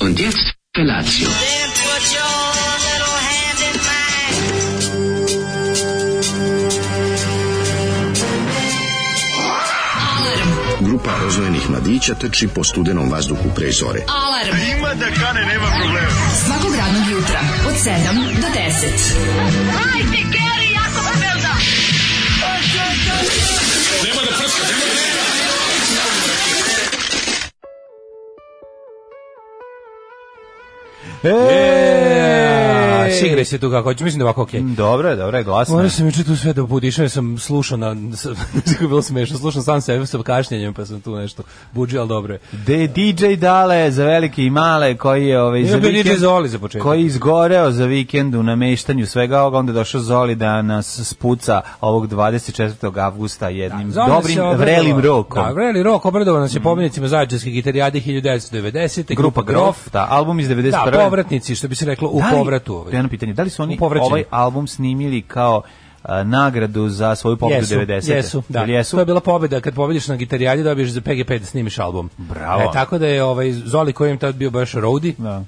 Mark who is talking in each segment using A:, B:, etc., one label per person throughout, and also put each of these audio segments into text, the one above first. A: Und jetzt Felatio.
B: Then put your little hand in mine.
C: Grupa rozvojenih mladića teči po studenom vazduhu pre zore.
D: Alarm. Ima da kane, nema problema. Svakog radnog jutra, od 7 do 10.
E: E,
F: Sigraj se tu kako hoćeš, mislim da je ovako okej.
E: Dobro je, dobro je, glasno.
F: Mm, Morao
E: je.
F: sam juče tu sve da budišao, jer sam slušao na, kako je bilo smešno, slušao sam sebe sa kašnjenjem, pa sam tu nešto buđio, ali dobro je.
E: De DJ Dale za velike i male koji je ovaj
F: Ima
E: za
F: bio
E: vikend
F: DJ Zoli za početak.
E: koji je izgoreo za vikend u nameštanju svega ovoga, onda je došao Zoli da nas spuca ovog 24. avgusta jednim
F: Zove
E: dobrim
F: se obradova-
E: vrelim rokom.
F: Da, vreli rok obradovan nas je pomenicima zajedničke gitarijade 1990.
E: Grupa Grof, da, album iz 91.
F: Da, povratnici, što bi se reklo, u
E: Da li-
F: povratu. Ovaj.
E: Jedno pitanje, da li su oni
F: U povraćanju.
E: ovaj album snimili kao a, nagradu za svoju pobedu 90.
F: Jesu, da.
E: Ili jesu?
F: To je bila pobeda kad pobediš na gitarijadi dobiješ za PGP da snimiš album.
E: Bravo.
F: E, tako da je ovaj Zoli koji im tad bio baš Rodi.
E: Da.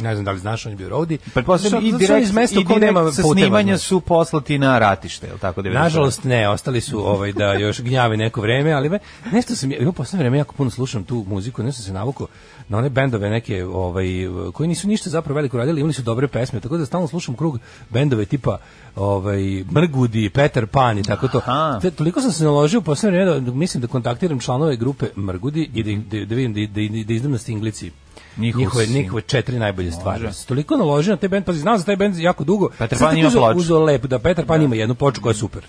F: Ne znam da li znaš, on je bio Rodi.
E: Pretpostavljam
F: Zato
E: i
F: što
E: direkt,
F: iz mesta
E: i
F: u kojem
E: direkt
F: nema
E: sa
F: puteva,
E: snimanja
F: znaš.
E: su poslati na ratište, je li tako? 90.
F: Nažalost ne, ostali su ovaj da još gnjave neko vreme, ali me, nešto sam ja u poslednje vreme jako puno slušam tu muziku, nešto sam se navukao na one bendove neke ovaj koji nisu ništa zapravo veliko radili, imali su dobre pesme, tako da stalno slušam krug bendove tipa ovaj Mrgudi, Peter Pan i tako to.
E: Aha.
F: Te, toliko sam se naložio u poslednje vreme da mislim da kontaktiram članove grupe Mrgudi i da, ih- da, da vidim da, da, da izdam na Stinglici.
E: Njihove
F: Njihove,
E: sing-
F: njihove četiri najbolje stvari. Toliko naložio na taj bend, pazi, znam za taj bend jako dugo.
E: Peter
F: Sad
E: Pan
F: tek
E: ima
F: uzeo-
E: ploču.
F: uzeo lepo, da Petar Pan ima jednu ploču koja je super.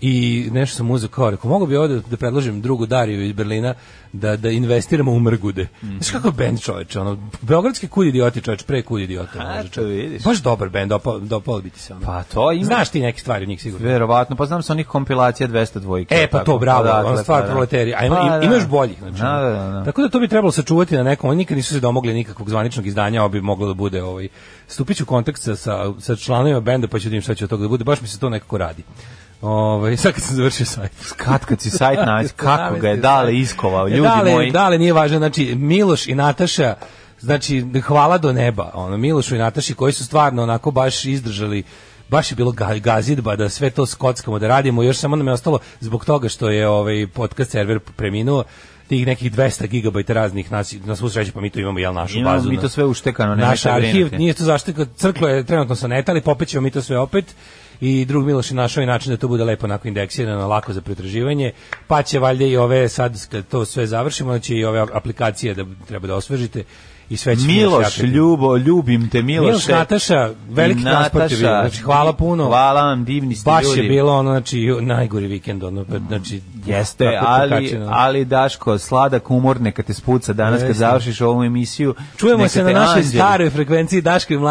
F: I nešto sam uzeo kao, rekao, mogu bi ovde da predložim drugu Dariju iz Berlina da, da investiramo u mrgude.
E: Mhm.
F: Znaš kako je band čoveče, ono, beogradski kud idioti čoveč, pre kud idioti. ono,
E: A,
F: znači,
E: to vidiš.
F: Baš dobar band, dopao, dopao bi ti se ono.
E: Pa to ima.
F: Znaš ti neke stvari od njih sigurno.
E: Verovatno, pa znam sa onih kompilacija 202.
F: E, pa to, bravo, on
E: dakle,
F: stvar proleterija. A ima, im- ima još boljih. Znači,
E: Pa Da, da, da.
F: Tako da to bi trebalo sačuvati na nekom, oni nikad nisu se domogli nikakvog zvaničnog izdanja, ovo bi moglo da bude, ovaj, stupit ću u kontakt sa, sa, sa članovima benda, pa ću da vidim šta će od toga da bude, baš mi se to nekako radi. Ovaj, sad kad sam završio sajt.
E: Kad kad si sajt naći, kako ga je
F: Zamisli
E: dale
F: sajt.
E: iskovao, ljudi
F: dale,
E: moji.
F: Dale nije važno, znači Miloš i Nataša, znači hvala do neba, ono, Milošu i Nataši koji su stvarno onako baš izdržali baš je bilo ga- gazidba da sve to skockamo da radimo, još samo nam je ostalo zbog toga što je ovaj podcast server preminuo tih nekih 200 GB raznih nas, na svu sreću, pa mi to imamo jel našu
E: Imamo
F: bazu.
E: mi
F: na-
E: to sve uštekano, nemojte
F: naš arhiv,
E: brinuti.
F: nije to zaštita, crklo je trenutno sa neta, ali popet ćemo mi to sve opet i drug Miloš je našao i način da to bude lepo onako indeksirano, lako za pretraživanje, pa će valjda i ove, sad kad to sve završimo, znači i ove aplikacije da treba da osvežite i sve će
E: Miloš, ljubo, ljubim te Miloše.
F: Miloš, Nataša, veliki
E: I
F: transport je bio,
E: Nataša.
F: znači hvala puno.
E: Hvala vam, divni ste
F: Baš
E: ljudi.
F: je bilo ono, znači, najgori vikend, ono, znači...
E: Jeste,
F: tako
E: ali,
F: pokačeno.
E: ali Daško, sladak umor neka te spuca danas kad
F: Jeste.
E: završiš ovu emisiju.
F: Čujemo
E: neka
F: se na
E: te
F: našoj
E: anđeli.
F: staroj frekvenciji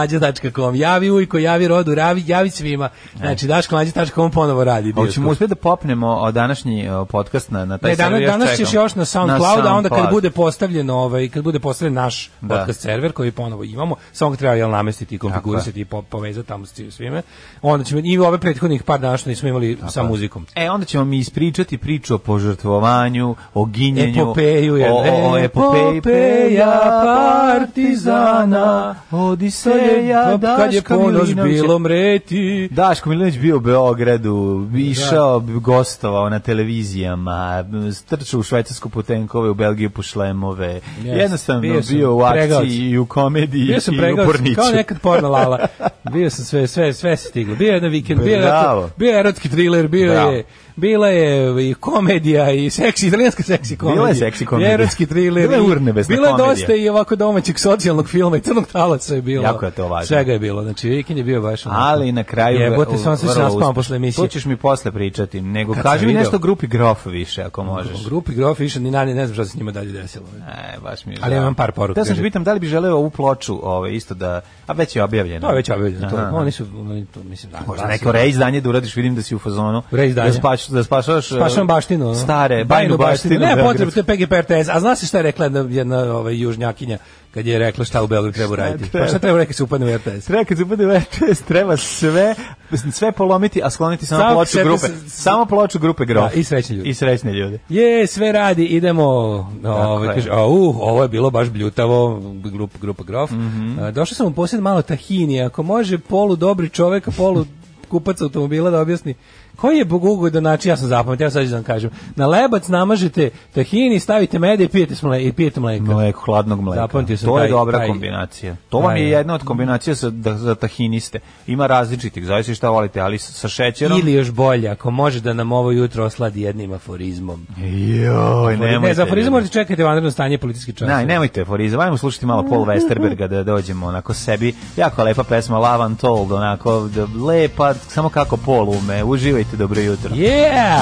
F: daškomlađa.com. Javi ujko, javi rodu, javi, javi svima.
E: E.
F: Znači, daškomlađa.com ponovo radi.
E: A Hoćemo uspjeti da popnemo o današnji o, podcast na, na taj
F: Ne, danas,
E: server,
F: danas
E: čekam.
F: ćeš još na SoundCloud, a onda kad
E: SoundCloud.
F: bude postavljen ovaj, kad bude postavljen naš
E: Da.
F: podcast server koji ponovo imamo, samo ga treba jel namestiti i konfigurisati i po, povezati tamo s tim svime. Onda ćemo i ove prethodnih par dana što nismo imali sa muzikom.
E: E, onda ćemo mi ispričati priču o požrtvovanju, o ginjenju,
F: Epopeju je.
E: o, o, o epopeji.
F: Epopeja partizana,
E: Odiseja,
F: kad je
E: Daška
F: ponoć
E: Milinovića.
F: bilo mreti.
E: Daško Milinović bio u Beogradu, išao, gostovao na televizijama, strčao u švajcarsku putenkove, u Belgiju po šlemove.
F: Jeste,
E: Jednostavno bio,
F: bio sam
E: u akciji
F: pregaoc.
E: i u komediji
F: Bio sam
E: i u
F: pregao,
E: porniću.
F: kao nekad porno lala. Bio sam sve, sve, sve se stiglo. Bio je jedan vikend, bio je,
E: Bravo.
F: erotik- bio je erotski thriller, bio
E: Bravo.
F: je, bila je i komedija i seksi, italijanska seksi komedija.
E: Bila je seksi komedija.
F: Erotski thriller.
E: Bila je
F: i-
E: urnebesna
F: Bilo je
E: komedija.
F: dosta i ovako domaćeg socijalnog filma i crnog talaca je bilo.
E: Jako je to važno.
F: Svega je bilo, znači vikend je bio baš onako.
E: Ali na kraju
F: Jebote, samo se
E: vrlo
F: naspavam
E: uspešno.
F: posle emisije.
E: To ćeš mi posle pričati, nego
F: Kad
E: kaži
F: sam
E: mi
F: video.
E: nešto o grupi Grof više ako možeš.
F: U grupi Grof više ni nani, ne znam šta se s njima dalje desilo.
E: E, baš mi je
F: Ali
E: žao.
F: imam par poruka,
E: Teo sam te
F: kaži.
E: pitam da li bi želeo ovu ploču ovaj, isto da, a već je objavljena.
F: To je već objavljeno. To,
E: Aha.
F: oni su, oni to, mislim, da.
E: Možda neko reizdanje da uradiš, vidim da si u fazonu.
F: Reizdanje.
E: Da, spaš, da spašaš,
F: Spašavam
E: e,
F: baštinu baštinu. ono.
E: Stare, bajnu baštinu
F: Ne, potrebno, to
E: beogradsku.
F: je PGP RTS. A zna se šta je rekla jedna, jedna ovaj, južnjakinja kad je rekla šta u Beogradu treba uraditi? Pa šta treba rekli se upadne u RTS?
E: Treba kad se upade u RTS, treba sve, sve polomiti, a skloniti samo,
F: Samo
E: ploču
F: sebe
E: grupe.
F: se-
E: Samo ploču grupe grof.
F: Da, i srećni ljudi.
E: I srećne ljude.
F: Je, sve radi, idemo. Ovaj
E: je.
F: kaže, au, ovo je bilo baš bljutavo, grup, grupa Grof. A, došao sam u posjed malo tahini, ako može polu dobri čovek, polu kupac automobila da objasni koji je bogugodan način, ja sam zapamtio, ja sad ću da vam kažem. Na lebac namažete tahini, stavite mede i pijete, s mle, i pijete mleka.
E: Mleko, hladnog mleka.
F: Zapamtio sam
E: to je
F: taj-
E: dobra
F: taj-
E: kombinacija. To vam je
F: taj-
E: jedna od kombinacija sa, da, za tahiniste. Ima različitih, zavisi šta volite, ali sa sa šećerom...
F: Ili još bolje, ako može da nam ovo jutro osladi jednim aforizmom.
E: Joj, nemojte.
F: ne, za aforizam
E: ljudi.
F: morate čekati vanredno stanje politički čas.
E: Ne, nemojte aforizam, ajmo slušati malo Paul Westerberga da dođemo onako sebi. Jako lepa pesma Love Untold, onako da, lepa, samo kako Paul ume. Uživajte, dobro jutro.
F: Yeah!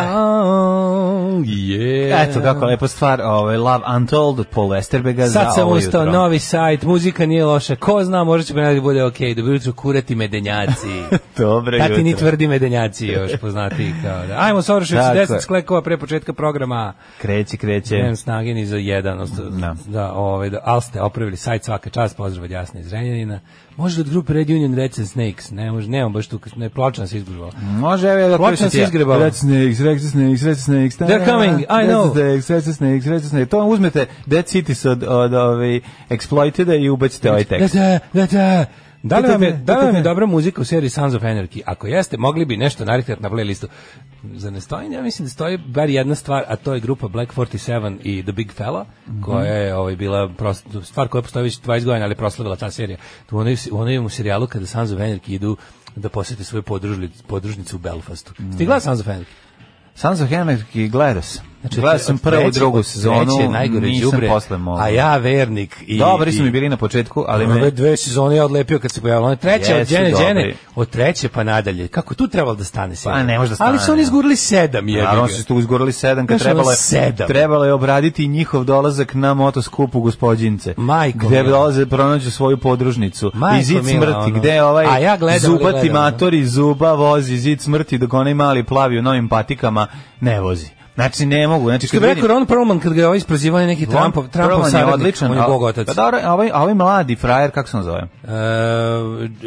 F: Oh, yeah.
E: Eto kako lepa stvar, ovaj Love Untold od Paul Westerberga za
F: Sad sam
E: ovo
F: ustao,
E: jutro.
F: novi sajt, muzika nije loša, ko zna, možda će ponedjeljak bude okej, dobro jutro, kurati medenjaci.
E: Dobro jutro.
F: Tati ni tvrdi medenjaci još poznati kao da. Ajmo, Sorošević,
E: Tako je.
F: 10 sklekova pre početka programa.
E: Kreći, kreće.
F: Nemam snage ni za jedan. osta-
E: Da.
F: Da, ovaj, da, ali ste opravili sajt svaka čast, pozdrav od Jasne iz Renjanina. Možda od grupe Red Union Reds and Snakes, ne, može, nemam baš tu, ne, plačan se izgužbao.
E: Može, evo ja da
F: Plačem
E: pišem
F: se
E: ti ja.
F: izgrebala.
E: Red snakes, red snakes, red snakes. ta-
F: They're coming, I
E: red
F: know.
E: Snakes, red snakes, red snakes. To uzmete Dead Cities od, od ove Exploiteda i ubacite ovaj tekst.
F: Da, da, da, da. Da li vam je, da li vam
E: Da, da,
F: je
E: da.
F: dobra muzika u seriji Sons of Anarchy? Ako jeste, mogli bi nešto narekati na playlistu. Za ne stoji, ja mislim da stoji bar jedna stvar, a to je grupa Black 47 i The Big Fella,
E: Mhm.
F: koja je ovaj, bila prosto, stvar koja postoji već 20 godina, ali je proslavila ta serija. Tu u onoj, u onom serijalu kada Sons of Anarchy idu da posete svoju podružli- podružnicu u Belfastu.
E: Mhm.
F: Stigla Sons of Anarchy?
E: Sons of Anarchy gledao sam. Znači, gledao sam
F: od
E: prvu,
F: treće-
E: drugu
F: od
E: sezonu,
F: treće najgore
E: nisam
F: đubre,
E: posle mogao.
F: A ja vernik. I,
E: Dobri su
F: i-
E: mi bili na početku, ali
F: Ove
E: me...
F: dve sezone je odlepio kad se pojavila. Ona treća od
E: Jesu
F: Đene
E: dobri.
F: Đene, od treće pa nadalje. Kako je tu trebalo da stane se?
E: Pa, ne može da stane,
F: Ali su oni
E: ne.
F: izgurili sedam je.
E: Naravno su tu uzgorili sedam, kad
F: Znaš, ono,
E: trebalo je,
F: sedam.
E: trebalo je obraditi njihov dolazak na motoskupu gospodince.
F: Majko
E: Gde
F: mila.
E: dolaze, pronađu svoju podružnicu.
F: Majko
E: I zid
F: mila,
E: smrti,
F: ono.
E: gde je ovaj
F: A ja gledam, ali
E: zubati
F: gledam, ono.
E: matori zuba vozi zid smrti, dok onaj mali plavi u novim patikama ne vozi. Znači, ne mogu. Znači,
F: Što
E: kad
F: bi
E: vidim,
F: rekao Ron Perlman kad ga je ovaj isprozivao neki Trumpov,
E: Ron
F: Trumpov
E: Perlman
F: saradnik,
E: je odličan.
F: on je
E: a-
F: bog otac.
E: Pa dobro, a ovaj, a ovaj mladi frajer, kako se on zove?
F: E,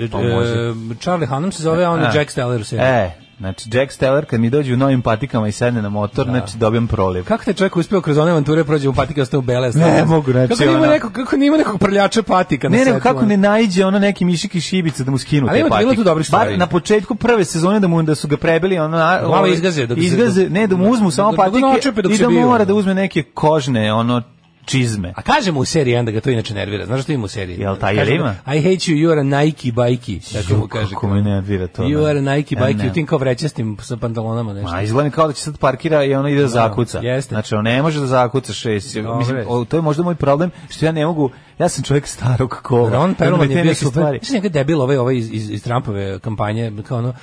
F: e,
E: To može.
F: e, Charlie Hunnam se zove, a on je
E: A.
F: Jack Steller u seriji.
E: E, znači Jack Steller kad mi dođe u novim patikama i sedne na motor, znači dobijam proliv.
F: Kako te čovjek uspio kroz one avanture prođe u patike ostao u bele?
E: Ne mogu, znači,
F: Kako nima
E: ono-
F: nekog, kako nima nekog prljača patika na
E: Pa Ne, ne,
F: setu,
E: kako
F: ono?
E: ne naiđe ono neki mišik i šibica da mu skinu
F: Ali
E: te
F: ima tu-
E: patike.
F: bilo tu dobrih
E: Bar
F: stvari.
E: na početku prve sezone da mu da su ga prebili, ono na-
F: Glava
E: ovaj,
F: izgaze dok se-
E: izgaze,
F: dok-
E: ne da mu uzmu samo
F: dok- dok ga
E: patike
F: načepe dok
E: i
F: se
E: da
F: biju,
E: mora
F: ono.
E: da uzme neke kožne ono čizme.
F: A kažemo u seriji onda ga to inače nervira. Znaš što ima u seriji?
E: Jel taj,
F: Kaže
E: jel
F: mu,
E: ima?
F: I hate you, you are a Nike bajki. Tako mu kaže.
E: Kako me nervira to.
F: You
E: da.
F: are a Nike
E: Ja
F: bajki,
E: ne.
F: u tim kao vrećastim sa pantalonama nešto.
E: Ma, izgleda mi kao da će sad parkira i ono ide da zakuca.
F: jeste.
E: Znači, on ne može da zakuca šest.
F: Dobro
E: Mislim,
F: je.
E: o, to je možda moj problem, što ja ne mogu, ja sam čovjek starog kola.
F: Ron Perlman
E: Onda me
F: je
E: te
F: bio
E: neke
F: super.
E: stvari-
F: Mislim, njega debil ovaj, ovaj iz, iz, iz Trumpove kampanje, kao ono,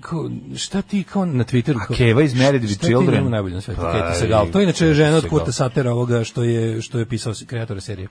F: kao, šta ti kao na Twitteru?
E: A
F: kao-
E: Keva iz Married with
F: šta ti
E: Children?
F: njemu najbolje na svetu?
E: Pa,
F: Katie Sagal. To je inače je žena od
E: Sagal.
F: Kurta Satera ovoga što je, što je pisao s- kreatora serije.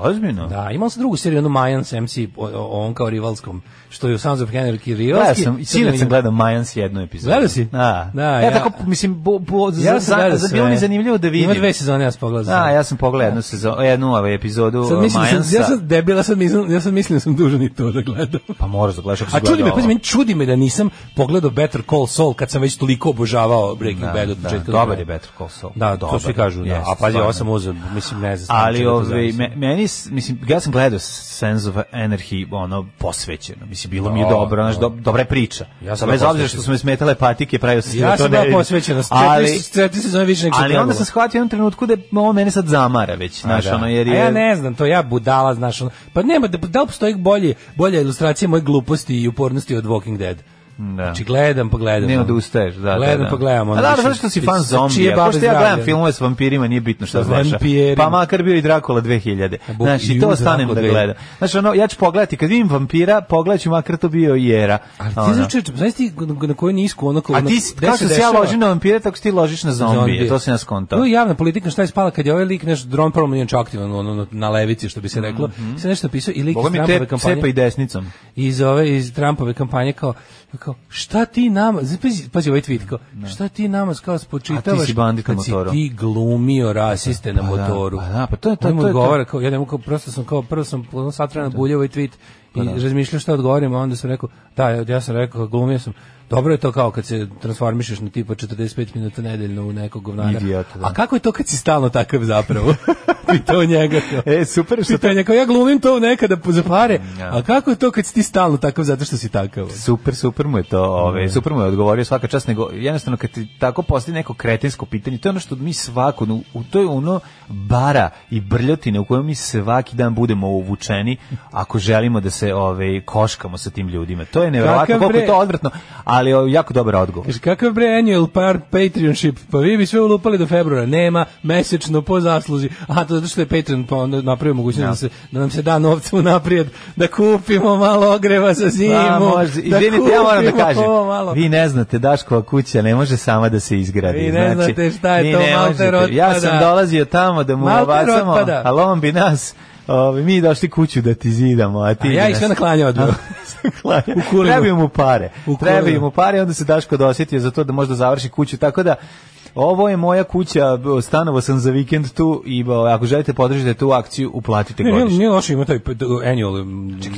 E: Ozbiljno?
F: Da, imao sam drugu seriju, onu Mayans MC, o, o, on kao rivalskom, što je u Sons of Anarchy
E: Gledao
F: rivalski.
E: sam, i
F: Sad
E: sinoć sam
F: vidim-
E: gledao Mayans jednu epizodu.
F: Gledao si?
E: Da.
F: Da,
E: ja,
F: ja-
E: tako, mislim, bo, bo, za,
F: Ja sam
E: za,
F: gledao
E: za,
F: sve.
E: bilo mi zanimljivo da vidim.
F: Ima dve sezone, ja sam pogledao.
E: Da, ja sam pogledao jednu, sezon, jednu ovaj epizodu
F: Sad mislim, da
E: Majansa.
F: sam, ja sam debila, sad mislim, ja sam mislim da sam dužan i to da gledam.
E: Pa moraš da gledaš ako si
F: A čudi me,
E: gledao
F: pazi,
E: ovo.
F: meni čudi me da nisam pogledao Better Call Saul kad sam već toliko obožavao Breaking
E: Da,
F: Bad od
E: da,
F: početka. do
E: dobar je
F: kraja.
E: Better Call Saul.
F: Da, to
E: Dobar,
F: svi kažu, da.
E: jeste,
F: A pazi, ovo sam
E: stvarno.
F: uzeo, mislim, ne znam. stvarno
E: Ali
F: čega to
E: ovaj
F: zavisi.
E: me, meni s- mislim ja sam gledao Sense of Anarchy ono posvećeno. Mislim bilo mi je
F: Da,
E: dobro, znači
F: da.
E: do, dobra je priča.
F: Ja
E: Ja
F: sam
E: sam
F: ga
E: bez obzira
F: posvećen.
E: što su me smetale patike, pravio sam se da
F: Ja
E: to
F: sam
E: ne.
F: dao
E: vidim.
F: posvećenost,
E: Ali
F: četiri, četiri sezone više nego što
E: ali onda
F: trebalo.
E: sam shvatio u jednom trenutku da ovo mene sad zamara već, znaš,
F: da.
E: ono jer
F: A
E: je
F: ja ne znam, to ja budala, znaš, ono. Pa nema, da, da li postoji bolje, bolja ilustracija moje gluposti i upornosti od Walking Dead?
E: Da.
F: Znači, gledam, pa gledam.
E: Ne
F: ono.
E: odustaješ, da, da.
F: Gledam, pa gledam. ono,
E: A da,
F: više-
E: zato što si fan
F: čije
E: zombija.
F: babe
E: Pošto ja
F: zdravlje.
E: gledam filmove s vampirima, nije bitno šta
F: Sa
E: znaš.
F: vampirima.
E: Pa makar bio i Dracula 2000.
F: Bog,
E: Znači,
F: ju,
E: to stanem
F: Dracula
E: da
F: 2000.
E: gledam. Znači, ono, ja ću pogledati, kad vidim vampira, pogledat ću makar to bio i era.
F: Ali
E: Ono.
F: ti znaš čovječe, znaš ti na- na koju nisku ono kao...
E: A
F: ono,
E: ti, si-
F: gde
E: kako se ja
F: dešava?
E: ložim na vampire, tako si ti ložiš na zombije.
F: Zombije.
E: To sam ja skontao.
F: To je javna politika šta je spala kad je ovaj lik nešto dron prvo nije čak aktivan ono, na- na levici što bi se reklo. Mm se nešto pisao i lik iz
E: Mhm. Boga mi
F: Trumpove
E: te
F: kampanje
E: cepa i desnicom.
F: iz ove iz Trumpove kampanje kao, kao kao, šta ti nama, znači, pazi, pazi ovaj tweet, kao, šta ti nama kao spočitavaš,
E: A ti si bandit na
F: kad si
E: motoru.
F: ti glumio rasiste na
E: Pa da,
F: motoru.
E: pa da, pa to je- to je-
F: On mu
E: to je- to je-
F: odgovara, kao, ja ne mogu, kao, prosto sam, kao, prvo sam ono, sat vremena buljao ovaj tweet
E: Pa
F: i razmišljao šta odgovorim, a onda sam rekao, da, ja ja sam rekao, glumio sam, Dobro je to kao kad se transformišeš na tipa 45 minuta nedeljno u nekog govnara.
E: Idiota, da.
F: A kako je to kad si stalno takav zapravo? Pitao njega. kao.
E: E, super je što to-
F: Pitanje, kao ja glumim to nekada po- za pare,
E: Mm, Ja.
F: a kako je to kad si ti stalno takav zato što si takav?
E: Super, super mu je to, ovaj, super mu je odgovorio svaka čast, nego jednostavno kad ti tako postoji neko kretensko pitanje, to je ono što mi svako, no, u to je ono bara i brljotine u kojoj mi svaki dan budemo uvučeni ako želimo da se ovaj, koškamo sa tim ljudima. To je nevjerojatno,
F: Kakav
E: koliko je
F: bre-
E: to odvratno, ali ovaj, jako dobar odgovor.
F: Kaže, kakav bre annual par Patreonship? Pa vi bi sve ulupali do februara. Nema, mesečno, po zasluzi. A to zato što je Patreon pa onda napravio mogućnost da, se, da nam se da novca u naprijed, da kupimo malo ogreva za zimu.
E: Pa, može. Izvinite, ja moram da
F: kupimo
E: kažem.
F: ovo malo.
E: Vi ne znate, Daškova kuća ne može sama da se izgradi.
F: Vi ne
E: znači,
F: znate šta je
E: vi
F: to,
E: ne
F: Malter
E: možete. Ja sam
F: otpada.
E: dolazio tamo da mu
F: Malter
E: ovacamo,
F: otpada.
E: ali on bi nas... Ove, mi došli kuću da ti zidamo, a ti...
F: A ja
E: bi
F: ih
E: nas-
F: sve na klanje odveo.
E: A, sve klanja.
F: U Kurinu.
E: Trebaju mu pare.
F: U Kurinu.
E: Trebaju mu pare, onda se Daško dosjetio za to da možda završi kuću, tako da Ovo je moja kuća, stanovo sam za vikend tu i o, ako želite podržite tu akciju, uplatite
F: Ne, nije,
E: godišnje.
F: nije loše ima taj p- d- annual.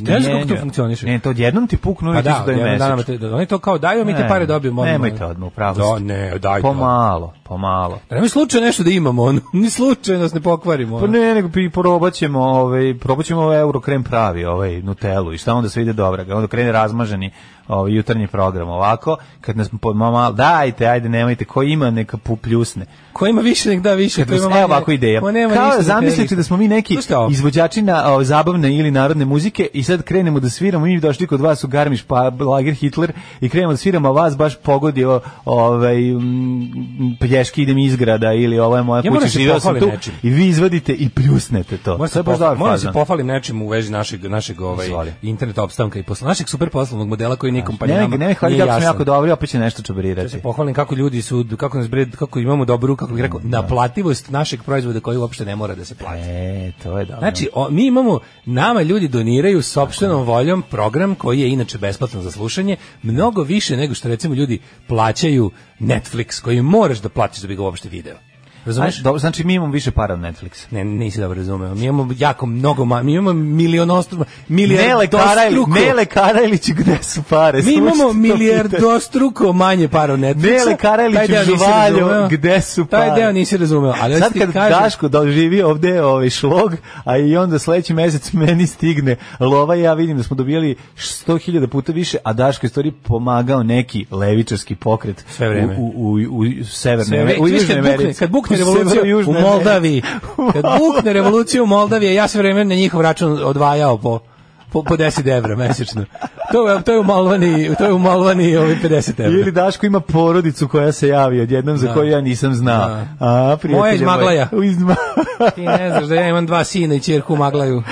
F: ne znam kako to funkcioniše.
E: Ne, to odjednom ti puknu
F: Pa
E: i ti
F: da,
E: su da
F: jedan dan nam te- da, oni to kao daju, Pa mi te pare dobijemo. odmah.
E: Nemojte odmah, upravo ste.
F: Da, ne, daj to.
E: Pomalo, pomalo.
F: Da Pa nemoj slučajno nešto da imamo, ono. ni slučajno nas ne pokvarimo.
E: Pa
F: ono.
E: ne, nego pi probat ćemo, ovaj, probat ćemo ovaj euro krem pravi, ovaj Nutelu i šta onda sve ide dobra, onda krene razmaženi ovaj, jutarnji program ovako, kad nas po, ma, ma- dajte, ajde, nemojte, ko ima neka pu- pljusne.
F: Ko ima više, nek da više. Ko
E: Evo
F: ima manje,
E: ovako ideja.
F: Ko nema
E: Kao
F: ništa, nek nema
E: zamislite
F: ništa.
E: da smo mi neki
F: Slušajte ovo.
E: izvođači na o, zabavne ili narodne muzike i sad krenemo da sviramo, mi došli kod vas u Garmiš pa Lager Hitler i krenemo da sviramo, a vas baš pogodio ovaj mm, plješki idem izgrada ili ovo je moja
F: Ja
E: kuća,
F: moram se
E: živeo sam
F: pohvalim
E: tu
F: nečim.
E: i vi izvadite i pljusnete to.
F: Moram
E: to je
F: se,
E: baš
F: pohvalim,
E: dobar
F: moram se
E: fazon.
F: pohvalim nečim u vezi našeg, našeg ovaj,
E: Izvoli.
F: internet opstanka i posla, našeg super poslovnog modela koji nikom pa
E: Ne,
F: njama
E: ne, ne, hvala
F: nije
E: kako smo
F: jasan.
E: jako dobri, opet će nešto čabarirati.
F: se pohvalim kako ljudi su, kako nas bred, kako imamo dobru, kako bih rekao, naplativost našeg proizvoda koji uopšte ne mora da se plati.
E: E, to je dobro.
F: Znači, o, mi imamo, nama ljudi doniraju sopstvenom voljom program koji je inače besplatan za slušanje, mnogo više nego što recimo ljudi plaćaju Netflix koji moraš da platiš da bi ga uopšte video. Razumeš?
E: Znači, dobro, znači mi imamo više para od Netflixa.
F: Ne, nisi dobro razumeo. Mi imamo jako mnogo, ma- mi imamo milionostruko,
E: Nele Karajlić,
F: milijardostruko.
E: Nele Karajlić, gde su pare?
F: mi
E: Slušajte
F: imamo
E: to pitanje.
F: milijardostruko manje para od Netflixa.
E: Nele Karelić
F: Taj deo
E: u
F: nisi
E: žvalju,
F: razumeo.
E: gde su
F: Taj
E: pare?
F: deo nisi razumeo. Ali
E: Sad
F: hoću ti
E: kad
F: kažem-
E: Daško doživi ovde ovaj šlog, a i onda sledeći mesec meni stigne lova i ja vidim da smo dobijali 100.000 puta više, a Daško je u stvari pomagao neki levičarski pokret
F: Sve vreme.
E: u, u, u,
F: Sve
E: u severne,
F: vreme.
E: u
F: Viš
E: južne
F: kad bukne,
E: Americi.
F: kad bukne
E: U severu-
F: revolucija u,
E: južne
F: Moldaviji,
E: Americi.
F: kad bukne revolucija u Moldaviji, ja sve vreme na njihov račun odvajao po po, po 10 evra mesečno. To je, to je u Malvani, to je u Malvani ovi 50 evra.
E: Ili Daško ima porodicu koja se javi odjednom za koju ja nisam znao.
F: Da.
E: A, prijatelju
F: Moja iz
E: moj.
F: Maglaja.
E: U iz Ma-
F: Ti ne znaš da ja imam dva sina i ćerku u Maglaju.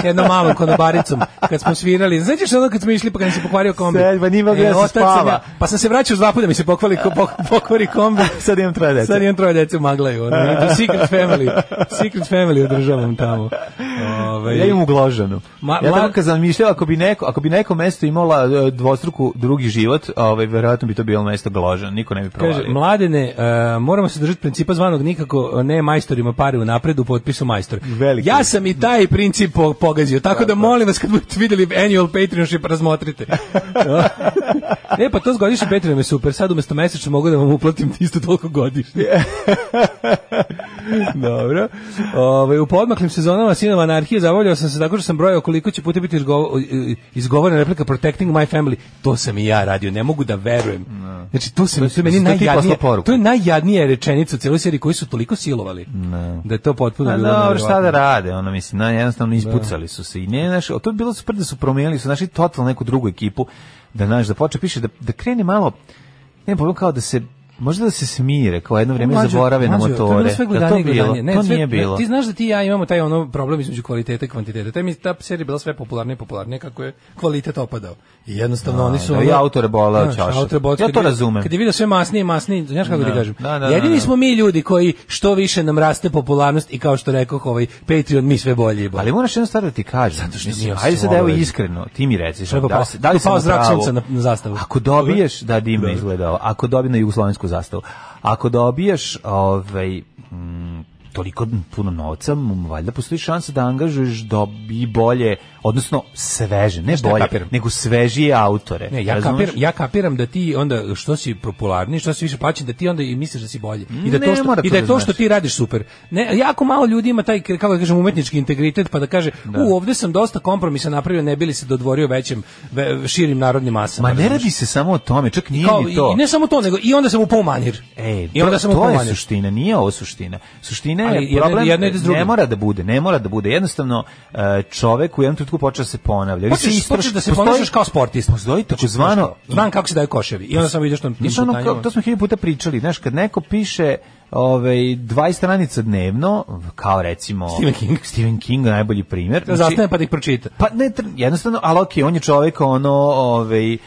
F: S jednom malom konobaricom. Kad smo svirali, znaš ono kad smo išli pa kad mi se pokvario kombi. E,
E: Sedma, nije mogla da se
F: otac sam
E: spava.
F: ja- pa sam se vraćao s dva puta da mi se pokvali, ko- pok, pokvari kombi.
E: Sad imam troje dece.
F: Sad imam troje dece u Maglaju. Ono, imam secret family. Secret family održavam tamo. Ovaj, Ove,
E: Ja imam ugloženu.
F: Ma-
E: ja
F: ma-
E: tako kad zamišljam, ako bi neko, ako bi neko mesto imala e, dvostruku drugi život, ovaj, verovatno bi to bilo mesto gložan, niko ne bi
F: Kaže,
E: provalio.
F: mladene, e, moramo se držati principa zvanog nikako ne majstorima pare u napredu, potpisu majstor.
E: Veliki.
F: Ja sam i taj princip po- pogazio, tako da molim vas kad budete videli annual Patreonship, razmotrite. e, pa to s godišnjim Patreonom je super, sad umesto mesečno mogu da vam uplatim isto toliko godišnje. Dobro. Ovaj u podmaklim sezonama sinova anarhije zavoljao sam se tako što sam brojao koliko će puta biti izgovo- izgovorena replika protecting my family. To sam i ja radio, ne mogu da verujem. Znači to sam to je meni
E: to ti poslao
F: najjadnije.
E: poruku.
F: To je najjadnija rečenica u celoj seriji koju su toliko silovali. Da je to potpuno
E: A
F: bilo
E: dobro,
F: nevjerovatno.
E: šta da rade, ono mislim, na, jednostavno ispucali su se i ne, znaš, a to je bilo super da su promijenili, su našli totalno neku drugu ekipu, da, znaš, da poče piše, da, da krene malo, ne, pa kao da se Možda da se smire, kao jedno vrijeme
F: Mlađo,
E: zaborave na
F: mlađo, To, je
E: motore.
F: ono sve
E: da
F: gledanje
E: to
F: i
E: bilo,
F: gledanje. Ne,
E: to
F: sve-
E: nije bilo.
F: Ne, ti znaš da ti i ja imamo taj ono problem između kvalitete i kvantitete. Taj mi ta serija bila sve popularnija i popularnija kako je kvalitet opadao. I jednostavno oni su
E: da, i
F: ono-
E: autore boleo
F: Znaš,
E: ćošak.
F: autore boleo-
E: Ja to
F: kad je-
E: razumem.
F: Kad je video sve masnije i masnije, znaš kako ti kažem.
E: da, da, da,
F: Jedini
E: da.
F: smo mi ljudi koji što više nam raste popularnost i kao što rekoh ovaj Patreon mi sve bolje i bolje.
E: Ali moraš jednu stvar da ti kažem. Zato
F: što nije
E: ajde sad evo
F: ostavljeno.
E: iskreno, ti mi reci.
F: Treba
E: da,
F: pao-
E: si- da li
F: pao
E: sam u
F: zrak
E: pravu?
F: sunca na- na zastavu.
E: Ako dobiješ, da divno izgledao, ako dobiješ na jugoslovensku zastavu, ako dobiješ ovaj, mm, toliko puno novca, m, valjda postoji šansa da angažuješ dobi bolje, odnosno sveže, ne
F: Znaš šta ja
E: bolje,
F: kapiram?
E: nego svežije autore.
F: Ne, ja
E: Razumeš?
F: kapiram, ja kapiram da ti onda što si popularniji, što si više plaćen, da ti onda i misliš da si bolji. I da
E: Ne
F: to što
E: mora
F: i
E: to
F: da je
E: da
F: to
E: znaš.
F: što ti radiš super. Ne, jako malo ljudi ima taj kako da kažem umetnički integritet pa da kaže, "U, ovde sam dosta kompromisa napravio, ne bili se dodvorio većem ve- širim narodnim masama."
E: Ma ne
F: razumeš?
E: radi se samo o tome, čak nije
F: Kao,
E: ni to.
F: i, i ne samo to, nego i onda sam upao u manir.
E: E,
F: I onda sam
E: to,
F: upao
E: to
F: u
E: je
F: manir.
E: suština, nije ovo suština. Suština je
F: Ali jedno-
E: problem,
F: jedno ide s drugim.
E: ne mora da bude, ne mora da bude. Jednostavno, e, čovek u jednom trenutku počeo da se ponavlja. Vi se
F: Počeš,
E: istroš-
F: počeš da se
E: postoji-
F: ponašaš kao sportista.
E: Postoji takozvano...
F: Znam kako se daju koševi. I onda sam vidio što tim
E: Znaš, ono,
F: šutanjima-
E: kao- to smo hiljadu puta pričali, znaš, kad neko piše ovaj, 20 stranica dnevno, kao recimo...
F: Stephen King.
E: Stephen King, najbolji primjer.
F: Da zastane pa da ih pročita.
E: Pa ne, tr- jednostavno, ali okej, on je čovjek ono, ovaj, eh,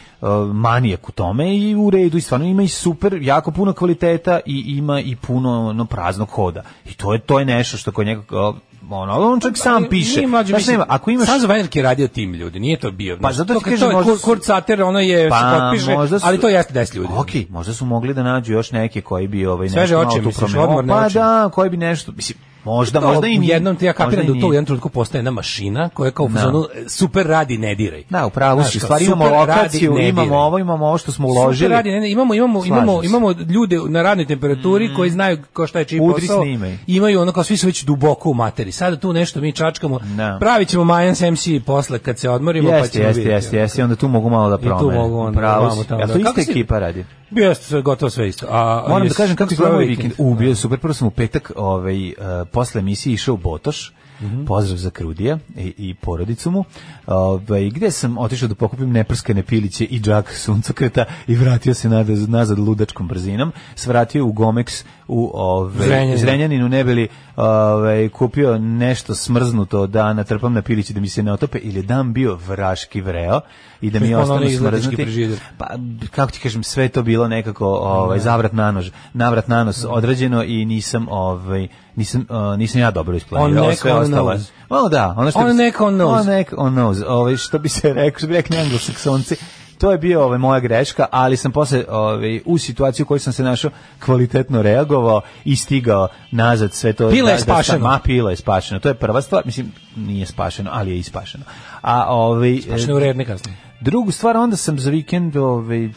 E: manijak u tome i u redu i stvarno ima i super, jako puno kvaliteta i ima i puno ono, praznog hoda. I to je, to je nešto što kod njega, kao, ono, ali on čovjek sam
F: Ali
E: piše.
F: Pa, nije mlađe,
E: Znaš,
F: mislim,
E: nema, ako imaš...
F: Sam za Venerke je radio tim ljudi, nije to bio.
E: Pa
F: znaš,
E: zato ti
F: to kad
E: kažem,
F: to je
E: možda
F: Kurt-
E: su-
F: Kurt Sater, ono je, se potpiše, ali to jeste 10 ljudi.
E: pa, Ok, možda su mogli da nađu još neke koji bi ovaj,
F: Sveže
E: nešto malo
F: oči,
E: tu
F: misliš,
E: promenili.
F: odmorne
E: Pa
F: oči.
E: da, koji bi nešto, mislim, možda,
F: To,
E: možda i
F: u
E: nije.
F: jednom ti ja
E: možda
F: kapiram
E: i
F: da to u
E: nije.
F: jednom trenutku postaje jedna mašina koja kao u
E: Da.
F: fazonu e, super radi, ne diraj.
E: Da, u pravu
F: Znaš,
E: si. U
F: kao,
E: Stvari imamo
F: super radi,
E: lokaciju,
F: ne
E: imamo
F: diraj.
E: ovo, imamo ovo što smo
F: Super
E: uložili.
F: radi, ne, ne, imamo imamo
E: Slažem
F: imamo
E: se.
F: imamo ljude na radnoj temperaturi koji znaju ko šta je čiji
E: Udri
F: posao.
E: snimaj.
F: Imaju ono kao svi su već duboko u materi. Sada tu nešto mi čačkamo.
E: Da.
F: Pravit ćemo Mayans MC posle kad se odmorimo pa
E: Jeste,
F: ćemo
E: jeste,
F: vidjeti.
E: jeste, jeste, onda tu mogu malo da
F: I tu
E: promene.
F: mogu onda,
E: Pravo
F: vamo
E: si.
F: tamo,
E: Jel
F: da.
E: to
F: Kako
E: ista
F: si-
E: ekipa radi?
F: Bio sve gotovo sve isto. A, a
E: Moram da
F: jes- ovaj
E: kažem kako
F: si
E: izgleda
F: proveo
E: moj vikend. U, bio je super, prvo sam u petak, ovaj, eh, posle emisije išao u Botoš,
F: Mhm.
E: pozdrav za Krudija i, i porodicu mu, ovaj, gde sam otišao da pokupim neprskane piliće i džak suncokreta i vratio se nazad, nazad ludačkom brzinom, svratio u Gomex u ovaj,
F: Zrenjanin.
E: Zrenjaninu, ne bili ovaj, kupio nešto smrznuto da natrpam na piliće da mi se ne otope, ili je dan bio vraški vreo i da mi
F: Ono,
E: ostanu
F: onaj izletički
E: smrznuti.
F: frižider.
E: Pa, kako ti kažem, sve je to bilo nekako ovaj, zavrat na nož, navrat na nos odrađeno i nisam, ovaj, nisam, uh, nisam ja dobro isplanirao.
F: On neck
E: sve
F: on
E: ostalo je-
F: nose.
E: O, da, ono što
F: On
E: bi se-
F: neck on nose.
E: On neck on nose. Ovaj, što bi se rekao, što bi rekli anglosaksonci. To je bio ovaj, moja greška, ali sam posle ovaj, u situaciju u kojoj sam se našao kvalitetno reagovao i stigao nazad sve to.
F: Pila je
E: da- da sam-
F: spašena.
E: ma, pila je spašeno. To je prva stvar. Mislim, nije spašeno, ali je ispašeno. A, ovaj,
F: Znači, ne u redne kasnije.
E: Drugu stvar, onda sam za vikend ovaj,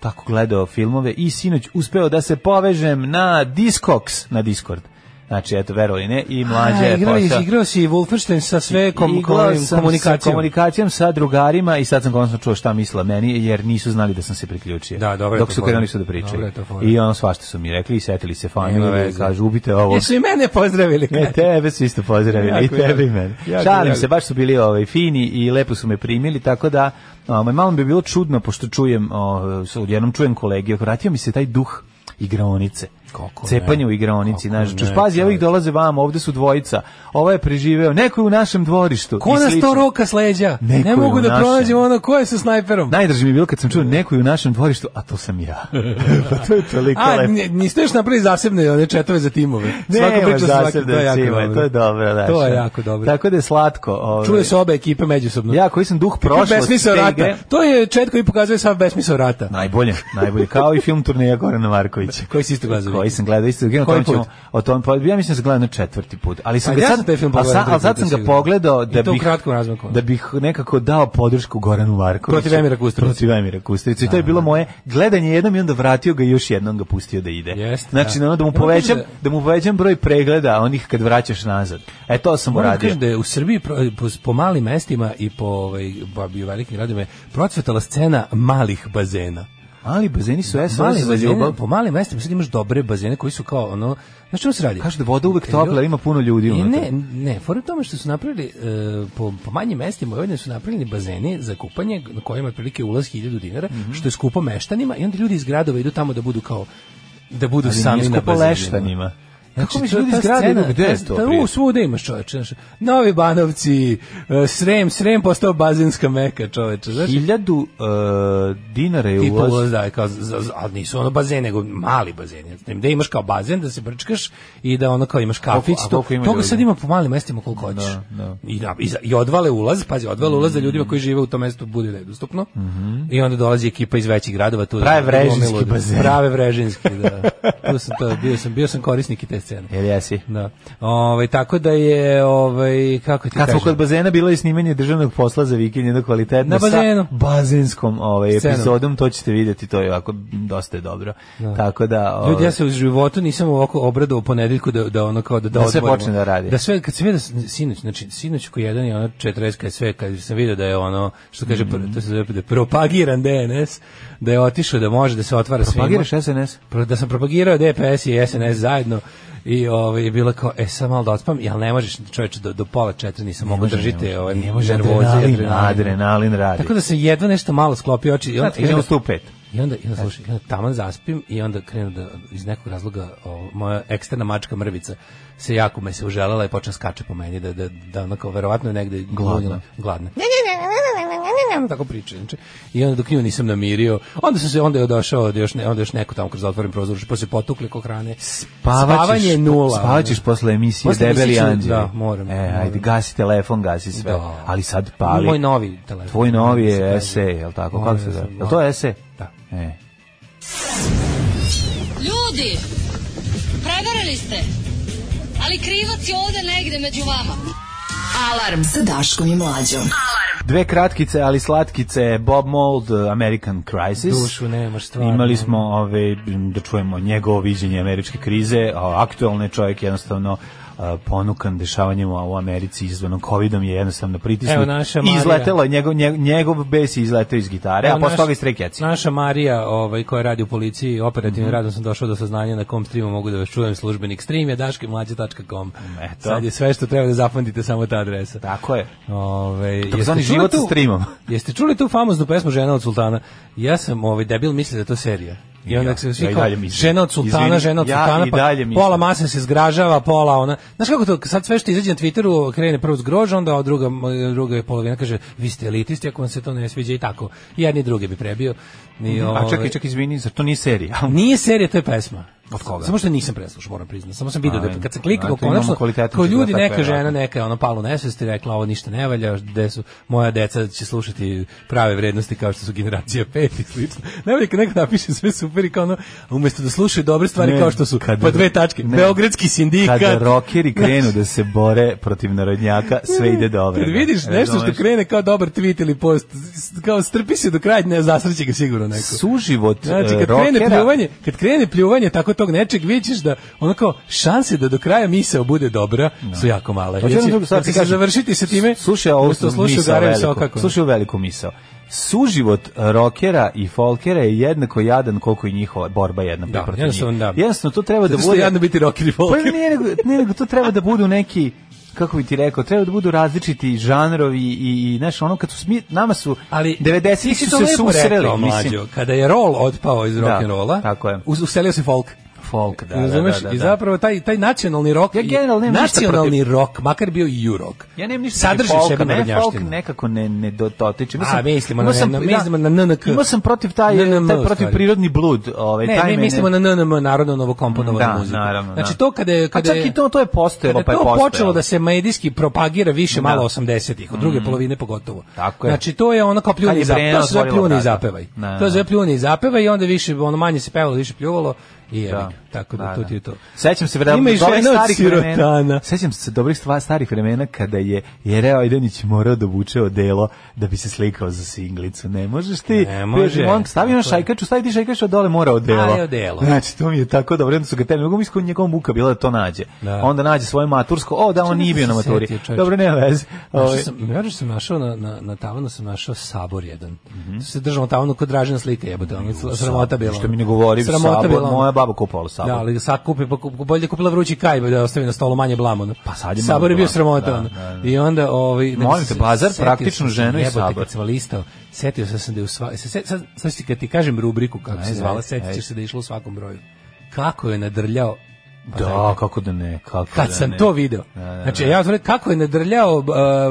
E: tako gledao filmove i sinoć uspeo da se povežem na Discogs, na Discord. Znači, eto, verovali ne, i mlađe
F: A,
E: je
F: igrao,
E: posao.
F: igrao si Wolfenstein sa sve kom,
E: Igrao
F: kom,
E: sam sa
F: komunikacijom.
E: komunikacijom sa drugarima i sad sam konačno čuo šta misle meni, jer nisu znali da sam se priključio.
F: Da, dobro je
E: Dok
F: to
E: su
F: fora.
E: krenuli su da pričaju.
F: Dobro je to fora.
E: I ono svašta su mi rekli i setili se
F: Nema
E: fanima i
F: veze.
E: kažu, ubite ovo.
F: Jesu i mene pozdravili.
E: Ne, E, tebe su isto pozdravili,
F: Jako
E: i tebe
F: drago.
E: i mene.
F: Jako
E: Šalim
F: drago.
E: se, baš su bili ovaj, fini i lepo su me primili, tako da ovaj, malo mi bi bilo čudno, pošto čujem, o, s- odjednom čujem kolege, vratio mi se taj duh igraonice.
F: Kako
E: Cepanje
F: ne?
E: u igronici,
F: Kako
E: znaš,
F: ne,
E: čuš, pazi, evo ih
F: čovječe.
E: dolaze vam, ovde su dvojica, ovo je preživeo, neko je u našem dvorištu. i
F: Ko nas
E: slično.
F: to roka s leđa?
E: Neko
F: ne
E: je
F: mogu
E: u
F: da
E: našem.
F: pronađem ono ko je sa snajperom.
E: Najdraže mi je bilo kad sam čuo neko je u našem dvorištu, a to sam ja. pa to je toliko
F: A,
E: lepo.
F: n- niste još napravili zasebne one četove za timove. Svaka
E: Nema
F: priča sa svakim,
E: zasebne
F: to je jako
E: cime,
F: dobro.
E: to je dobro, znaš.
F: To je jako dobro.
E: Tako da je slatko. Ovaj.
F: Čuje se obe ekipe međusobno.
E: Ja koji sam duh prošlosti.
F: Besmisao
E: te
F: rata.
E: igre-
F: To je čet koji pokazuje sav besmisao rata.
E: Najbolje, najbolje. Kao i film turneja Gorana Markovića.
F: Koji si isto gledao?
E: Koji sam gledao isto, o
F: Koji
E: tom ćemo,
F: put?
E: o tom, pa ja mislim da sam gledao na četvrti put, ali sam
F: Pa
E: ga
F: ja
E: sad,
F: sam taj film
E: ali
F: pogledao
E: sa- ali sad
F: drugi put
E: sam ga
F: sigurno.
E: pogledao da
F: I to u
E: bih,
F: kratkom razmaku.
E: da bih nekako dao podršku Goranu Markoviću.
F: Protiv Emira Kusturice.
E: Protiv Emira Kusturice. I to je bilo moje gledanje jednom i onda vratio ga i još jednom ga pustio da ide.
F: Jeste,
E: znači,
F: da.
E: ono da mu
F: Ja moram
E: povećam,
F: kažem
E: da mu povećam broj pregleda onih kad vraćaš nazad. E, to sam
F: Moram da
E: uradio.
F: kažem da je u Srbiji pro- po, po malim mestima i po ovaj, ba- i u velikim gradima je procvetala scena malih bazena.
E: Ali bazeni su SOS
F: Mali
E: za
F: bazene,
E: ljubav.
F: po malim mestima sad imaš dobre bazene koji su kao ono, znaš čemu se radi?
E: Kažu da voda uvek topla, ima puno ljudi
F: I
E: unutra.
F: ne, ne, fora je u tome što su napravili e, po, po manjim mestima u Vojvodini su napravljeni bazeni za Mhm. kupanje na kojima je otprilike ulaz 1000 dinara, što je skupo meštanima i onda ljudi iz gradova idu tamo da budu kao da budu
E: Ali
F: sami
E: nije
F: na
E: skupo
F: bazenima.
E: leštanima. Znači,
F: Kako mi
E: to je
F: ljudi
E: ta
F: zgrade,
E: scena,
F: idu, gde je to? Ta, pa u,
E: prijatelju?
F: svuda imaš čoveče. znaš. Novi Banovci, eh, Srem, Srem postao bazenska meka čoveče. Znaš,
E: Hiljadu e, dinara je
F: tipa ulaz,
E: ulaz.
F: da, kao, za, za, ali nisu ono bazen, nego mali bazeni. Gde imaš kao bazen da se brčkaš i da ono kao imaš kafić,
E: Koliko- a
F: to,
E: koliko ima
F: toga
E: ljudi?
F: sad ima po malim mestima koliko hoćeš.
E: da. Mm.
F: I, da, i, za- I odvale ulaz, pazi, odvale ulaz da ljudima koji žive u tom mestu bude nedostupno. I onda dolazi ekipa iz većih gradova tu. da-
E: Mhm. Prave
F: da
E: vrežinski
F: gomilu-
E: bazeni.
F: Prave vrežinski, da. tu sam to, bio sam, bio sam korisnik i te scene.
E: Jel jesi?
F: Da. Ovaj tako da je ovaj kako ti
E: Kad smo
F: kažem.
E: kod bazena bilo je snimanje državnog posla za vikend jedno kvalitetno
F: Na bazenu.
E: sa bazenskom ovaj,
F: Scenom.
E: epizodom, to ćete vidjeti, to je ovako m, dosta je dobro. Tako da... Ovaj,
F: Ljudi, ja se u životu nisam ovako obradovao ponedeljku da, da ono kao da, da,
E: Da sve
F: odvojimo.
E: počne da radi.
F: Da sve, kad sam vidio da s- sinoć, znači sinoć koji jedan je ono 40 kad je sve, kad sam vidio da je ono, što kaže,
E: Mhm.
F: pr- to se zove da je propagiran DNS, da je otišao da može da se otvara svima.
E: Propagiraš SNS?
F: Pro- da sam propagirao DPS i SNS zajedno i ovaj je bila kao e sad malo da otpam, jel ne možeš čoveče do, do pola četiri nisam mogao držite ovaj
E: ne može
F: nervoze,
E: adrenalin,
F: adrenalina.
E: adrenalin radi.
F: Tako da sam jedva nešto malo sklopio oči. i onda-
E: Znate, idemo 105.
F: i onda, i onda slušaj, i onda taman zaspim i onda krenu da iz nekog razloga o, moja eksterna mačka mrvica se jako me se uželela i počne skače po meni da, da, da onako verovatno je negde gladna. gladna. Ne, ne, ne, tako priča. Znači. I onda dok nju nisam namirio, onda sam se onda je došao od još, ne, onda još neko tamo kroz otvoren prozor, pa se potukli ko hrane. Spavanje nula. ono.
E: Spavaćeš posle emisije
F: Posle emisije
E: Debeli
F: ću-
E: Anđeli.
F: da, moram,
E: E,
F: moram.
E: ajde, gasi telefon, gasi sve.
F: Da.
E: Ali sad pali.
F: Moj novi telefon.
E: Tvoj novi je
F: Sve.
E: ese, je li tako?
F: Moj
E: Kako se
F: ese,
E: zove?
F: da.
E: Je li to ese?
F: Da.
E: E.
D: Ljudi, prevarili ste. Ali krivac je ovde negde među vama. Alarm sa Daškom i Mlađom.
E: Dve kratkice, ali slatkice, Bob Mold, American Crisis.
F: Dušu nemaš stvarno. ono.
E: Imali smo ove, da čujemo njegovo viđenje američke krize, a aktualne čovjek jednostavno a, ponukan dešavanjima u Americi izvanom covidom je jednostavno
F: Evo
E: pritisnut.
F: naša
E: I
F: Marija.
E: izletelo, je njegov, njegov, njegov bes je izleteo iz gitare,
F: Evo,
E: a posle
F: naš-
E: toga iz trekjaci.
F: Naša Marija, ovaj koja radi u policiji, operativnim
E: Mhm.
F: radom sam došao do saznanja na kom streamu mogu da vas čujem, službenik stream je daškemlađe.com.
E: Eto.
F: Sad je sve što treba da zapamtite samo ta adresa.
E: Tako je.
F: Ovaj
E: Takozvani
F: jeste čuli
E: život sa
F: tu-
E: streamom.
F: Jeste čuli tu famoznu pesmu Žena od sultana? Ja sam ovaj debil mislio da je to serija. I onda
E: Ja,
F: se
E: ja
F: svi
E: i
F: kao,
E: dalje mislim.
F: žena od sultana,
E: Izvini,
F: žena od
E: ja
F: sultana,
E: i
F: pa
E: dalje mislim.
F: pola mase se zgražava, pola ona. Znaš kako to, sad sve što izađe na Twitteru krene prvo zgrož, onda ova druga, druga je polovina kaže, vi ste elitisti, ako vam se to ne sviđa i tako. I jedni druge bi prebio. I,
E: A
F: ovaj,
E: čekaj, čekaj, izvini, zar to nije serija?
F: Nije serija, to je pesma. Od
E: koga?
F: Samo što nisam preslušao, moram priznati. Samo sam vidio da
E: Ajde.
F: kad sam klikao
E: Ajde, imamo
F: konačno,
E: kvalitetnu
F: kao ljudi
E: četvrtak,
F: neka žena,
E: verovatno.
F: neka je ono palo nesvest i rekla ovo ništa ne valja, gde su moja deca će slušati prave vrednosti kao što su generacija 5 i slično. Najbolje kad neko napiše sve super i kao ono, umesto da slušaju dobre stvari
E: Ne,
F: kao što su,
E: kad-
F: pa dve tačke,
E: ne.
F: Beogradski sindikat.
E: Kada rokeri krenu da se bore protiv narodnjaka, sve ide dobro.
F: Kad vidiš nešto što
E: Razumeš?
F: krene kao dobar tweet ili post, s- kao strpi se do kraja, ne, zasreće ga sigurno neko.
E: suživot
F: Znači, kad
E: e,
F: krene
E: rokera-
F: pljuvanje, kad krene pljuvanje tako tog nečeg, vidjet ćeš da ono kao šanse da do kraja misao bude dobra su jako male.
E: Hoću jednu
F: Jer će-
E: drugu stvar
F: kad
E: ti
F: će znači, se
E: kažem.
F: završiti sa time,
E: Slušaj, ovo
F: umesto
E: su
F: slušaju
E: misao
F: Gareju
E: veliku.
F: Sokakova.
E: Slušaj ovu veliku misao. Suživot rokera i folkera je jednako jadan koliko i njihova borba jedna
F: Da,
E: protiv
F: jednostavno
E: njih.
F: da.
E: Jednostavno, to treba da
F: Zato što
E: bude...
F: je jadno biti rocker i
E: Pa
F: folker.
E: nije nego, ne, nego to treba da budu neki kako bi ti rekao, treba da budu različiti žanrovi i, i znaš, ono kad su, smi- nama su,
F: ali
E: 90
F: ti si
E: su
F: to
E: se
F: lepo
E: susreli,
F: rekao,
E: mislim.
F: mlađo, kada je roll otpao iz rock and rolla,
E: tako je.
F: uselio se folk.
E: Folk, da, da,
F: Razumeš?
E: da, da,
F: I
E: da.
F: zapravo taj taj nacionalni rok,
E: Ja
F: i-
E: generalno nemam ništa
F: nacionalni rock, makar bio i rock.
E: Ja nemam ništa
F: sadrži
E: protiv
F: sebe
E: folka, ne, folk
F: narodnjaštinu.
E: nekako ne, ne do- dotiče. Imao
F: A,
E: sam-
F: mislimo na-
E: imao sam-
F: na-
E: da,
F: mislimo na NNK.
E: Imao sam protiv taj,
F: NNM
E: taj
F: u
E: protiv
F: stvari.
E: prirodni blud. Ovaj,
F: Ne,
E: taj
F: mi
E: mene-
F: mislimo na NNM, narodno novokomponovanu
E: Da,
F: muziku.
E: naravno,
F: znači
E: da.
F: to kada je...
E: A
F: Kada
E: čak
F: je-
E: i to- to je postojalo,
F: kada
E: pa je
F: to
E: postojalo.
F: počelo da se medijski propagira više malo 80-ih, od druge polovine pogotovo.
E: Mm. Tako je.
F: Znači to je ono kao
E: Kad
F: pljuni
E: je
F: i zapevaj.
E: Brenna
F: To se zove
E: otvorila
F: pljuni i
E: vrata.
F: zapevaj.
E: Da,
F: To se
E: da.
F: zove pljuni i zapevaj i onda više, ono manje se pevalo, više pljuvalo i evo
E: Da.
F: ga. Tako da, to ti je to.
E: Sećam se vremena
F: Ima i
E: dobrih
F: žena od
E: starih
F: sirotana.
E: vremena. Sećam se dobrih stva, starih vremena kada je Jereo Ajdenić morao da vuče odelo da bi se slikao za singlicu. Ne možeš ti.
F: Ne može.
E: On stavi on
F: Tako je.
E: šajkaču, stavi ti šajkaču, a dole mora odelo.
F: Ali odelo.
E: Znači, to mi je tako dobro. Onda su ga temi, mogu mi iskod njegov muka bila da to nađe.
F: Da.
E: Onda nađe svoje matursko. O, da, on
F: Čekaj,
E: nije
F: da
E: bio na
F: se
E: maturi.
F: setio, čoveče.
E: Dobro, nema veze.
F: Našao
E: Ovaj,
F: sam, ja sam našao na, na, na tavanu sam našao sabor jedan.
E: Mhm.
F: Se držao na tavanu kod Dražena slike jebote, ono sra- sramota bila.
E: Što mi ne govori, sabor,
F: ono.
E: moja baba kupovala sabor.
F: Da, ali sad kupi, pa kup, bolje je kupila vrući kajb da ostavi na stolu manje blama. ono.
E: Pa sad je malo
F: sabor je bio
E: blama,
F: sramota.
E: da,
F: ono.
E: da,
F: I onda ovaj
E: Molim
F: se-
E: te, Bazar,
F: setio
E: praktičnu
F: sam se,
E: ženu i
F: jebote,
E: sabor.
F: Kad sam listao, e, setio sam se da je u sva, se, se- sad, sad, ću ti- kad ti kažem rubriku kako se
E: Ajde,
F: zvala,
E: ajde,
F: setit ćeš
E: ajde.
F: se da je išlo u svakom broju. kako je nadrljao
E: Da, kako da ne, kako
F: kad
E: da
F: sam
E: ne.
F: to video.
E: Da, da, da.
F: Znači, ja sam rekao, kako je nadrljao,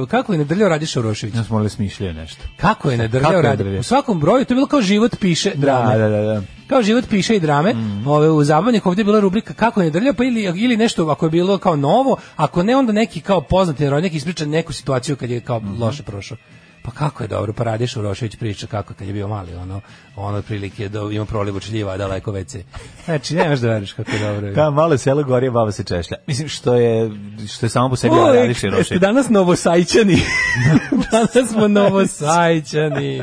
F: uh, kako je nadrljao Radiš Urošević.
E: Ja smo morali smišljaju nešto.
F: Kako je
E: Kako
F: nadrljao
E: je
F: Radiš.
E: nadrljao?
F: U svakom broju to je bilo kao život piše drame.
E: Da, da, da, da.
F: Kao život piše i drame. Ove, u zabavnih ovdje je bila rubrika kako je nadrljao, pa ili, ili nešto ako je bilo kao novo, ako ne onda neki kao poznati heroj, neki ispriča neku situaciju kad je kao loše prošao. Pa kako je dobro, pa Radiš Urošević priča kako kad je bio mali, ono, ono otprilike do, ima prolivu čljiva, daleko WC. Znači, nemaš da veriš kako je dobro.
E: Ka malo selo gori, baba se češlja. Mislim što je što je samo po sebi
F: Uvek
E: radiš i
F: ste danas novosajčani. danas smo novosajčani.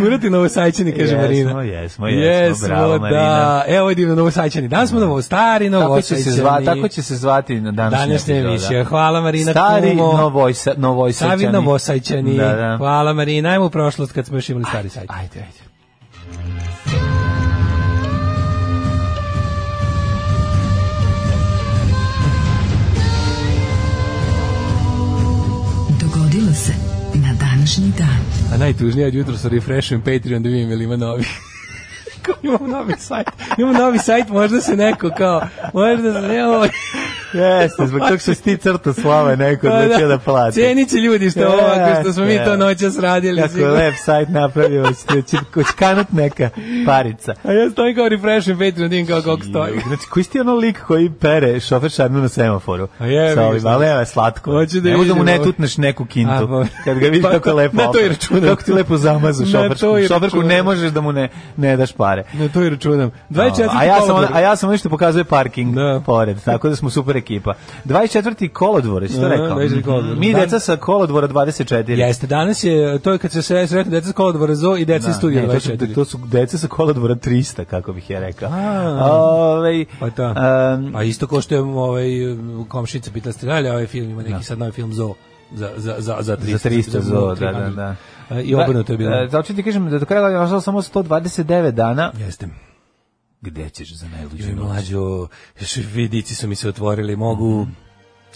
F: Kurati novosajčani, kaže
E: Jesmo,
F: Marina.
E: jesmo, jesmo, bravo,
F: da.
E: Marina.
F: Evo je divno novosajčani. Danas smo novostari,
E: Tako će
F: novosajčani.
E: se zvati, tako će se zvati na današnji
F: Današnja emisija. Hvala Marina
E: Stari
F: Kumo.
E: novojsa, novojsačani.
F: Savi novosajčani.
E: Da, da.
F: Hvala Marina. Ajmo u prošlost kad smo još imali stari sajt.
E: Ajde, ajde.
D: Dogodilo se na današnji dan.
F: A najtužnije je od jutra sa refreshujem Patreon da vidim ili ima novi. Kao, imamo novi sajt. Imamo novi sajt, možda se neko kao, možda se nema...
E: Jeste, zbog tog što si ti crta slava neko
F: Pa
E: odlučio da plati.
F: Cenit će ljudi što, ovo, ako što smo mi to
E: Jeste.
F: noćas radili.
E: Kako je
F: sigurno.
E: lep sajt napravio, će- će će kanut neka parica.
F: A ja stojim kao refreshem Patreon, vidim kao kako stoji.
E: Znači, koji si ti ono lik koji pere šofer šarnu na semaforu?
F: A je,
E: Sa ovim,
F: vidiš, da.
E: ali evo je slatko.
F: Hoću da
E: Nemoj da mu
F: vidim
E: ne
F: ovo.
E: tutneš neku kintu.
F: A, bo-
E: kad ga vidiš
F: Pa,
E: kako lepo.
F: na to i
E: opere.
F: računam.
E: Kako ti lepo zamazu
F: Na
E: šoferku.
F: to i
E: Šoferku ne
F: računam.
E: možeš da mu ne, ne daš pare.
F: Na to i računam. 24.
E: A ja sam,
F: kolodvor.
E: a ja sam nešto pokazuje parking
F: Da.
E: pored, tako da smo super ekipa. 24. kolodvor, jesi to
F: Aha,
E: rekao?
F: 24. kolodvor.
E: Mi
F: Dan-
E: deca sa kolodvora 24.
F: Jeste, danas je, to je kad se sve sretne deca s kolodvora Zoo i deca iz studija
E: ne, to, su,
F: 24.
E: to su deca sa kolodvora 300, kako bih ja rekao.
F: A.
E: Ovaj,
F: Pa da.
E: em,
F: A isto ko što je ovaj, komšica pitala ste gledali ovaj film, ima neki sad novi film Zoo. Za, za, za, za 300,
E: Za 300 zoo, da,
F: 300.
E: da, da.
F: I obrnuto je bilo.
E: E, Zato ću ti kažem da do kraja godine ostalo samo 129 dana.
F: Jeste.
E: Gde ćeš za najluđu
F: Joj,
E: noć?
F: mlađo, vidici su mi se otvorili, mogu...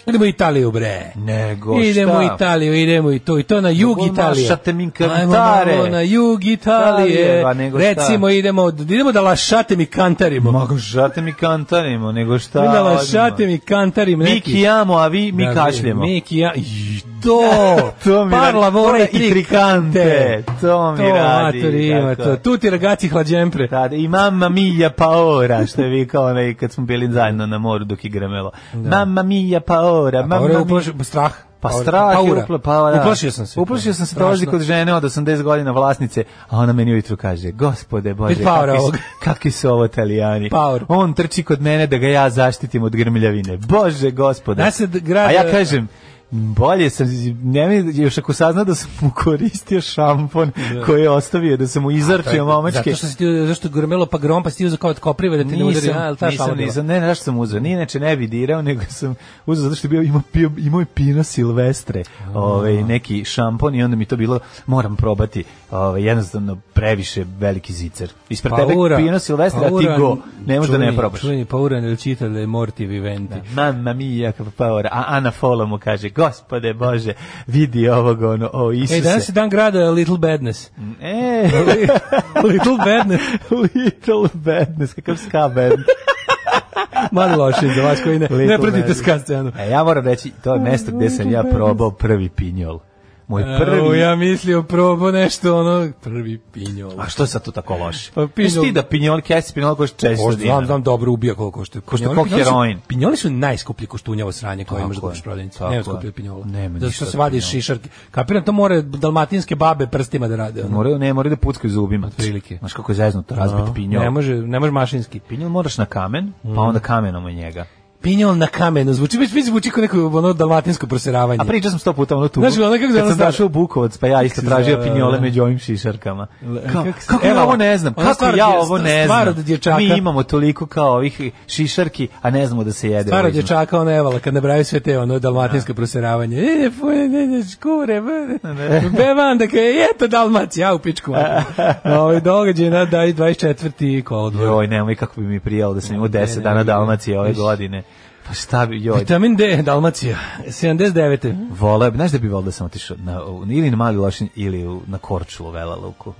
F: Idemo u Italiju, bre.
E: Mhm. Nego
F: idemo
E: šta?
F: u Italiju, idemo i to, i to na jug
E: Mogu
F: Italije.
E: mašate mi
F: Ajmo
E: kantare.
F: malo na jug Italije.
E: Italije, pa nego šta?
F: Recimo, idemo, idemo da lašate mi kantarimo.
E: Mogu šate mi kantarimo, nego šta?
F: idemo da
E: odmah.
F: lašate mi kantarim
E: Mi
F: neki.
E: kijamo, a vi mi
F: Da,
E: kašljemo.
F: Mi kija... I To!
E: To mi
F: Par
E: radi.
F: lavora i tri kante.
E: To mi radi,
F: maturi, ima
E: tako
F: to.
E: je.
F: Tu ti ragazzi hlađempre.
E: Tad, I mamma mia paora, što je vikao onaj kad smo bili zajedno na moru dok je gremelo. Mamma mia paora,
F: Pa
E: mamma
F: ovo je
E: mia
F: uplaš, strah.
E: Pa
F: Paura-
E: strah je
F: paura.
E: upla, pa da.
F: Uplašio sam se.
E: Uplašio sam se
F: Strašno.
E: dolazi kod žene od 80 godina vlasnice, a ona meni ujutru kaže, gospode bože,
F: Vidi paura
E: kakvi, su-
F: ovog."
E: kakvi su ovo italijani.
F: Paur.
E: On trči kod mene da ga ja zaštitim od grmljavine. Bože gospode.
F: Nas je grad-
E: A ja kažem, bolje sam, ne mi, još ako sazna da sam mu koristio šampon koji je ostavio, da sam mu izarčio momačke.
F: Zato što si ti, zašto grmelo pa grom pa si ti uzeo kao od koprive da ti ne udari, a, jel ta šala
E: nisam,
F: bila?
E: nisam, ne, znaš što sam uzeo, nije neče ne bi dirao, nego sam uzeo zato što je bio, imao, pio, imao je pino silvestre, ovaj, neki šampon i onda mi to bilo, moram probati, ovaj, jednostavno previše veliki zicer. Ispred
F: Pa
E: tebe pino silvestre, a ti
F: paura,
E: go, ne možeš da
F: Pa
E: ne
F: čuveni-
E: probaš.
F: Čuveni paura ne čita da je morti viventi.
E: Mamma mia, kako paora. A Ana Fola mu kaže, gospode Bože, vidi ovog, ono, o Isuse.
F: Ej, E, danas je dan grada Little Badness.
E: E,
F: Little Badness.
E: little badness, kakav ska band.
F: Malo loše za vas koji ne, ne
E: Little
F: pratite
E: Badness.
F: ska scenu.
E: E, ja moram reći, to je mesto gde sam ja probao prvi pinjol. Moj
F: Prvi.
E: E, prvi...
F: E, ja mislio probo nešto ono, prvi pinjol.
E: A što je sad to tako loše?
F: Pa
E: Pa
F: pinjol-
E: pinjol... ti da pinjol kesi, pinjol koš 400
F: Možda znam,
E: dinara.
F: znam dobro ubija koliko košta.
E: Košta
F: Pinjoli-
E: ko
F: pinjoli su-
E: heroin.
F: Pinjoli su najskuplji koštunjavo sranje koje
E: Tako
F: možeš da
E: je,
F: kupiš u prodavnici.
E: tako
F: Nema
E: je.
F: skuplje od pinjola.
E: Nema
F: Zato
E: ništa
F: što
E: od
F: se vadiš
E: pinjola.
F: šišarke. Kapiram, to more dalmatinske babe prstima da rade. Ono.
E: Moraju, ne, moraju da puckaju zubima.
F: Otprilike.
E: Znaš kako je zeznuto razbiti pinjol.
F: Ne Mhm. može, ne može mašinski.
E: Pinjol moraš na kamen, pa onda kamenom u njega.
F: Pinjol na kamenu. Zvuči, već, već zvuči kao neko ono dalmatinsko proseravanje.
E: A pričao sam sto puta ono tu.
F: Znaš, ono kako se ono
E: Kad sam
F: stara-
E: došao u Bukovac, pa ja isto
F: se
E: tražio
F: zove,
E: pinjole
F: da.
E: među ovim šišarkama. Kao,
F: kako-
E: kako ja
F: evo,
E: ovo ne znam?
F: ona
E: Kako
F: stvar
E: ja
F: od dje-
E: ovo ne
F: stvar od
E: znam?
F: dječaka.
E: Mi imamo toliko kao ovih šišarki, a ne znamo da se jede.
F: Staro
E: ovo između.
F: dječaka ona evala kad nabravi sve te ono dalmatinsko proseravanje. E, ne, fu- ne, ne, ne, škure, be- bevan, da je, eto Dalmacija, u pičku. Ovo događaj na daj 24. kolodvor.
E: Joj, nemoj kako bi mi prijalo da sam imao 10
F: ne,
E: dana
F: ne.
E: Dalmacije ove
F: Viš.
E: godine. Pa šta bi, joj,
F: Vitamin D, Dalmacija, 79.
E: Voleo bi, znaš da bi voleo da sam otišao na, ili na Mali Lošinj ili u, na Korčulu, Vela Luku.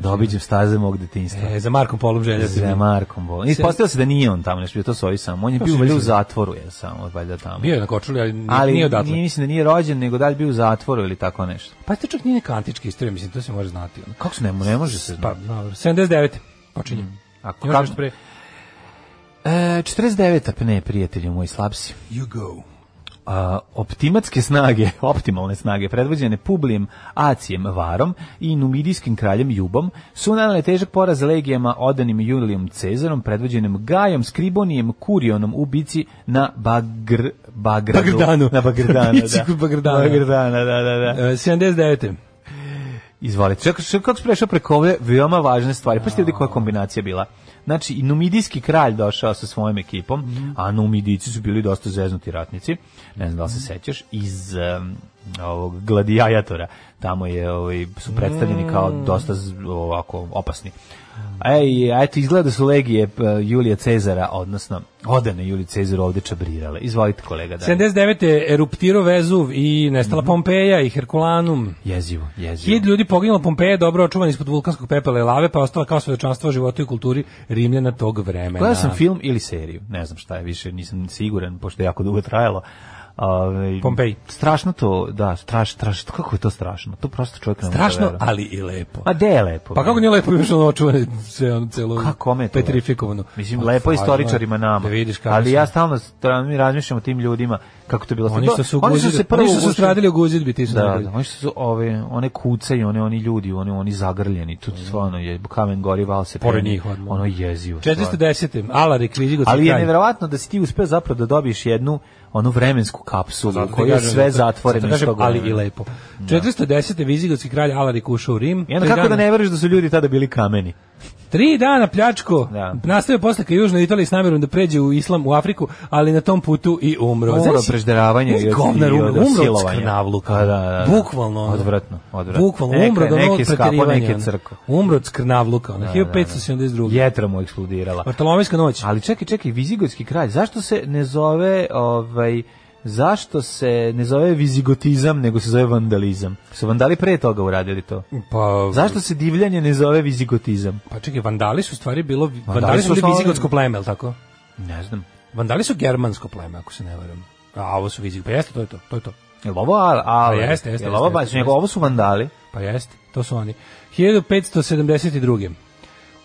E: Da obiđem staze mog detinjstva.
F: E, za Markom Polom želja se.
E: za Markom Bolom. Ispostavilo se da nije on tamo nešto bio, to su ovi samo. On je bio
F: si
E: valjda u
F: mislio?
E: zatvoru, je samo, valjda tamo.
F: Bio je na Kočuli, ali, ni-
E: Ali
F: nije odatle.
E: nije, mislim da nije rođen, nego da li bio u zatvoru ili tako nešto.
F: Pa to čak nije neka antička istorija, mislim, to se može znati. ono.
E: Kako se ne, ne može se
F: Pa,
E: znati?
F: dobro, 79. Počinjem.
E: Mm, Ako,
F: Imaš
E: kako,
F: nešto pre?
E: e, 49. pa ne, prijatelju moj, slab si.
F: You go.
E: a, optimatske snage, optimalne snage, predvođene Publijem Acijem Varom i numidijskim kraljem Jubom, su nanale težak poraz legijama odanim Julijom Cezarom, predvođenim Gajom, Skribonijem, Kurionom u bici na Bagr, Bagradu.
F: Bagrdanu.
E: Na Bagrdanu,
F: Bici
E: da.
F: kod Bagrdana.
E: Bagrdana, da, da, da.
F: E, 79.
E: Izvolite. Čekaj, čekaj, kako si prešao preko ove veoma važne stvari? Pa ste vidi koja kombinacija bila. Znači, i numidijski kralj došao sa svojom ekipom, a numidijici su bili dosta zeznuti ratnici, ne znam da li se sećaš, iz em, ovog gladijatora. Tamo je, ovaj, su predstavljeni kao dosta z- ovako opasni. Ej, a eto, izgleda da su legije p- Julija Cezara, odnosno odane Julije Cezaru ovde čabrirale. Izvolite, kolega. dalje.
F: 79. je eruptirao Vezuv i
E: Mhm.
F: nestala Pompeja i Herkulanum.
E: Jezivo, jezivo.
F: Hiljad ljudi poginulo Pompeja, dobro očuvan ispod vulkanskog pepela i lave, pa je ostala kao svedočanstvo o životu i kulturi Rimljana tog vremena.
E: E, Gledao sam film ili seriju, ne znam šta je više, nisam siguran, pošto je jako dugo trajalo. Ove,
F: Pompeji.
E: Strašno to, da, straš, straš, kako je to strašno? To prosto čovjek ne može da
F: Strašno,
E: veruje.
F: ali i lepo.
E: Ma gde je lepo?
F: Pa kako nije lepo imaš ono očuvane sve ono celo
E: Kako, kome je to lepo?
F: petrifikovano.
E: Mislim,
F: Pa,
E: lepo je
F: stvarno,
E: istoričarima nama.
F: Da vidiš kako
E: ali
F: su.
E: ja stalno stra- mi razmišljam o tim ljudima kako to je bilo.
F: Oni
E: To-
F: što su,
E: oni
F: guzili-
E: se prvo
F: oni što su
E: ugušili-
F: stradili u guzidbi, ti su
E: Da,
F: najbolji.
E: da, oni što su ove, one kuce i one, oni ljudi, oni, oni zagrljeni, tu stvarno je, kamen gori, val se
F: Pored
E: kreni.
F: njih odmah.
E: Ono jezivo. stvarno.
F: 410. Alarik, Vizigotski
E: Ali je
F: kralj.
E: neverovatno da si ti uspeo zapravo da dobiješ jednu onu vremensku kapsulu
F: Zato
E: u
F: ti
E: kojoj je
F: kažem,
E: sve
F: zato-
E: zatvoreno
F: zato
E: iz tog
F: kažem, ali i
E: vremena.
F: lepo. 410. Vizigotski kralj Alarik ušao u Rim.
E: I onda
F: Tri
E: kako da
F: dana-
E: ne veruješ da su ljudi tada bili kameni?
F: Tri dana pljačko.
E: Da.
F: Nastavio posle ka Južnoj Italiji s namjerom da pređe u Islam u Afriku, ali na tom putu i umro.
E: Umro
F: Pa Znaš,
E: prežderavanja i od-
F: govnar
E: i
F: umro,
E: od
F: umro od
E: silovanja.
F: skrnavluka.
E: Pa da, da, da.
F: Bukvalno. ono.
E: Odvratno, odvratno.
F: Bukvalno,
E: Neka-
F: umro do
E: neki
F: novog
E: skapao,
F: preterivanja.
E: neke
F: ono.
E: crko.
F: Umro od skrnavluka, ono, 1572.
E: Jetra mu je eksplodirala.
F: Bartolomejska noć.
E: Ali čekaj, čekaj, Vizigotski kralj, zašto se ne zove ovaj Zašto se ne zove vizigotizam, nego se zove vandalizam? Su vandali pre toga uradili to?
F: Pa,
E: Zašto se divljanje ne zove vizigotizam?
F: Pa čekaj, vandali su u stvari bilo, vandali,
E: Vandali
F: su
E: su
F: bili
E: osnovali-
F: vizigotsko pleme, jel tako?
E: Ne znam.
F: Vandali su germansko pleme, ako se ne varam. A ovo su vizigotski, pa jeste, to je to, to je to.
E: Jel ovo, al, al,
F: Pa jeste, jeste,
E: jel ovo,
F: jeste,
E: baš,
F: jeste.
E: nego ovo su vandali.
F: Pa jeste, to su oni. 1572.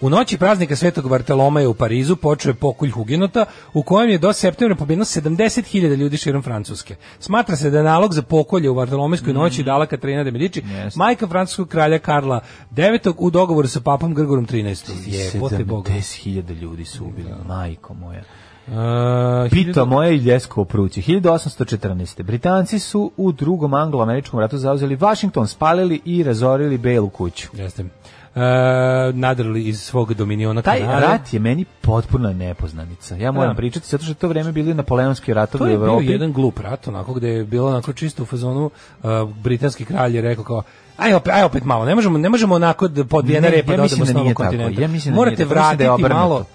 F: U noći praznika Svetog Bartolomeja u Parizu počeo je pokolj hugenota u kojem je do septembra pobjedno 70.000 ljudi širom Francuske. Smatra se da je nalog za pokolje u
E: Mm.
F: Bartolomejskoj noći dala Katarina de Medici, majka francuskog kralja Karla IX u dogovoru sa papom Grgorom XIII. Jebote Boga.
E: 70.000 ljudi su ubili, majko moja.
F: Uh,
E: Pita moja i ljesko pruće. 1814. Britanci su u drugom anglo-američkom ratu zauzeli Washington, spalili i razorili belu kuću.
F: Jeste. Uh, nadrali iz svog dominiona
E: Taj
F: Kanade.
E: rat je meni potpuna nepoznanica. Ja moram
F: Da.
E: pričati, zato što je to vreme bili napoleonski ratovi
F: To
E: u
F: je bio
E: Evropi.
F: jedan glup rat, onako gde je bilo onako čisto u fazonu uh, britanski kralj je rekao kao Aj opet, aj opet malo. Ne možemo, ne možemo onako da podbijena
E: Ne,
F: repa
E: ja
F: da
E: mislim
F: odemo s
E: da
F: novog
E: nije tako.
F: kontinenta.
E: Ja mislim da
F: Morate
E: nije tako. Mislim da je
F: vratiti
E: obrnuto.
F: malo.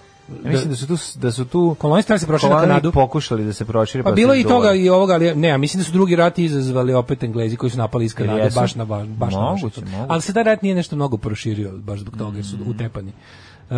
E: Ja mislim da su tu da su tu
F: Kolonisti trebali se prošli na
E: kolonije
F: Kanadu.
E: pokušali da se prošire.
F: Pa
E: su
F: bilo je i
E: izduvali.
F: toga i ovoga, ali ne, a mislim da su drugi rat izazvali opet Englezi koji su napali iz Kanade
E: Jesu.
F: baš na baš, baš na
E: Moguće,
F: Washington.
E: moguće. Mm.
F: Ali se da rat nije nešto mnogo proširio baš zbog toga jer su utepani. Uh,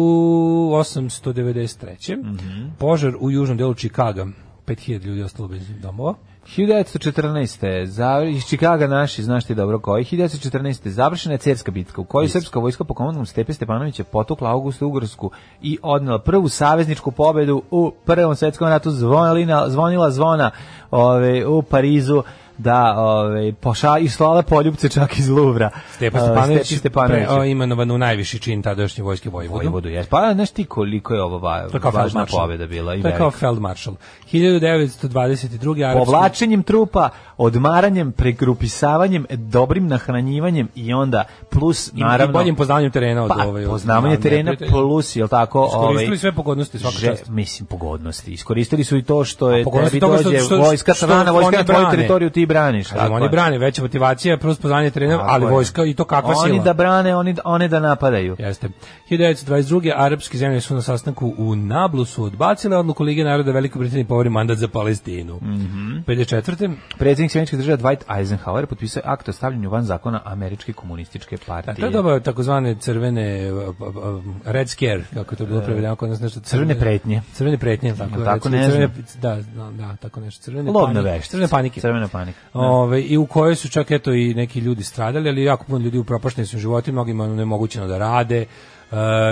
F: 1893.
E: Mhm.
F: Požar u južnom delu Čikaga. 5000 ljudi ostalo bez domova.
E: 1914. Za, iz Čikaga naši, znaš ti dobro koji, 1914. završena je Cerska bitka u kojoj srpska vojska po komandom Stepe Stepanovića potukla Augustu Ugorsku i odnela prvu savezničku pobedu u Prvom svetskom ratu zvonila, zvonila zvona ove, u Parizu da ove, poša, i slala poljubce čak iz Luvra.
F: Stepa
E: E,
F: pa Stepanović,
E: Stepi Stepanović.
F: pre- o, imenovan u najviši čin tadašnje vojske Vojvodu.
E: Vojvodu, jes. Pa, znaš ti koliko je ovo va,
F: To je kao
E: važna
F: feldmaršal.
E: pobeda bila i
F: To je
E: velika.
F: kao feldmaršal. 1922. arapski...
E: povlačenjem trupa, odmaranjem, pregrupisavanjem, dobrim nahranjivanjem i onda plus
F: I,
E: naravno
F: i boljim poznavanjem terena od
E: pa,
F: ove... od-
E: poznavanje
F: od
E: terena
F: neprijatelja.
E: plus je tako
F: Iskoristili
E: ovaj
F: sve pogodnosti, svaka
E: že-
F: čast.
E: mislim pogodnosti. Iskoristili su i to što je
F: pogodnosti
E: tebi
F: toga što-
E: dođe
F: što-
E: vojska
F: što
E: strana, vojska
F: oni
E: na tvoju
F: brane.
E: teritoriju ti braniš.
F: Ali
E: tako
F: oni
E: je.
F: brane, veća motivacija, plus poznanje trenera,
E: Tako
F: ali
E: je.
F: vojska i to kakva
E: oni
F: sila.
E: da brane, oni, da- one da napadaju.
F: Jeste. 1922. arapske zemlje su na sastanku u Nablusu odbacile odluku Lige naroda Velikoj Britaniji povori mandat za Palestinu.
E: Mhm.
F: Mm 54.
E: Predsjednik Sjemeničke države Dwight Eisenhower potpisao je akt o stavljanju van zakona Američke komunističke partije.
F: A to je doba takozvane crvene uh, uh, uh, red scare, kako je to bilo prevedeno kod nas nešto
E: E. Crvene pretnje.
F: Crvene pretnje, tako,
E: Jel tako,
F: recimo,
E: ne
F: crvene,
E: znam.
F: da, da, da, tako nešto. Crvene
E: Lovna
F: panike,
E: veštica.
F: Crvene panike. Ovaj,
E: Crvena panika.
F: Ove, i u kojoj su čak eto i neki ljudi stradali, ali jako puno ljudi upropašteni su životi, mnogima je nemogućeno da rade e,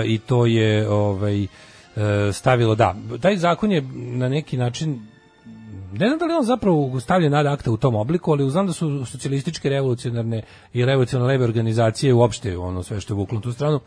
F: i to je ovaj, e, stavilo da. Taj zakon je na neki način ne znam da li je on zapravo stavljen ad akta u tom obliku, ali znam da su socijalističke revolucionarne i revolucionarne leve organizacije uopšte ono sve što je vuklo na tu stranu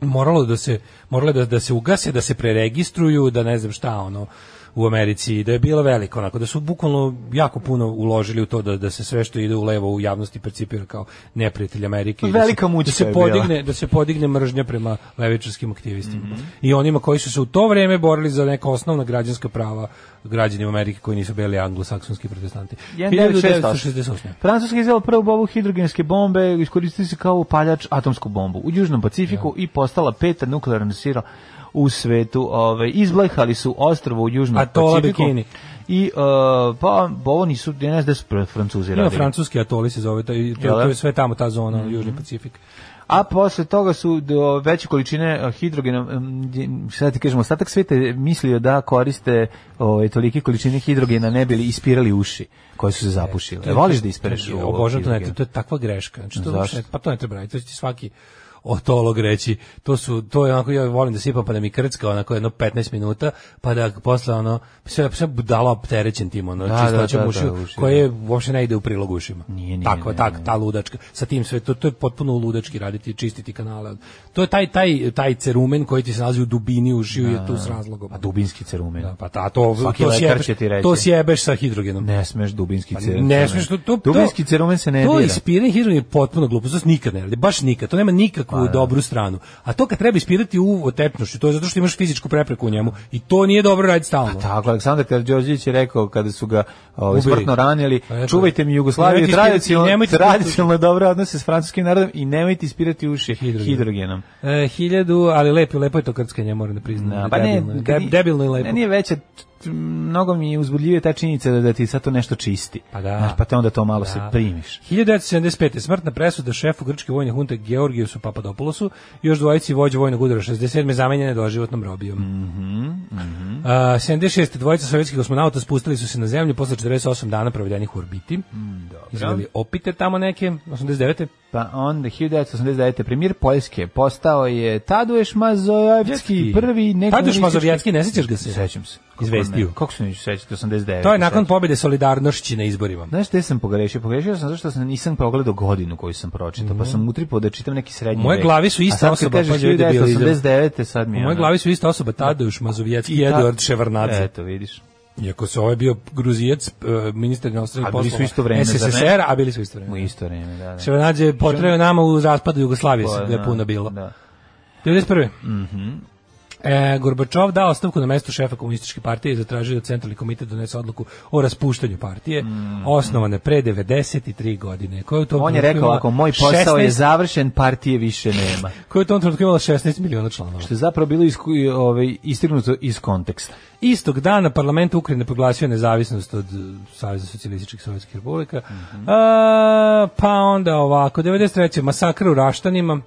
F: moralo da se morale da, da se ugase, da se preregistruju, da ne znam šta ono u Americi, da je bilo veliko onako, da su bukvalno jako puno uložili u to da, da se sve što ide u levo u javnosti percipira kao neprijatelj Amerike. i da se-
E: Velika mučka
F: da se
E: je bila.
F: podigne, da se podigne mržnja prema levičarskim aktivistima.
E: Mhm.
F: I onima koji su se u to vrijeme borili za neka osnovna građanska prava građanima Amerike koji nisu bili anglosaksonski protestanti.
E: 1968.
F: 1968.
E: Francuska je izvela prvu bobu hidrogenske bombe, iskoristili se kao upaljač atomsku bombu u Južnom Pacifiku i postala peta nuklearna sila u svetu. Ove, izblehali su ostrovo u Južnom
F: Atola
E: Pacifiku.
F: Bikini.
E: I, e, pa, ovo nisu, ja ne znam da su pr- francuzi
F: Ima
E: radili.
F: francuski atoli se zove, taj- to,
E: Jel Mhm. da?
F: to je sve tamo, ta zona, ono, Južni Pacifik.
E: A posle toga su do veće količine e, hidrogena, em, gdje- šta ti kažemo, ostatak sveta je mislio da koriste ove, tolike količine hidrogena ne bili ispirali uši koje su se zapušile. E, voliš da ispereš
F: to,
E: u
F: Obožavam to, ne,
E: hidrogen?
F: to je takva greška. Znači, to
E: Zašto?
F: uopšte ne- pa to ne treba raditi, to će ti svaki otolog reći. To su to je onako ja volim da sipam pa da mi krcka onako jedno 15 minuta, pa da posle ono sve sve budala opterećen tim ono
E: Da,
F: čistoćom
E: da, da,
F: ušiju,
E: da, ušiju,
F: koje uopšte ne ide u prilog ušima.
E: Nije, nije,
F: Tako,
E: ne,
F: tak,
E: ne.
F: ta ludačka. Sa tim sve to, to je potpuno ludački raditi, čistiti kanale. To je taj taj taj cerumen koji ti se nalazi u dubini ušiju je tu s razlogom.
E: A dubinski cerumen.
F: Da, pa ta, to,
E: Svaki
F: to,
E: lekar
F: sjebeš,
E: će ti reći.
F: to sjebeš sa hidrogenom.
E: Ne smeš dubinski
F: Pa
E: cerumen.
F: Ne smiješ to, to, to
E: dubinski cerumen se ne
F: to
E: dira.
F: ispiranje hidrogen je potpuno glupo, to se nikad ne radi, baš nikad. To nema nikakvu
E: Pa
F: dobru stranu. A to kad treba ispirati u otepnošću, to je zato što imaš fizičku prepreku u njemu i to nije dobro raditi stalno.
E: Tako, Aleksandar Karđorđević je rekao kada su ga ovaj,
F: Ubili.
E: smrtno ranili,
F: Pa, eto.
E: čuvajte mi Jugoslaviju
F: Nemojte ispirati-
E: tradicionalno,
F: nemojte ispirati-
E: tradicionalno dobre odnose s francuskim narodom i nemojte ispirati uši
F: Hidrogen.
E: hidrogenom.
F: E, hiljadu, ali lepo, lepo je to krckanje, moram da priznam.
E: Da, pa ne,
F: debilno, je.
E: kad-
F: Deb- debilno i lepo.
E: Meni je veća, t- t- mnogo mi je uzbudljivije ta činjenica da, da ti sad to nešto čisti.
F: Pa da.
E: Znaš, pa te onda to malo se
F: Da.
E: primiš.
F: 1975. smrtna presuda šefu grčke vojne hunte Georgijusu Papadopoulosu, još dvojici vođe vojnog udara 67. zamenjene doživotnom robijom. Mm
E: Mm-hmm,
F: -hmm, A, 76. dvojica sovjetskih kosmonauta spustili su se na zemlju posle 48 dana provedenih u orbiti.
E: Mm,
F: Izveli opite tamo neke, 89.
E: Pa onda 1989. premijer Poljske postao je Taduješ Mazovjevski, prvi neko...
F: Tadeusz Mazovjetski, ne sećaš ga se?
E: Sećam se. Kako
F: Izvestio.
E: ne? Kako se neću sećati, 89.
F: To je nakon
E: sećam.
F: pobjede solidarnošći na izborima.
E: Znaš gde sam pogrešio? Pogrešio sam zašto sam nisam pogledao godinu koju sam pročitao, pa sam utripao da čitam neki srednji
F: Mhm. U moje
E: vek.
F: glavi su ista
E: A sad kad
F: osoba,
E: kažeš
F: pa je debilizam.
E: 1989. sad mi
F: U
E: je
F: mojoj
E: ono-
F: glavi su ista osoba Tadeusz Mazovjetski i
E: Ta- E.
F: Eduard Ševardnadze.
E: Eto, vidiš.
F: Iako se ovaj bio gruzijac, e, ministar inostranih
E: A bili su
F: poslova
E: isto vreme, zar ne?
F: SSSR, a bili su isto
E: U
F: vreme.
E: isto vreme, da, da.
F: Ševardnadze je potreo nama u raspadu Jugoslavije, da je puno bilo.
E: Pa, Da. Mhm.
F: 91. E, Gorbačov dao ostavku na mesto šefa komunističke partije i zatražio da centralni komitet donese odluku o raspuštanju partije, osnovane pre 93 godine. Koja je u tom
E: Mhm. On je
F: trenutku
E: rekao
F: imala
E: ako moj posao
F: 16
E: je završen, partije više nema.
F: koja je u tom trenutku imala 16 miliona članova.
E: Što je zapravo bilo isku, i, ovaj, istignuto iz konteksta.
F: Istog dana parlament Ukrajine proglasio nezavisnost od e, Saveza socijalističkih sovjetskih republika. A, pa onda ovako, 93. masakra u Raštanima.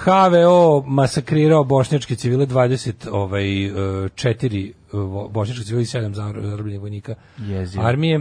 F: HVO masakrirao bošnjačke civile, 20 ovaj, e, 4 vo- bošnjačke civile i 7 zarobljenih vojnika
E: Jezivo.
F: armije.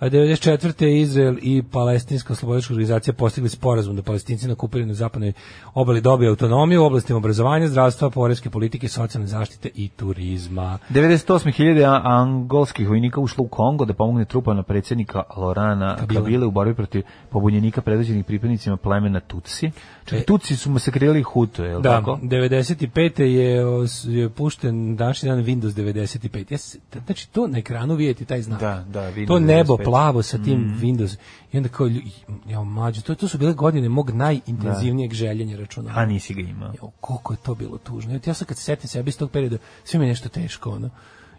F: A 94. Izrael i palestinska oslobodilačka organizacija postigli sporazum da palestinci na na zapadnoj obali dobiju autonomiju u oblastima obrazovanja, zdravstva, porezke politike, socijalne zaštite i turizma.
E: 98.000 angolskih vojnika ušlo u Kongo da pomogne trupama predsjednika Lorana
F: Kabila.
E: Kabile, u borbi protiv pobunjenika predvođenih pripadnicima plemena Tutsi. Čak
F: E.
E: Tutsi su masakrirali Hutu, je li
F: Da,
E: Pa tako?
F: 95. je, o, s- je pušten današnji dan Windows 95. Ja se- t- znači, to na ekranu vidjeti taj znak.
E: Da, da, Windows Mhm.
F: to nebo
E: 95.
F: plavo sa tim Windows. I onda kao, lju- ja, mlađo, to, to su bile godine mog najintenzivnijeg željenja računala.
E: A nisi ga imao.
F: Jo, koliko je to bilo tužno. Ja, ja sad kad se setim sebe iz tog perioda, sve mi je nešto teško, ono.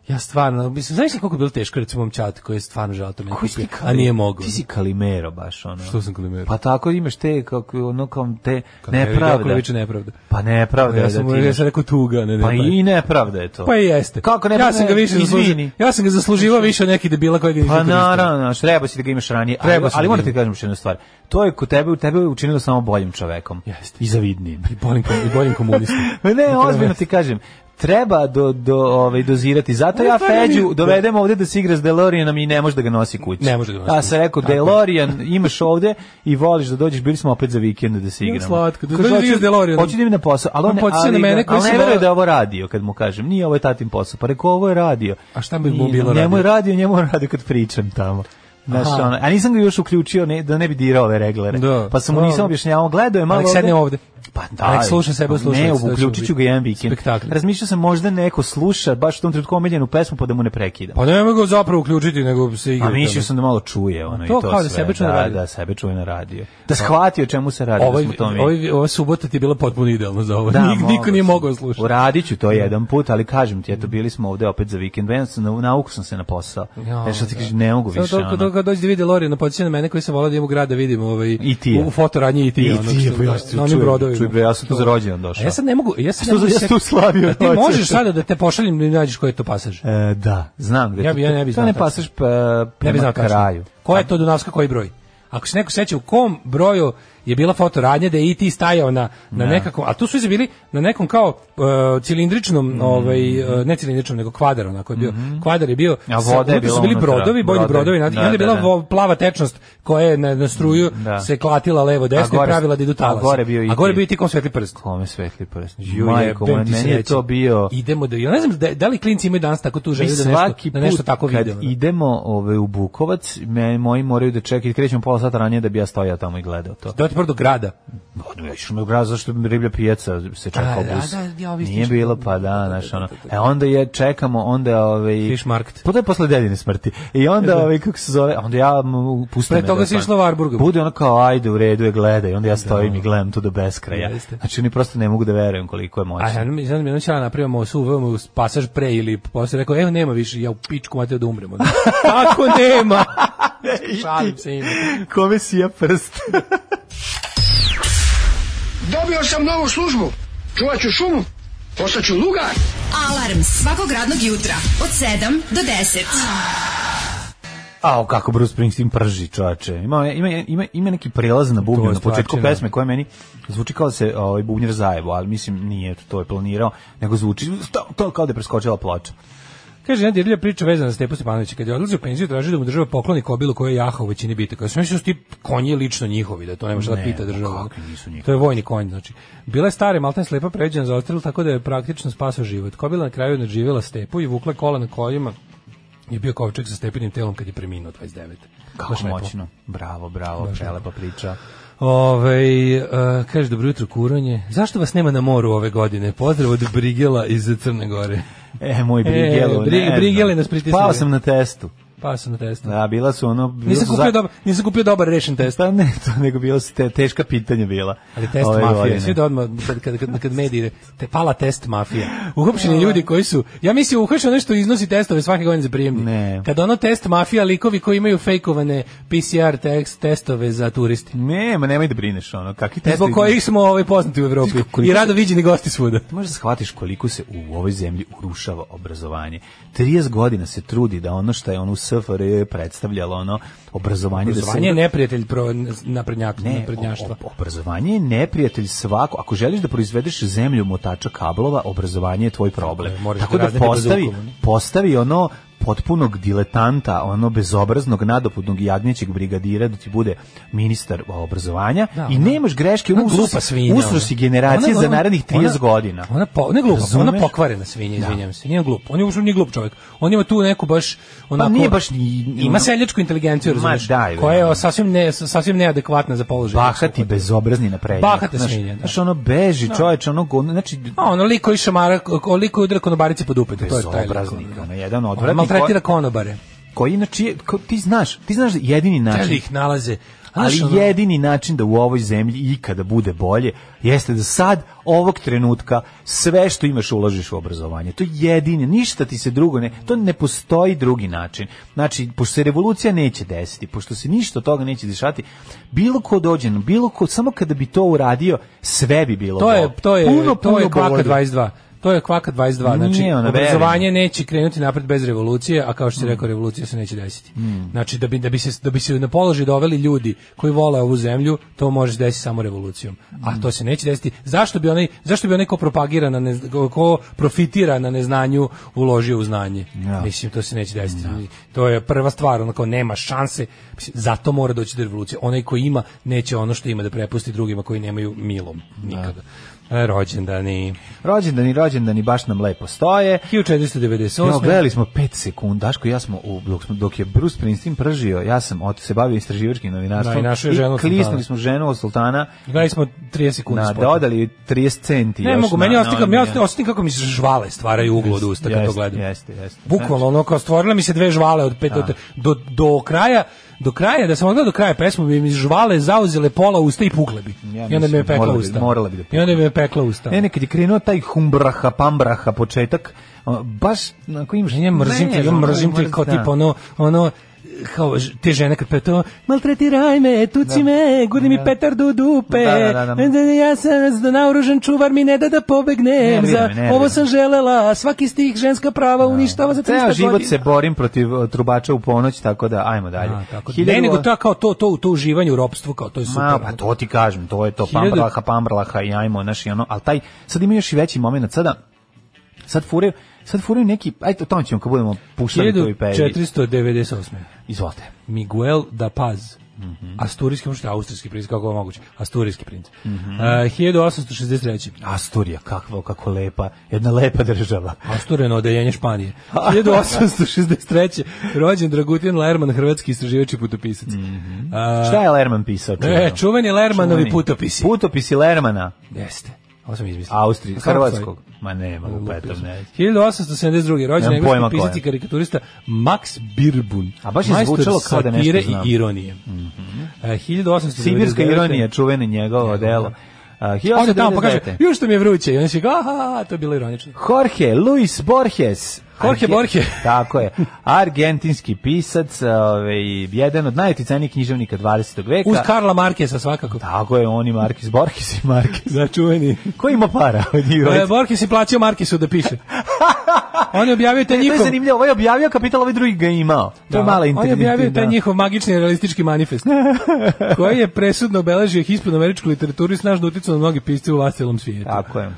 F: Ja stvarno, mislim, znaš li koliko je bilo teško recimo mom čatu koji je stvarno žao to meni kupio, a nije mogao. ono.
E: Ti si Kalimero baš, ono.
F: Što sam Kalimero?
E: Pa tako imaš te, kako, ono, kao te
F: Ne,
E: nepravda.
F: Jakovljević je nepravda.
E: Pa nepravda
F: ja
E: je da
F: sam,
E: ti
F: mu- ja
E: imaš.
F: sam rekao tuga, ne, ne.
E: Pa
F: ne.
E: i nepravda je to.
F: Pa i jeste.
E: Kako ne,
F: ja sam ga više
E: izvini.
F: zaslužio. Ja sam ga zasluživao više od nekih debila kojeg nisam
E: Pa
F: koristio.
E: naravno, znaš, treba si da ga imaš ranije, ali,
F: Treba
E: treba
F: si
E: ali
F: da
E: moram
F: ga
E: ti kažem još jednu stvar. To je kod tebe, tebe je učinilo samo boljim čovekom.
F: Jeste.
E: I zavidnim.
F: I boljim, kom- i boljim komunistom.
E: ne, ozbiljno ti kažem. Treba do, do, ovaj, dozirati. Zato
F: Ali
E: ja
F: stvarno
E: Feđu
F: mi-
E: dovedem ovde da se igra s DeLoreanom i ne može da ga nosi kući.
F: Ne može da ga nosi
E: Ja sam
F: kući.
E: rekao,
F: Tako je.
E: DeLorean imaš ovde i voliš da dođeš, bili smo opet za vikend da se
F: Jel
E: igramo.
F: slatko, da
E: Kaže,
F: dođe da
E: hoću-
F: igraš s DeLoreanom.
E: Hoću da idem na posao, ali,
F: On
E: on, ne-
F: podsjeća na
E: ali,
F: mene koji
E: ali
F: sam
E: ne veruje
F: volao-
E: da je ovo radio, kad mu kažem. Nije ovo je tatin posao. Pa rekao, ovo je radio.
F: A šta bi mu bilo
E: Njemu je
F: radio?
E: radio, njemu je radio kad pričam tamo. Znaš,
F: Aha.
E: ono, a nisam ga još uključio ne, da ne bi dirao ove reglere.
F: Da.
E: Pa sam mu
F: Dobro.
E: nisam objašnjavao, gledao je malo
F: Nek sedne ovde.
E: Pa da.
F: Nek sluša sebe u slušalice,
E: Ne,
F: da ćemo
E: uključit ću ga
F: biti.
E: jedan vikend.
F: Spektakl.
E: Razmišljao sam možda neko sluša baš u tom trenutku omiljenu pesmu pa da mu ne prekida.
F: Pa ne mogu ga zapravo uključiti, nego se igra.
E: A Pa mislio
F: tamo.
E: sam da malo čuje ono
F: A
E: i
F: to
E: to
F: kao da
E: sve.
F: sebe čuje na
E: da,
F: radiju. Pa,
E: da, sebe čuje na radiju. Da shvati o čemu se radi,
F: Ovaj,
E: da smo to mi.
F: ovaj, ova subota ti je bila potpuno idealna za ovo.
E: Da,
F: Nik, niko
E: mogao
F: nije
E: sam.
F: mogao slušati.
E: Uradit ću to jedan put, ali kažem ti, eto, bili smo ovde opet za vikend. Ja sam, na, nauku sam se na posao. Ja, što ti kažeš, ne mogu
F: Samo
E: više.
F: toliko
E: ono.
F: dok dođe da vidi Lori na podsjeća na mene koji sam volao da imam u grad da vidim ovaj,
E: I ti je.
F: u fotoradnji i ti.
E: I
F: ono
E: ti je,
F: što-
E: pa ja
F: na
E: se
F: onim
E: čujem,
F: brodovima.
E: čujem, bre, ja sam tu za rođendan došao.
F: A Ja sad ne mogu, ja sad
E: Što
F: ne mogu
E: za- ja
F: se-
E: sam u Slaviju
F: A Ti
E: rođen.
F: možeš sada da te pošaljem da nađeš koji je to pasaž.
E: E, da, znam gde
F: Ja
E: to-
F: bi- ja ne bi
E: to
F: znao
E: ne
F: tačno.
E: pasaš pa,
F: Ne bi
E: prema
F: znao
E: kraju.
F: kraju. Koja je to Dunavska, koji broj? Ako se neko seća u kom broju je bila fotoradnja da je i ti stajao na, na nekakvom, a tu su iza bili na nekom kao e, cilindričnom,
E: Mm.
F: ovaj, e, ne cilindričnom, nego kvadar onako je bio. Kvadar je bio,
E: Mm-hmm. A
F: sa-
E: voda je
F: unutra su
E: bila
F: bili
E: unutra.
F: brodovi, bojni
E: Brodovi.
F: brodovi, znate, i
E: Da,
F: onda je
E: da,
F: bila
E: da. Mm,
F: vo- plava tečnost koja je na, na struju
E: Da.
F: se klatila levo desno i
E: gore-
F: pravila da idu
E: a
F: talasi.
E: gore bio E i
F: a gore
E: ti.
F: bio i ti kom svetli prst.
E: Kome svetli prst?
F: Ju,
E: Majko,
F: jebem
E: moja,
F: ti
E: meni je
F: sreće.
E: to bio...
F: Idemo da ja ne znam da, da li klinci imaju danas tako tu
E: Mi
F: želju da nešto
E: svaki
F: da nešto
E: put
F: tako
E: kad
F: vide. ono.
E: idemo ove, u Bukovac, me, moji moraju da čekaju, krećemo pola sata ranije da bi ja stojao tamo i gledao to.
F: Da ti prvo do grada.
E: Pa, no, ja išao na grad zašto bi riblja pijaca se čekao
F: A, da,
E: bus.
F: da, ja ovi
E: Nije
F: stiču.
E: bilo, pa da, znaš, ono. E, onda je, čekamo, onda, ovaj...
F: Fish market.
E: Pa to je posle dedine smrti. I onda, ovaj, kako se zove, onda ja m, pustim...
F: Pre toga si išla Warburgom.
E: Bude ono kao, ajde, u redu je, gledaj. Onda ja stojim i gledam to do beskraja.
F: Jeste.
E: Znači, oni prosto ne mogu da verujem koliko je moćno.
F: A ja mi znam, jednom ćela napravimo su uvemo pasaž pre ili posle rekao, evo nema više, ja u pičku mateo da umrem. Ono, Kako nema? Šalim se ima.
E: Kome si ja prst?
A: Dobio sam novu službu. Čuvat ću šumu. Postaću lugar.
D: Alarm svakog radnog jutra od 7 do 10.
E: Ao, kako Bruce Springsteen prži, čovače. Ima, ima, ima, ima neki prelaz na
F: To
E: bubnju
F: je
E: na početku
F: stvarčina.
E: pesme koja meni zvuči kao da se ovaj, bubnjer zajebo, ali mislim nije to je planirao, nego zvuči to, to kao da je preskočila ploča.
F: Kaže, jedna dirlja priča vezana za Stepu Stepanovića. Kad je odlazio u penziju, tražio da mu država pokloni kobilu koja je jaha u većini bitaka. Sve mislim da su ti konji lično njihovi, da to nema šta da
E: Ne, pa
F: pita država.
E: kakvi nisu njihovi?
F: To je vojni konj, znači. Bila je stare, malten slepa, pređena za ostrel, tako da je praktično spasao život. Kobila na kraju nadživjela Stepu i vukla kola na kojima je bio kovčeg sa stepenim telom kad je preminuo 29.
E: Kako
F: Baš lepo.
E: moćno. Bravo, bravo, prelepa priča.
F: Ove, Ovaj, e, kaže, dobro jutro, kuranje. Zašto vas nema na moru ove godine? Pozdrav od Brigela iz Crne Gore.
E: E, moj Brigelo,
F: Bri-
E: ne znam.
F: Brigele nas pritisnuli.
E: Pao sam na testu.
F: Pa sam na testu.
E: Da, bila su ono... bila
F: Nisam
E: su
F: kupio,
E: za-
F: dobar, nisam kupio dobar rešen test.
E: Pa ne, to nego bilo su te, teška pitanja bila. Ovaj,
F: Ali test
E: Ove
F: mafije,
E: godine.
F: svi da odmah, kad, kad, kad, kad medije, te pala test mafije. Uhopšeni ljudi koji su, ja mislim, uhopšeno nešto iznosi testove svake godine za prijemni.
E: Ne.
F: Kad ono test mafija, likovi koji imaju fejkovane PCR tekst, testove za turisti.
E: Ne, ma nemoj da brineš, ono, kakvi testovi...
F: Zbog kojih smo ovaj, poznati u Evropi.
E: koliko-
F: I rado viđeni gosti svuda.
E: Ti možeš da shvatiš koliko se u ovoj zemlji urušava obrazovanje. 30 godina se trudi da ono što je ono u SFRJ predstavljalo ono obrazovanje,
F: Obrazovanje je
E: da se
F: neprijatelj pro, naprednjak,
E: ne,
F: naprednjaštva.
E: ob- obrazovanje je neprijatelj svako. Ako želiš da proizvedeš zemlju motača kablova, obrazovanje je tvoj problem.
F: Tako je, moraš
E: Tako
F: da
E: da
F: raznete
E: postavi,
F: bazukom, ne?
E: postavi ono potpunog diletanta, ono bezobraznog, nadopudnog jadničeg brigadira da ti bude ministar obrazovanja
F: Da,
E: i
F: ona-
E: nemaš greške,
F: Ona
E: ono usro
F: glupa
E: si,
F: svinja.
E: usro
F: ona.
E: si generacije
F: Ona-
E: za
F: ona-
E: narednih 30
F: ona-
E: godina.
F: Ona po, ne glupa, ona
E: Razumeš?
F: pokvarena svinja, izvinjam se. Nije glup. On je uopšte nije glup čovjek. On ima tu neku baš onako
E: Pa nije baš ni-
F: ima
E: ono-
F: seljačku inteligenciju,
E: Ma
F: razumeš?
E: daj, Pa bre.
F: koja je sasvim ne sasvim neadekvatna za položaj.
E: bahati bezobrazni na prednjak.
F: Bahate
E: Znaš-
F: svinje, da.
E: Znaš, ono beži čoveč, ono, go- znači,
F: A ono liko i šamara, koliko je udara konobarice pod upet, to je taj lik.
E: Bezobraznik, ono, jedan
F: On
E: odvratnik
F: Maltretira
E: ko-
F: konobare.
E: koji inače, je- ko- ti znaš, ti znaš da jedini
F: Znači
E: način,
F: ih nalaze.
E: ali
F: Znaš, ono-
E: jedini način da u ovoj zemlji ikada bude bolje jeste da sad ovog trenutka sve što imaš uložiš u obrazovanje. To je jedini, ništa ti se drugo ne, to ne postoji drugi način. Znači, pošto se revolucija neće desiti, pošto se ništa od toga neće dešati, bilo ko dođe, bilo ko, samo kada bi to uradio, sve bi bilo
F: To je
E: bolje.
F: to je
E: Puno,
F: to je
E: puno
F: kvaka
E: bolje.
F: 22. To je kvaka 22. Znači
E: Nije ono, ona,
F: obrazovanje neće krenuti napred bez revolucije, a kao što si rekao revolucija se neće desiti. Znači da bi da bi se da bi se na položaj doveli ljudi koji vole ovu zemlju, to može se desiti samo revolucijom. A to se neće desiti. Zašto bi onaj zašto bi onaj ko propagira na ne, ko- ko profitira na neznanju uložio u znanje?
E: Ja.
F: Mislim to se neće desiti. To je prva stvar, onako nema šanse. Mislim, Zato mora doći do revolucije. Onaj koji ima neće ono što ima da prepusti drugima koji nemaju milom nikada. E, Rođendani.
E: Rođendani, rođendani baš nam lepo stoje.
F: 1498.
E: Evo, gledali smo 5 sekund, Daško i ja smo, u, dok, smo, dok je Bruce Springsteen pržio, ja sam od, se bavio istraživačkim
F: Da, i
E: novinarstvom
F: našao je ženu od
E: klisnuli
F: sultana.
E: smo ženu od sultana
F: Gledali smo 30 sekundi
E: na
F: spota.
E: dodali 30 centi.
F: Ne
E: još
F: mogu,
E: na-
F: meni
E: na
F: ostika,
E: onaj-
F: ja ostim- ostim kako mi se žvale stvaraju u uglu od usta kad to
E: Jeste,
F: gledam.
E: jeste, jeste.
F: Bukvalno ono kao stvorile mi se dve žvale od pet do, do, do kraja, do kraja, da sam odgledao do kraja pesmu, bi mi žvale zauzele pola usta i pukle bi.
E: Ja
F: I onda bi
E: mislim,
F: me pekla
E: morala bi-
F: usta.
E: morala bi da
F: I onda bi me pekla usta.
E: Ne, ne, kad je krenuo taj humbraha, pambraha početak, a, baš, na kojim
F: Ja mrzim te, ja mrzim te kao tipa ono, ono, kao ž- te žene kad peva to maltretiraj me, tuci me, gurni mi petardu do dupe
E: Da, da, da, da.
F: e, ja sam z- naoružan čuvar mi ne da da
E: Nervira
F: pobegnem
E: me,
F: za,
E: nervira
F: ovo
E: me.
F: sam želela svaki stih ženska prava uništava za 300
E: Ceo
F: godina
E: život se borim protiv uh, trubača u ponoć, tako da ajmo dalje.
F: A, tako, da.
E: Hiljadu-
F: ne, nego to kao to, to, to uživanje u ropstvu, kao to je super. ono.
E: Ma, pa to ti kažem, to je to
F: Hiljadu-
E: pambrlaha, pambrlaha i ajmo, znaš, i ono, ali taj, sad ima još i veći moment, sada, sad furaju, sad furaju neki, ajde, o tome ćemo kad budemo puštali to i peri.
F: 1498.
E: Izvolite.
F: Miguel da Paz.
E: Mhm.
F: Asturijski, možete austrijski princ, kako je moguće? Asturijski princ.
E: Mhm.
F: A, 1863.
E: Asturija, kakva, kako lepa, jedna lepa država.
F: Astureno odeljenje Španije. 1863. Rođen Dragutin Lerman, hrvatski istraživač i putopisac. A,
E: Šta je Lerman pisao? čuveno?
F: E, čuveni Lermanovi
E: Mhm. Čuveni.
F: putopisi.
E: Putopisi Lermana,
F: Jeste. Ovo sam izmislio.
E: Austrije,
F: Kako
E: Hrvatskog.
F: stoji?
E: Ma nema, lupetom, ne.
F: 1872. rođen
E: Nemam
F: engleski
E: pojma ko je.
F: fizičar i karikaturista Max Birbun.
E: A baš je
F: majstor
E: zvučalo kao da nešto
F: satire
E: znam. Mhm.
F: i ironije. Mm -hmm. 1899.
E: Sibirska ironija, čuveni njegovo delo. Uh,
F: Onda tamo pokaže,
E: 1899.
F: još što mi je vruće. I onda će ga, aha, to je bilo ironično.
E: Jorge Luis Borges.
F: Jorge
E: Arge-
F: Borges.
E: Tako je. Argentinski pisac, ovaj, jedan od najuticajnijih književnika 20. veka.
F: Uz Karla Markesa svakako.
E: Tako je, on i Markis Borges i Markis.
F: Začuveni.
E: Ko ima para od njih?
F: E, Borges je plaćao Markesu da piše. On je objavio taj
E: E, to je
F: njihov...
E: zanimljivo, ovaj je objavio kapital, ovaj drugi ga je imao. To je
F: Da,
E: mala
F: On je
E: inteligencija.
F: objavio taj njihov magični realistički manifest, koji je presudno obeležio hispano američku literaturu i snažno uticao na mnoge pisce u vastelom svijetu.
E: Tako je.
F: Uh,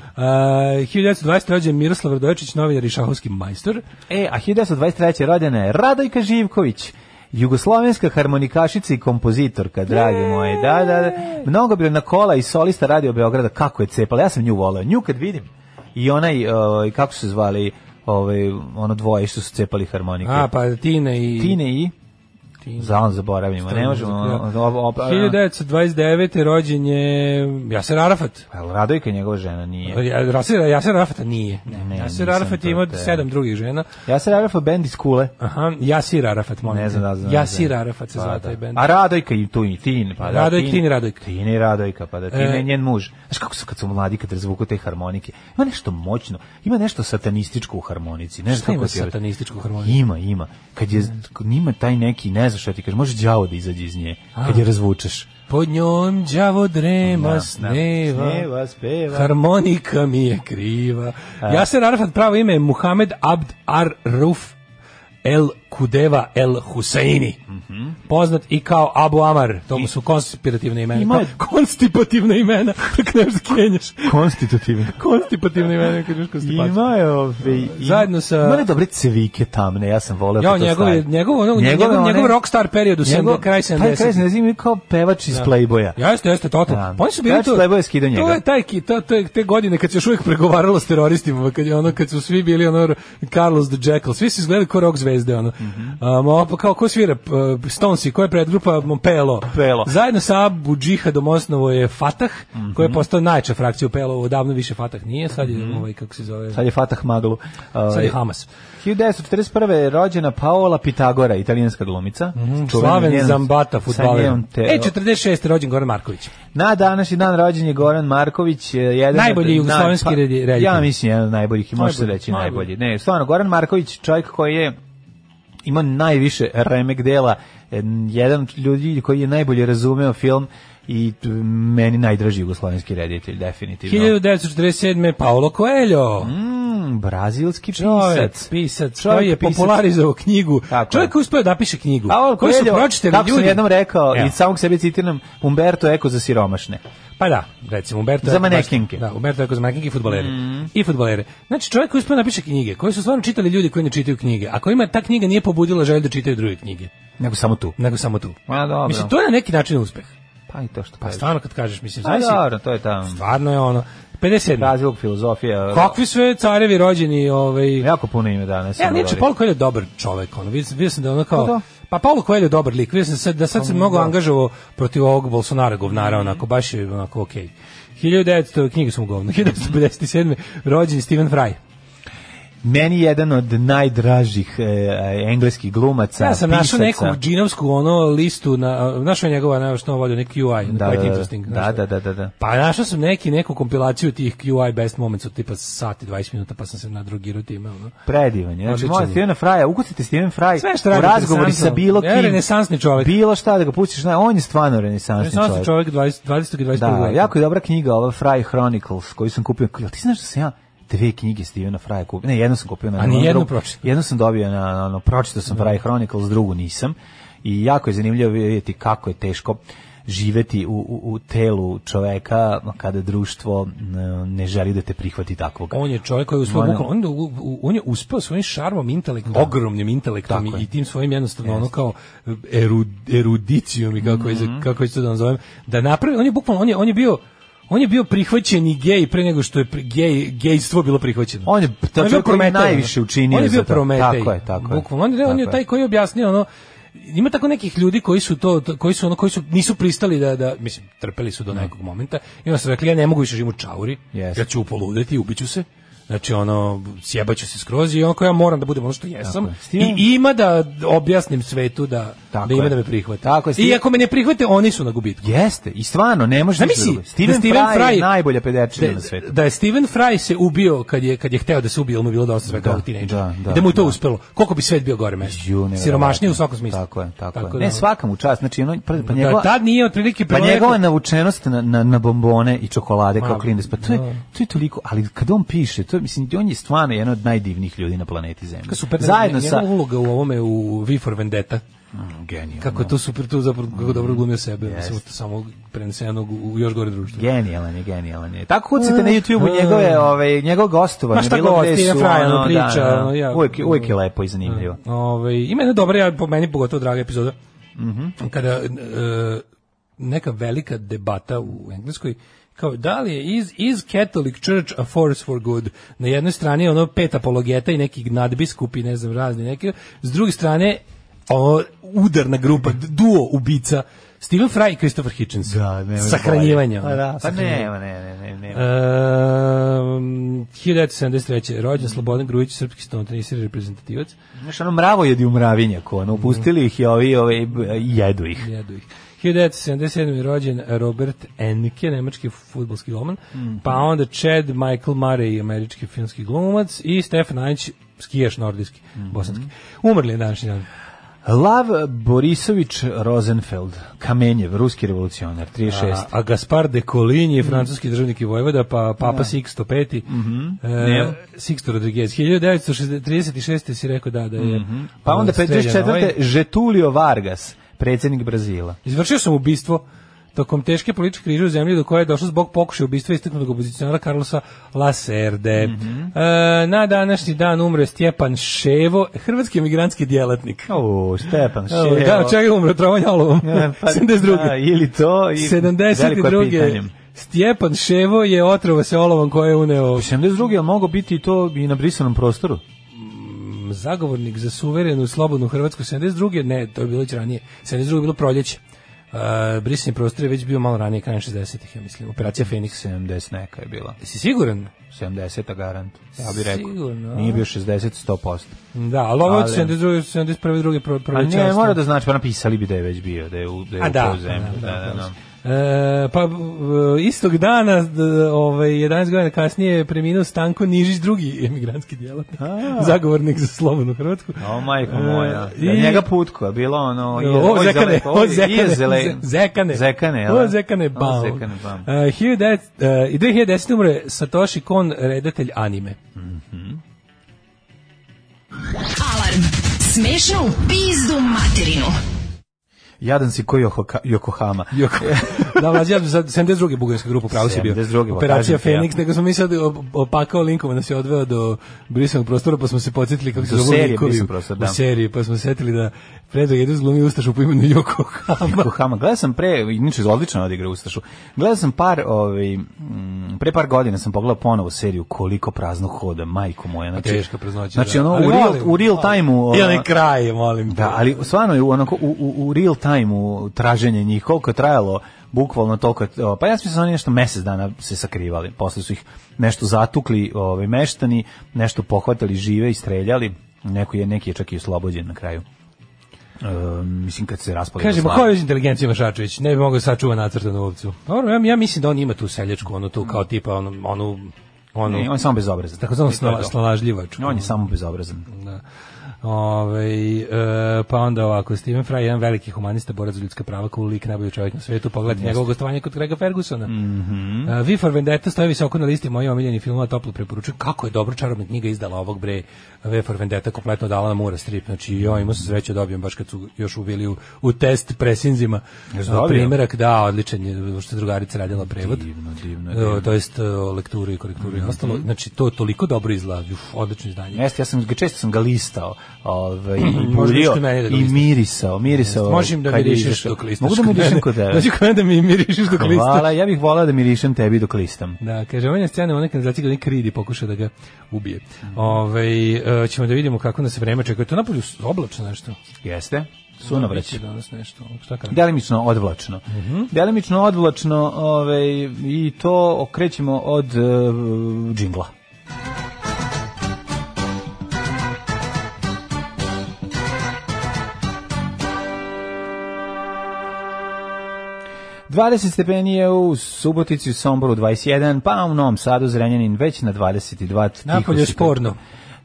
F: 1920. rođen Miroslav Radoječić, novinar i šahovski majstor.
E: E, a 1923. rodena je Radojka Živković. Jugoslovenska harmonikašica i kompozitorka, dragi moji. Da, da, da. Mnogo bi na kola i solista radio Beograda kako je cepala. Ja sam nju voleo. Nju kad vidim i onaj ovaj, kako su se zvali ovaj ono dvoje što su cepali harmonike.
F: A, pa Tine i...
E: Tine i Za on zaboravimo. Ne možemo. ono, ovo- opa-
F: 1929. rođen je Jaser Arafat.
E: Pa Jel Radojka njegova žena nije.
F: Ja- Jaser, Jaser Arafata nije.
E: Ne,
F: Jaser
E: nisam
F: Arafat
E: to
F: je imao
E: te-
F: sedam drugih žena.
E: Ja se Arafat band iz Kule.
F: Aha, Jasir Arafat, molim.
E: Ne znam da li znam.
F: Jasir Arafat se
E: Pa
F: zvao
E: da.
F: taj bend.
E: A Radojka i tu i Tin, pa da.
F: Radojka, Tin i Radojka.
E: Tin i Radojka, pa da Tin
F: E.
E: je njen muž. Znaš kako su kad su mladi kad razvuku te harmonike. Ima nešto moćno, ima nešto satanističko u harmonici. Ne znam
F: Šta
E: kako
F: ima
E: ti objasnim.
F: satanističku harmoniju?
E: Ima, ima. Kad je kad ima taj neki, ne znaš šta ti kažeš, može đavo da izađe iz nje kad je razvučeš.
F: Pod njom đavo drema
E: Da, da.
F: sneva.
E: Sneva, speva.
F: Harmonika mi je kriva.
E: E.
F: Jaser Arafat pravo ime je Muhammed Abd Ar Ruf El Kudeva El Huseini.
E: Mhm.
F: Poznat i kao Abu Amar. To mu su konstipativne imena.
E: Ima-
F: Kao konstipativne imena. Tako nešto kenjaš.
E: Konstitutivno.
F: Konstipativne imena. Kad imaš konstipaciju.
E: Ima je ove... im-
F: Zajedno sa-
E: Ima ne dobre cevike tamne, ja sam voleo
F: Ja,
E: kad to
F: njegov, je-
E: stavim.
F: njegov, ono, njegov,
E: one-
F: njegov rockstar period u
E: njegov-
F: sedam- kraj
E: Taj kraj
F: 70.
E: 70 kao pevač iz Playboya.
F: Jeste, jeste, totalno.
E: Da.
F: Pa Oni su bili
E: Znači,
F: to.
E: Playboy je skidao njega.
F: To je taj ki, to, to je te godine kad se još uvijek pregovaralo s teroristima, kad je ono kad su svi bili ono Carlos the Jackal, svi su izgledali kao rock zvezde ono.
E: Mhm.
F: Um, pa kao ko svira p- Stonesi, koja je predgrupa Pelo.
E: Pelo.
F: Zajedno sa Abu Džihadom osnovo je Fatah,
E: Mhm.
F: koja je postao najjača frakcija u Pelo, odavno više Fatah nije, sad je ovaj kako se zove.
E: Mhm. Sad je ovaj Fatah Maglu.
F: Sad je Hamas.
E: 1941. je rođena Paola Pitagora, italijanska glumica. Čuvena
F: Mhm, Slaven
E: njenom-
F: Zambata,
E: sa
F: futbaler.
E: njenom te-
F: E, 46. je rođen Goran Marković.
E: Na današnji dan rođen je Goran Marković, eh, jedan
F: Najbolji
E: od-
F: jugoslovenski
E: pa-
F: redi- reditelj.
E: Ja mislim jedan od najboljih, i može se
F: Najbolji,
E: reći
F: najbolji.
E: najbolji. Ne, stvarno Goran Marković, čovjek koji je ima najviše remek dela, eh, jedan od ljudi koji je najbolje razumeo film i t- meni najdraži jugoslovenski reditelj definitivno.
F: 1947. Paolo Coelho.
E: Mm, brazilski
F: Čovjek,
E: pisac.
F: pisac,
E: Čovjek
F: koji je
E: pisac.
F: popularizovao knjigu.
E: Tako je.
F: Čovjek koji uspeo da napiše knjigu.
E: Paolo
F: koji su
E: Coelho,
F: pročitali
E: kako sam
F: ljudi.
E: jednom rekao,
F: Evo.
E: i samog sebe citiram, Umberto Eco za siromašne.
F: Pa da, recimo Umberto
E: Za
F: Eco, baš-
E: manekenke. Mm.
F: Da, Umberto Eco za manekenke i fudbalere. I fudbalere. Znači čovjek koji uspeo da napiše knjige, koji su stvarno čitali ljudi koji ne čitaju knjige, a kojima ta knjiga nije pobudila želju da čitaju druge knjige,
E: Nego samo tu.
F: nego samo tu.
E: Ma dobro.
F: Mislim to je na neki način uspeh.
E: Pa i to što
F: Pa
E: kažeš.
F: stvarno kad kažeš, mislim,
E: Pa
F: zavisi-
E: dobro, to je tamo.
F: Stvarno je ono 57.
E: razlog filozofija.
F: Kakvi sve carevi rođeni, ovaj
E: Jako puno ime danas. ono,
F: Ja, neče,
E: govori.
F: Paulo Coelho je dobar čovek, ono, vidio, vidio sam da ono kao,
E: Pa da.
F: pa Paulo Coelho je dobar lik, vidio sam sad, da sad se mnogo
E: da. Mhm.
F: angažovao protiv ovog Bolsonara govnara, onako, baš je onako okej. 1900, knjige su mu govno, 1957. rođen je Stephen Fry.
E: Meni jedan od najdražih e, e, engleskih glumaca,
F: Ja sam našao
E: pisaca.
F: neku džinovsku ono listu, na, našao je njegova, ne, što on vodio, neki UI,
E: Da,
F: da, quite
E: da,
F: interesting.
E: da,
F: znaš šta.
E: da, da, da, da.
F: Pa našao sam neki, neku kompilaciju tih QI best moments od tipa sati 20 minuta, pa sam se nadrogirao time. Ono.
E: Predivan je. Znači,
F: Odličan
E: moj
F: je.
E: Steven Fraja, ukucite Steven Fraj
F: Sve što
E: u
F: radi
E: razgovori
F: interesantno.
E: sa bilo kim.
F: Ja, renesansni čovjek.
E: Bilo šta da ga pustiš. Ne, on je stvarno renesansni
F: Znači,
E: čovjek.
F: čovjek 20, 20. i 21.
E: Da,
F: veka.
E: jako je dobra knjiga, ova Fry Chronicles, koju sam kupio. Jel ti znaš da sam ja dve knjige Stevena Fraja kupio? Ne, jednu sam kupio. Na,
F: A ni
E: na
F: jednu
E: drugu-
F: pročitao?
E: Jednu sam dobio, na, na, ono, pročitao sam Fry Chronicles, drugu nisam. I jako je zanimljivo vidjeti kako je teško živeti u, u, u telu čoveka kada društvo n- ne želi da te prihvati takvog.
F: On je čovjek koji je uspeo
E: Ono-
F: bukvalno, on, je u- u- on je uspeo svojim šarmom intelektom, ogromnim intelektom
E: Tako je.
F: i, i tim svojim jednostavno ono kao eru, erudicijom i kako je
E: Mhm.
F: za- kako je to da nazovem, da napravi, on je bukvalno on je on je bio on je bio prihvaćeni gej pre nego što je pri- gej, gejstvo bilo prihvaćeno.
E: On je taj
F: bio
E: čovjek koji je
F: Prometej, ono.
E: najviše učinio
F: On je
E: za
F: bio
E: to.
F: Prometej.
E: Tako je, tako je.
F: Bukvalno. On, je- on je
E: Tako je.
F: taj koji je objasnio ono ima tako nekih ljudi koji su to to- koji su ono koji su nisu pristali da da mislim trpeli su do nekog momenta i onda su rekli ja ne mogu više živim u čauri
E: Jeste.
F: ja ću poludeti ubiću se znači ono sjebaću se skroz i onako ja moram da budem ono što
E: Tako
F: jesam
E: je. S tim-
F: i ima da objasnim svetu da
E: Tako
F: da ima
E: je.
F: da me prihvate
E: Tako je, s tim-
F: i ako me ne prihvate oni su na gubitku
E: Jeste, i stvarno, ne možeš ništa
F: Zamisli
E: drugo. Steven,
F: da Steven
E: Fry, je
F: Fry-
E: najbolja pederčina
F: da,
E: na svetu.
F: da je Steven Fry se ubio kad je kad je hteo da se ubije, ali mu je bilo dosta sve kao
E: Da,
F: tinejdžer.
E: da, da,
F: Da, da mu je to
E: da.
F: uspelo. Koliko bi svet bio gore mesto.
E: Ju, nevjerovatno.
F: Siromašniji u svakom smislu.
E: Tako je, tako, je.
F: da, ono-
E: Ne, svaka mu čast, znači ono, pa, pa
F: da,
E: njegova,
F: tad nije otprilike
E: pa
F: prvo
E: njegova
F: rekao-
E: navučenost na, na, na bombone i čokolade kao
F: Ma,
E: klindes, pa to je,
F: da.
E: to je toliko, ali kad on piše, to je, mislim, on je stvarno jedan od najdivnijih ljudi na planeti Zemlji.
F: super
E: Zajedno sa...
F: njegova uloga u ovome u V for Vendetta.
E: Mm, Genijalno.
F: Kako je to super, tu zapravo kako dobro glumio sebe, mislim, to samo prenesenog u u još gore društvo.
E: Genijalan je, genijalan je. Tako kucite na YouTube-u njegove, ove, njegov gostovanje.
F: Ma šta
E: bilo gde
F: gost, Steven
E: su,
F: Fry,
E: ono,
F: ono, priča,
E: da, da,
F: ono, ja-
E: uvijek, uvijek je lepo i zanimljivo.
F: Ove, Ovaj, ima jedna dobra, ja, po meni pogotovo draga epizoda,
E: Mhm.
F: kada e, neka velika debata u Engleskoj, kao da li je is, is Catholic Church a force for good? Na jednoj strani je ono pet apologeta i neki nadbiskupi, ne znam, razni neki, s druge strane ono, udarna grupa, d- duo ubica, Stephen Fry i Christopher Hitchens.
E: Da, nema
F: Sahranjivanje.
E: Pa
F: ono,
E: da, pa
F: sahranjivanje.
E: nema, ne, ne, ne, nema.
F: Ehm, 1973. Rođen Slobodan Grujić, srpski stonoteniser i reprezentativac.
E: Znaš, ono mravo jedi u mravinjaku, ono, upustili ih i ovi, ove, b- jedu ih.
F: Jedu ih. 1977. je rođen Robert Enke, nemački futbolski golman, pa onda Chad Michael Murray, američki filmski glumac i Stefan Anić, skijaš nordijski, bosanski. Umrli je današnji dan.
E: Lav Borisović Rosenfeld, Kamenjev, ruski revolucionar, 36.
F: A, a Gaspar de Coligny, francuski državnik i vojvoda, pa Papa Sixto V.
E: Ne.
F: e, Sixto Rodriguez. 1936. si rekao da, da je...
E: pa onda
F: ono, streljan
E: 54.
F: ovaj.
E: Getulio Vargas, predsjednik Brazila.
F: Izvršio sam ubistvo tokom teške političke krize u zemlji do koje je došlo zbog pokušaja ubistva istaknutog opozicionara Carlosa Laserde.
E: Mhm.
F: E, na današnji dan umre Stjepan Ševo, hrvatski emigrantski djelatnik.
E: O, Stepan
F: Evo,
E: Ševo.
F: Da, od čega je umro, trovanje olovom.
E: E, pa,
F: 72.
E: da, ili to, i veliko je pitanje.
F: 72. Stjepan Ševo je otrovo se olovom koje je uneo
E: 72. je li mogo biti i to i na brisanom prostoru?
F: m, zagovornik za suverenu i slobodnu Hrvatsku 72. Ne, to je bilo već ranije. 72. je bilo proljeće. Uh, brisanje prostora je već bio malo ranije, krajem 60-ih, ja mislim. Operacija Feniks.
E: 70 neka je bila.
F: Jesi siguran?
E: 70 garant. Ja bih rekao.
F: Sigurno, a?
E: Nije bio 60 100%.
F: Da, ali ovo je od
E: Ali-
F: 72. 71. druge pro,
E: Pa
F: proljećarstvo.
E: ne, mora da znači, pa napisali bi da je već bio, da je u, da je
F: A
E: u
F: da,
E: tu zemlju. Da, da, da.
F: E, pa v- istog dana, d- ovaj, 11 godina kasnije, je preminuo Stanko Nižić, drugi emigrantski djelatnik,
E: A.
F: zagovornik za slobodnu Hrvatsku.
E: O, majko moja.
F: E,
E: Da njega putko, bilo ono... je-
F: O,
E: oj,
F: zekane,
E: zelepo,
F: o,
E: oj, je
F: zekane,
E: zelen-
F: zekane,
E: Zekane, jel
F: o,
E: da?
F: zekane, bam.
E: O, zekane, bam.
F: E, 1900, e, I 2010. umre Satoshi Kon, redatelj anime.
D: Alarm. Smešno u pizdu materinu.
E: Jadan si ko Yohoka- Yokohama.
F: Joko. da, mlađi, ja sam sad 72. bugarska grupa, pravo si bio.
E: 72., pa
F: Operacija
E: kažem ti ja.
F: Feniks, nego smo mi sad op- opakao linkova, nas je odveo do brisanog prostora, pa smo se podsjetili kako se
E: Do
F: zovu
E: serije
F: likovi
E: brisanog
F: u
E: prostora,
F: u
E: da.
F: seriji, pa smo se setili da Predrag Jedu zglumi Ustašu po imenu Joko Hama.
E: Yokohama. Gledao sam pre, inače odlično odigra Ustašu. Gledao sam par, ovaj, mm, pre par godina sam pogledao ponovo seriju Koliko prazno hoda, majko moja. Znači,
F: Teška praznoća.
E: Znači,
F: da.
E: ono,
F: Ali
E: u real,
F: volim,
E: u real
F: volim.
E: time-u... ono-
F: Ili kraj, molim. te.
E: Da, ali stvarno je u onako u, u, u real time u traženje njih koliko je trajalo bukvalno toliko je- o, pa ja mislim da su oni nešto mesec dana se sakrivali. Posle su ih nešto zatukli, ovaj meštani, nešto pohvatali žive i streljali. Neko je neki je čak i oslobođen na kraju. E, mislim kad se raspali.
F: Kaže, ma
E: Jugoslavija.
F: koja je već inteligencija Vašačević? Ne bi mogao sačuva nacrta na ovcu. Dobro, ja, ja mislim da on ima tu seljačku, onu tu kao tipa, onu, onu, onu,
E: Ne, on je samo bezobrazan.
F: tako znam,
E: I to je to.
F: snalažljivačku.
E: On je samo bezobrazan.
F: Da. Ove, e, pa onda ovako, Stephen Fry, jedan veliki humanista, borac za ljudska prava, cool lik, najbolji čovjek na svetu, pogledajte njegovo gostovanje kod Grega Fergusona. Mm
E: Mhm.
F: Vi for Vendetta stoje visoko na listi mojih omiljenih filmova, toplo preporučujem. Kako je dobro čarobna knjiga izdala ovog bre V for Vendetta, kompletno dala na Mura Strip. Znači, jo, imao sam sreće dobijem baš kad su još ubili u, u test presinzima.
E: Jesi
F: A,
E: dobio?
F: Primerak, da, odličan je, što je drugarica radila prevod.
E: Divno, divno,
F: E,
E: divno. Mhm.
F: to jest e, lektura i korektura i ostalo. Znači, to toliko dobro izgleda. Uf, odlično izdanje.
E: Jeste, ja sam ga često sam ga listao, ovaj i
F: Možda
E: bulio
F: isto meni da ga
E: i
F: listaš.
E: mirisao, mirisao.
F: Možem da
E: kad je
F: mirišeš
E: izašao.
F: dok listaš.
E: Mogu da mirišem kod tebe.
F: Dođi kod mene da mi mirišeš dok listaš.
E: Hvala, ja bih volao da mirišem tebi dok listam.
F: Da, kaže, on je scena u onoj kanalizaciji gdje Kridi pokuša da ga ubije.
E: Mhm.
F: Ove, ćemo da vidimo kako nas vreme čeka. To napolju s- oblačno nešto.
E: Jeste? Sunovrać.
F: Biće Danas nešto. Šta kaže?
E: Delimično odvlačno. Delimično odvlačno ovaj, i to okrećemo od uh, džingla. Dvadeset stepeni je u Subotici, u Somboru 21, pa u Novom Sadu, Zrenjanin već na 22. tiho
F: Napolje je
E: si-
F: sporno.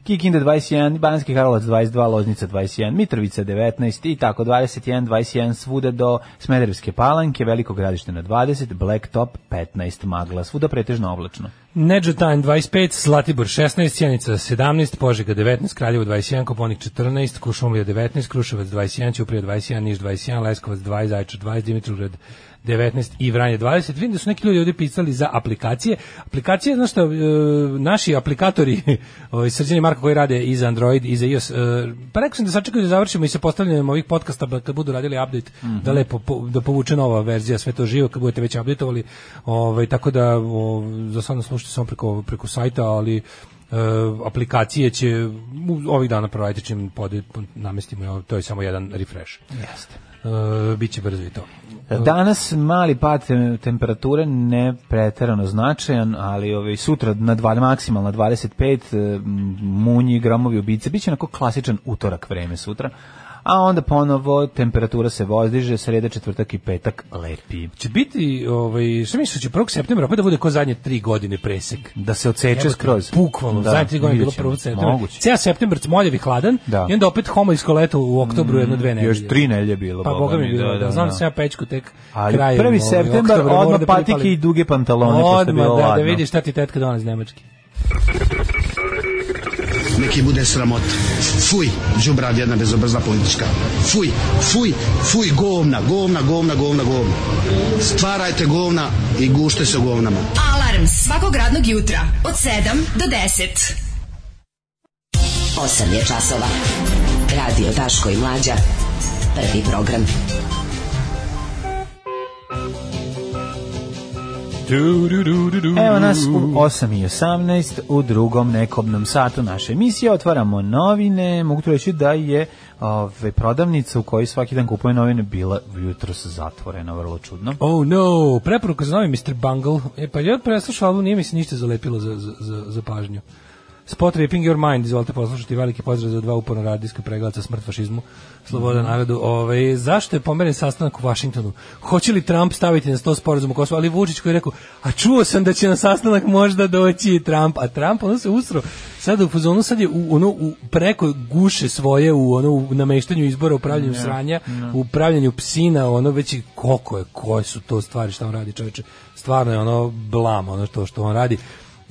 E: Kikinda 21, Banski Karlovac 22, Loznica 21, Mitrovica 19 i tako 21, 21 svuda do Smederevske palanke, Veliko gradište na 20, Blacktop 15, Magla, svuda pretežno oblačno.
F: Neđetajn 25, Zlatibor 16, Sjenica 17, Požega 19, Kraljevo 21, Koponik 14, Kušumlija 19, Kruševac 21, Ćuprija 21, Niš 21, Leskovac 20, Zaječar 20, Dimitrovgrad 19 i Vranje 20. Vidim da su neki ljudi ovdje pisali za aplikacije. Aplikacije, znaš šta, e, naši aplikatori, ovaj, srđani Marko koji rade i za Android i za iOS, e, pa rekao sam da sačekaju da završimo i sa postavljanjem ovih podcasta ba- kad budu radili update, da lepo po- da povuče nova verzija, sve to živo, kad budete već updateovali, ovaj, tako da o, za sada slušajte samo preko, preko sajta, ali e, aplikacije će u- ovih dana proraditi čim pode, namestimo, evo, to je samo jedan refresh.
E: Jeste.
F: E, biće brzo i to.
E: Danas mali pad tem- temperature, ne preterano značajan, ali ovaj, sutra na dva, maksimalno 25, eh, munji, gromovi, ubice, bit će onako klasičan utorak vreme sutra, a onda ponovo temperatura se vozdiže, sreda, četvrtak i petak lepi.
F: Će biti, ovaj, šta misliš, će 1. septembra opet da bude ko zadnje tri godine presek?
E: Da se odseče
F: Jebote,
E: skroz.
F: Bukvalno, da, zadnje tri godine je bilo
E: vidjet ćemo.
F: prvo septembra.
E: Moguće.
F: Cijel septembar smoljevi hladan
E: Da.
F: i onda opet homo iz koleta u oktobru jedno dve nedelje.
E: Još tri nelje bilo.
F: Pa boga mi bilo, da, znam da sam ja pečku tek
E: Ali
F: krajem.
E: prvi
F: ovaj,
E: septembar,
F: oktobra,
E: odmah
F: mora da pripali.
E: patike i duge pantalone, pošto je
F: Odmah,
E: bilo
F: da, da
E: ladno.
F: vidiš šta ti tetka dona iz Nemačke.
A: Neki bude sramot. Fuj, džubrav jedna bezobrzna politička. Fuj, fuj, fuj, govna, govna, govna, govna, govna. Stvarajte govna i gušte se govnama.
D: Alarm svakog radnog jutra od 7 do 10. 8 je časova. Radio Daško i Mlađa. Prvi program.
F: E,
E: Evo nas u 8 i 18 u drugom nekobnom satu naše emisije. Otvaramo novine. Mogu tu reći da je ove, prodavnica u kojoj svaki dan kupuje novine bila jutro zatvorena, vrlo čudno.
F: Oh no, preporuka za novi Mr. Bungle. E, pa ja preslušao album, nije mi se ništa zalepilo za, za, za, za pažnju. Spot Ripping Your Mind, izvolite poslušati veliki pozdrav za dva uporno radijska preglaca smrt fašizmu, sloboda narodu. Ovaj, zašto je pomeren sastanak u Vašingtonu? Hoće li Trump staviti na sto sporazum u Kosovo? Ali Vučić koji je rekao, a čuo sam da će na sastanak možda doći i Trump, a Trump ono se usro. Sad u fazonu sad je u, ono, u preko guše svoje u ono u nameštanju izbora, u pravljenju sranja, u pravljenju psina, ono već i koliko je, koje su to stvari što on radi čoveče. Stvarno je ono blam, ono to što on radi.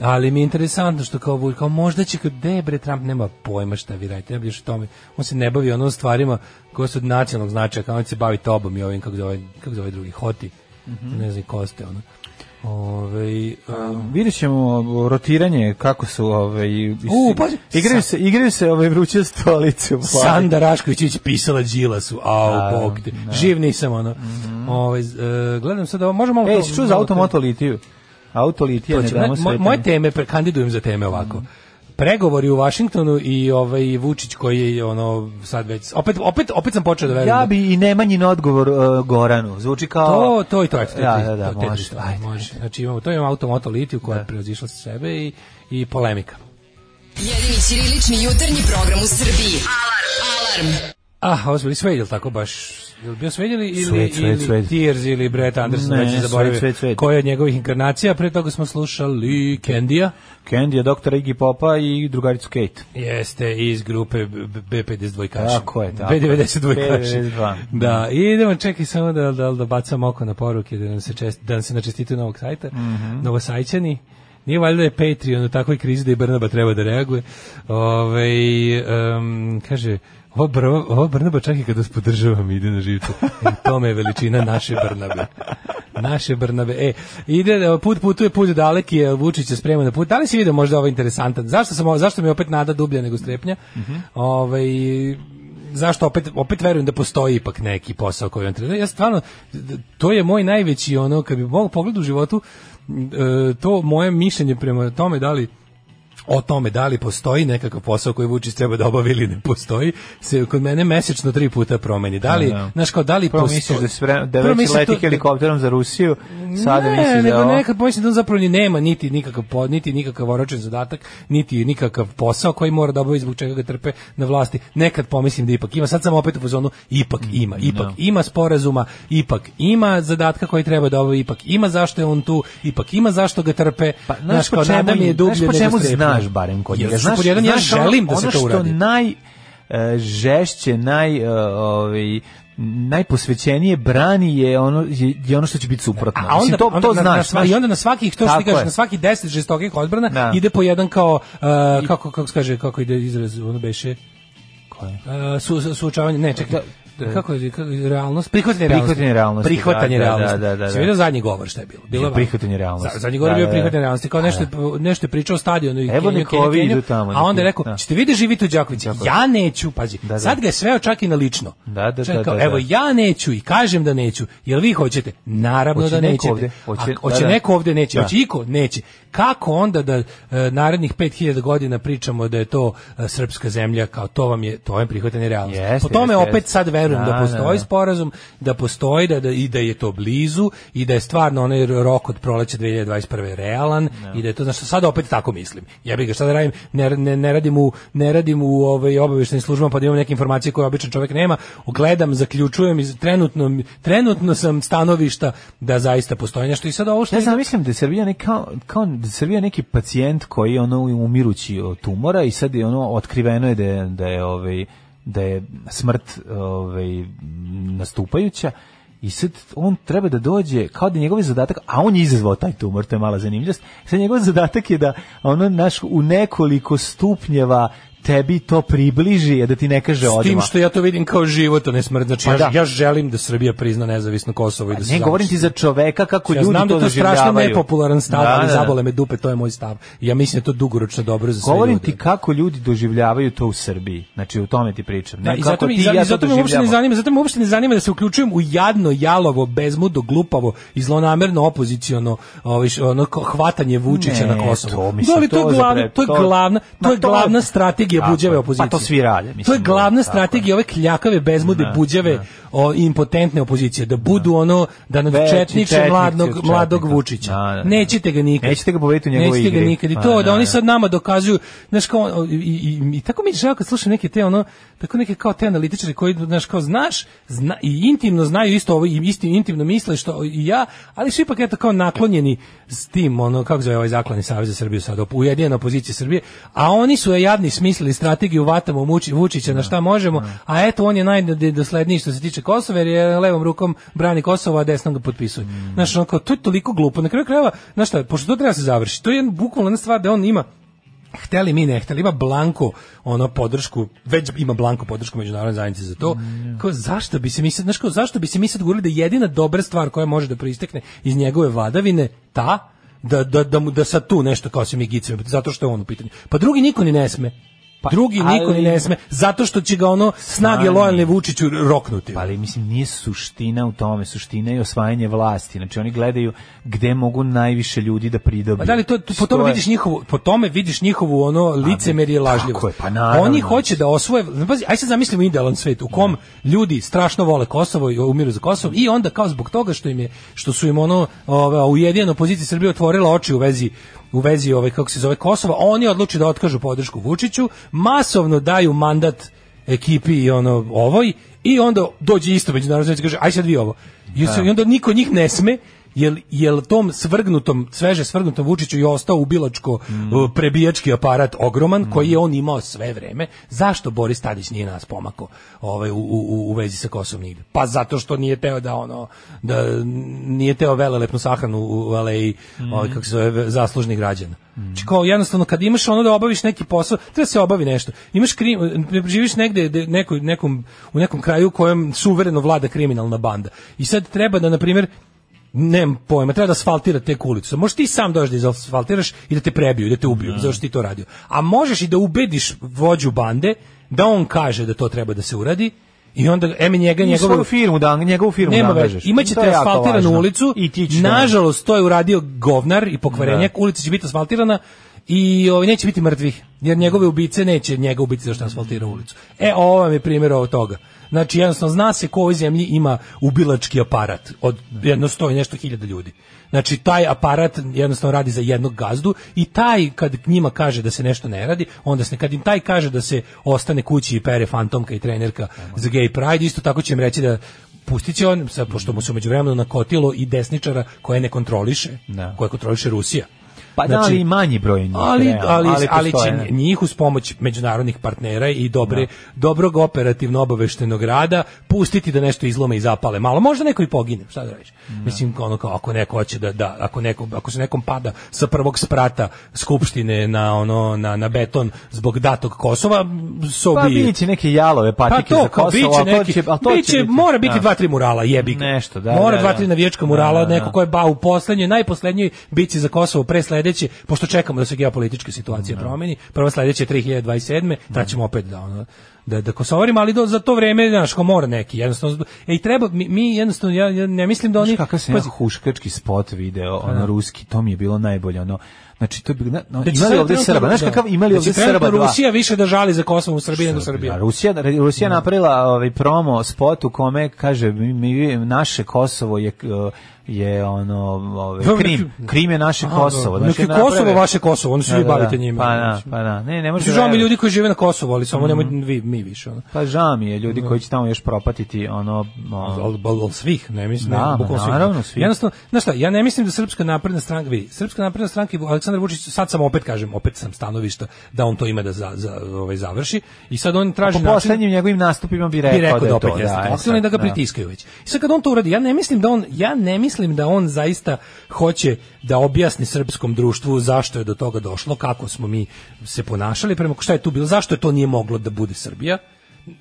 F: Ali mi je interesantno što kao, Bulj, kao možda će kao, de bre, Trump nema pojma šta vi radite, ne biliš o tome. On se ne bavi ono stvarima koje su od nacionalnog značaja, kao on se bavi tobom i ovim, kako zove, kako zove drugi, hoti. Ne znam, koste, ono. Ovaj, Ove,
E: Vidjet ćemo rotiranje kako su ove,
F: U, pa, pazi,
E: igraju se, igraju se ove vruće stolice u vladi.
F: Sanda Raškovićić pisala Đilasu,
E: Pa- Da,
F: au, bog te.
E: da. Mhm.
F: Živ nisam, ono. Ovaj, e, gledam sad ovo, možemo malo...
E: Ej,
F: to-
E: si čuo za
F: malo to-
E: automoto litiju? Auto litija
F: To
E: ne
F: će-
E: damo
F: moj-
E: sve.
F: moje teme pre- kandidujem za teme ovako. Pregovori u Vašingtonu i ovaj Vučić koji je ono sad već opet opet opet sam počeo da verujem.
E: Ja
F: da-
E: bi i Nemanjin odgovor e, Goranu. Zvuči kao...
F: to to i to je to. je-
E: Da, da, da,
F: to je-
E: može,
F: to je-
E: ajde,
F: može. Znači imamo to imamo automoto litiju koja je prevazišla sebe i i polemika.
D: Jedini ćirilični jutarnji program u Srbiji. Alarm! Alarm!
F: Ah, ovo su bili Sved, jel tako baš? Jel bio Sved ili, ili,
E: Suede, Suede,
F: ili
E: Suede.
F: Tears ili Brett Anderson?
E: Ne,
F: već sam
E: Suede,
F: zaboravio
E: Suede, Suede.
F: Koja je od njegovih inkarnacija? Pre toga smo slušali Kendija.
E: Candy je doktora Iggy Popa i drugaricu Kate.
F: Jeste iz grupe B52 dvojkaši.
E: Tako je, tako je.
F: B90 dvojkaši.
E: B92.
F: Da, i idemo čekaj samo da, da, da bacam oko na poruke, da nam se, čest, da nam se načestituje novog sajta, novosajćani. Nije valjda da je Patreon u takvoj krizi da i Brnaba treba da reaguje. Ove, kaže, ovo, Brno- ovo Brnaba čak i kad vas podržavam ide na živcu. E, to me je veličina naše Brnabe. Naše Brnabe. E, ide, e, put putuje, put daleki je, Vučić se sprema na put. Da li si vidio možda ovo interesantan? Zašto, sam, ovo- zašto mi je opet nada dublja nego strepnja? Ovaj, zašto opet opet verujem da postoji ipak neki posao koji on treba. Ja stvarno d- to je moj najveći ono kad bi mogao pogled u životu m, e, to moje mišljenje prema tome da li o tome da li postoji nekakav posao koji Vučić treba da obavi ili ne postoji, se kod mene mesečno tri puta promeni. Da li,
E: Da, da.
F: znaš kao, da li
E: Prvo
F: postoji-
E: misliš da, se vre- da
F: Prvo
E: već
F: mislim
E: leti
F: to-
E: helikopterom za Rusiju, sada
F: ne,
E: misliš da
F: nego
E: ovo-
F: nekad pomislim da on zapravo ni nema niti nikakav pod, niti nikakav oročen zadatak, niti nikakav posao koji mora da obavi zbog čega ga trpe na vlasti. Nekad pomislim da ipak ima, sad sam opet u fazonu
E: Mm,
F: ipak ima, ipak ima sporazuma, ipak ima zadatka koji treba da obavi, ipak ima zašto je on tu, ipak ima zašto ga trpe.
E: Pa, znaš, po
F: nada
E: čemu,
F: mi je dublje
E: znaš po
F: nego
E: čemu
F: strepnja.
E: znaš barem kod
F: Jer
E: njega.
F: što pod jedan, ja
E: ono-
F: želim da se to uradi.
E: Ono što naj e, žešće, naj e, ovaj najposvećenije brani je ono je, je ono što će biti suprotno.
F: A onda,
E: Mislim, to
F: onda
E: to
F: na,
E: znaš.
F: na sva,
E: znaš.
F: i onda na svakih to što
E: Tako
F: ti kažeš,
E: je.
F: na svaki 10 žestokih odbrana
E: Da.
F: ide po jedan kao uh, kako kako se kaže kako ide izraz ono beše
E: Koje?
F: Uh, su, su, suočavanje, ne, čekaj. kako je, kako je realnost? Prihvatanje realnosti.
E: Prihvatanje realnosti,
F: Prihvatanje
E: da, da,
F: realnosti.
E: da, da, da.
F: Si vidio zadnji govor šta je bilo? bilo je
E: Prihvatanje realnosti.
F: Za- Zadnji govor je
E: Da,
F: bio
E: da, da.
F: prihvatanje realnosti. Kao nešto, je- nešto je pričao o stadionu. i
E: Evo
F: Kenju,
E: nek
F: Kenju,
E: ovi
F: Kenju,
E: idu tamo,
F: A
E: nek
F: onda je
E: idu,
F: rekao,
E: da.
F: ćete vi da živite u Đakovici? Ja neću, pazi.
E: Da, da.
F: Sad ga je sveo čak i na lično.
E: Da, da,
F: Čak
E: da,
F: kao,
E: da,
F: Evo,
E: da.
F: ja neću i kažem da neću. Jel vi hoćete? Naravno
E: Hoće
F: da
E: neko
F: nećete.
E: ovde?
F: A
E: Hoće-
F: hoće
E: da, da.
F: neko ovde neće.
E: Da.
F: Hoće iko neće. Kako onda da e, narednih 5000 godina pričamo da je to e, srpska zemlja kao to vam je to je prihvatanje realnosti.
E: Jeste,
F: po tome
E: jeste,
F: opet
E: jeste.
F: sad verujem da,
E: Da, da,
F: postoji
E: da.
F: sporazum, da postoji da, da i da je to blizu i da je stvarno onaj rok od proleća 2021 realan i da je to znači sad opet tako mislim. Ja bih ga šta da radim, ne, ne, ne radim u ne radim u ovaj obavještajnim službama pa da imam neke informacije koje običan čovjek nema. Gledam, zaključujem i trenutno trenutno sam stanovišta da zaista postoji nešto i sad ovo što
E: Ne znam, mislim da je Srbija neki kao, kao da je Srbija neki pacijent koji je ono umirući od tumora i sad je ono otkriveno je da je, da je ovaj da je smrt ovaj m, nastupajuća i sad on treba da dođe kao da je njegov zadatak, a on je izazvao taj tumor, to je mala zanimljivost. Sad njegov zadatak je da ono naš u nekoliko stupnjeva tebi to približi, a da ti ne kaže
F: S tim
E: odmah.
F: što ja to vidim kao život, a ne smrt. Znači,
E: Pa
F: ja,
E: da. Pa
F: ja želim da Srbija prizna nezavisno Kosovo i da se
E: Ne govorim ti
F: završi.
E: za čoveka kako
F: Ja
E: ljudi
F: znam da
E: to
F: je to strašno
E: doživljavaju.
F: nepopularan stav,
E: Da,
F: ali
E: da, da.
F: zabole me dupe, to je moj stav. Ja mislim da je to dugoročno dobro za sve
E: Govorim
F: ljude.
E: ti kako ljudi doživljavaju to u Srbiji. Znači, u tome ti pričam. Ne,
F: Da, i
E: kako
F: zato mi,
E: ti i
F: i
E: ja to
F: zato me uopšte ne
E: doživljavamo.
F: zanima, zato me uopšte ne zanima da se uključujem u jadno, jalovo, bezmudo, glupavo i zlonamerno opoziciono ovaj š- ono ko- hvatanje Vučića
E: Ne,
F: na Kosovu.
E: to, mislim,
F: ali to,
E: to
F: je
E: za
F: glavna,
E: pre-
F: to je
E: to-
F: glavna,
E: Ma,
F: to je
E: to-
F: glavna strategija
E: Tako
F: buđave
E: je.
F: opozicije.
E: Pa to svi rade,
F: To je
E: mislim,
F: glavna
E: tako je.
F: strategija ove kljakave bezmude buđave o, impotentne opozicije da budu ono da nad
E: Veći
F: četniče
E: četnici od
F: mladnog
E: četnika.
F: mladog Vučića.
E: Da, da, da.
F: Nećete ga nikad.
E: Nećete ga pobediti u njegovoj
F: Nećete ga
E: igri.
F: nikad. I
E: Pa,
F: to
E: da,
F: da oni
E: da.
F: sad sad nama dokazuju, znaš kao on- i, i, i tako mi je žao kad slušam neke te ono, tako neke kao te analitičari koji znaš kao znaš zna, i intimno znaju isto ovo i isti intimno misle što i ja, ali su ipak eto kao naklonjeni s tim ono kako zove ovaj zaklani savez za Srbiju sad op- ujedinjena opozicija Srbije, a oni su je jadni smislili strategiju vatamo Vuči- Vučića na šta možemo, a eto on je najdosledniji što se tiče Kosova jer je levom rukom brani Kosovo, a desnom ga potpisuje. Znaš, ono kao, to je toliko glupo. Na kraju krajeva, znaš šta, pošto to treba da se završiti, to je jedan, bukvalno jedna stvar da on ima hteli mi ne hteli, ima blanko ono podršku, već ima blanko podršku međunarodne zajednice za to.
E: Mm,
F: Kao, zašto bi se mi sad, znaš kao, zašto bi se mi sad govorili da je jedina dobra stvar koja može da proistekne iz njegove vladavine ta da, da, da, mu, da sad tu nešto kao se mi gicimo, zato što je on u pitanju. Pa drugi niko ni ne sme. drugi niko ni
E: Pa, ali-
F: ne sme, zato što će ga ono snage
E: Stani.
F: lojalne Vučiću roknuti.
E: Pa ali mislim nije suština u tome, suština je osvajanje vlasti. Znači oni gledaju gde mogu najviše ljudi da pridobiju.
F: Pa da li to, to- po tome
E: Što je-
F: vidiš njihovu po tome vidiš njihovu ono licemerje i lažljivost.
E: tako je, pa naravno.
F: Oni hoće da osvoje, pazi, aj sad zamislimo idealan svet u kom ljudi strašno vole Kosovo i umiru za Kosovo i onda kao zbog toga što im je što su im ono ova ujedinjena opozicija Srbije otvorila oči u vezi u vezi ove kako se zove Kosova, oni odluče da otkažu podršku Vučiću, masovno daju mandat ekipi i ono ovoj i onda dođe isto međunarodna zajednica i kaže aj sad vi ovo. I, se- i onda niko od njih ne sme jel, jel tom svrgnutom, sveže svrgnutom Vučiću je ostao ubilačko e, prebijački aparat ogroman koji je on imao sve vreme. Zašto Boris Tadić nije nas pomako ovaj, u, u, u vezi sa Kosovom nigde? Pa zato što nije teo da ono, da nije teo velelepnu sahranu u u aleji, ovaj, kako se zove, zaslužnih građana. Znači kao jednostavno kad imaš ono da obaviš neki posao, treba se obavi nešto. Imaš krim, e, živiš negde gde- nekoj, nekom, u nekom kraju u kojem suvereno vlada kriminalna banda. I sad treba da, na primjer, nemam pojma, treba da asfaltira te kulicu. Možeš ti sam doći da izasfaltiraš i da te prebiju, i da te ubiju, zato što ti to radio. A možeš i da ubediš vođu bande da on kaže da to treba da se uradi i onda emi njega
E: I
F: njegovu
E: svoju firmu da njegovu firmu
F: nema
E: da
F: veze.
E: angažeš. To
F: Imaćete
E: je jako
F: asfaltiranu
E: važno.
F: ulicu.
E: I ti ćeš to-
F: Nažalost to je uradio govnar i pokvarenjak. Ulica će biti asfaltirana i ovaj neće biti mrtvih jer njegove ubice neće njega ubiti zašto je asfaltirao ulicu. E ovo vam je primjer ovog toga. Znači jednostavno zna se ko u ovoj zemlji ima ubilački aparat od jedno sto i nešto hiljada ljudi. Znači taj aparat jednostavno radi za jednog gazdu i taj kad njima kaže da se nešto ne radi, onda se kad im taj kaže da se ostane kući i pere fantomka i trenerka za gay pride, isto tako će im reći da pustit će on, sad, pošto mu se umeđu vremenu nakotilo i desničara koje ne kontroliše,
E: Da.
F: koje kontroliše Rusija.
E: Pa da,
F: Znači,
E: ali i manji broj njih.
F: Ali,
E: realno,
F: ali, ali,
E: postoje,
F: će
E: ne.
F: njih uz pomoć međunarodnih partnera i dobre, dobrog operativno obaveštenog rada pustiti da nešto izlome i zapale malo. Možda neko i pogine, šta da radiš? Mislim, ono kao, ako neko hoće da, da ako, neko, ako se nekom pada sa prvog sprata skupštine na, ono, na, na beton zbog datog Kosova, so
E: Pa
F: be it.
E: bit će neke jalove
F: Pa
E: patike
F: to,
E: za
F: kao biće
E: Kosovo, a to
F: neki,
E: će- a to će
F: biće,
E: biti-
F: mora biti
E: da.
F: dva, tri murala, jebi ga.
E: Nešto, da,
F: Mora
E: da,
F: dva,
E: da.
F: tri navijačka murala,
E: Da, da,
F: neko
E: da.
F: ko je ba u poslednjoj, najposlednjoj bici za Kosovo pre sledeće, pošto čekamo da se geopolitička situacija promeni, prva sledeće je 2027. tad ćemo opet da, ono, da, da kosovarimo, ali do, za to vreme, znaš, ko mora neki, jednostavno, ej, treba, mi, mi jednostavno, ja, ja ne mislim da oni...
E: Znaš kakav sam ja
F: Pazi,
E: huškački spot video, ono ruski, to mi je bilo najbolje, ono, znači to bi, na, no,
F: da će
E: imali
F: sad
E: ovde
F: trenutno-
E: Srba, znaš
F: da.
E: kakav imali
F: Da će
E: ovde
F: trenutno
E: Srba dva.
F: Rusija više da žali za Kosovo u Srbiji nego Srbija.
E: Da, Rusija, Rusija napravila ovaj promo spot u kome kaže mi, mi- naše Kosovo je eh, je ono ovaj
F: Da,
E: Krim,
F: neki-
E: Krim je naše
F: Aha,
E: Kosovo.
F: da. Neki
E: naprave-
F: znači, Kosovo, vaše Kosovo, onda se vi bavite njima. znači.
E: Pa da,
F: Mislim.
E: pa da. Ne, ne može.
F: Mislim, žao mi
E: da-
F: ljudi koji žive na Kosovu, ali samo nemoj vi, mi više ono.
E: Pa žao mi je ljudi koji će tamo još propatiti ono...
F: Al,
E: ono
F: al, al svih, ne mislim,
E: Da,
F: ne,
E: ma
F: bukvalno svih.
E: naravno, svih.
F: Jednostavno, znaš šta, ja ne mislim da Srpska napredna stranka, vidi, Srpska napredna stranka i Aleksandar Vučić, sad sam opet, kažem, opet sam stanovišta da on to ima da za, za, ovaj, završi i sad on traži
E: po poslednjim njegovim nastupima bi rekao,
F: znači- bi rekao da
E: je to.
F: opet jeste
E: e
F: to,
E: sad,
F: aktualno i da ga pritiskaju već. I sad kad on to uradi, ja ne mislim da on ja ne mislim da on zaista hoće da objasni srpskom društvu zašto je do toga došlo, kako smo mi se ponašali prema šta je tu bilo, zašto je to nije moglo da bude Srbija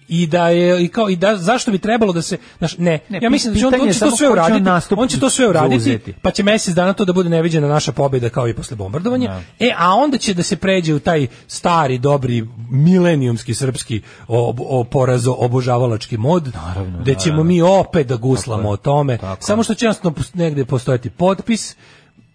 F: i da je i kao i da zašto bi trebalo da se znaš, ne,
E: Ne,
F: ja mislim da će on,
E: pitanje
F: on
E: je
F: će
E: samo
F: to sve
E: ko će on
F: uraditi
E: nastup
F: on će to sve uraditi
E: zauzeti.
F: pa će mesec dana to da bude neviđena naša pobjeda kao i posle bombardovanja. E, a onda će da se pređe u taj stari, dobri, milenijumski srpski ob, o, porazo obožavalački mod,
E: Naravno,
F: gde ćemo
E: naravno.
F: mi opet da guslamo o tome,
E: tako
F: samo što će jednostavno pos- negde postojati potpis,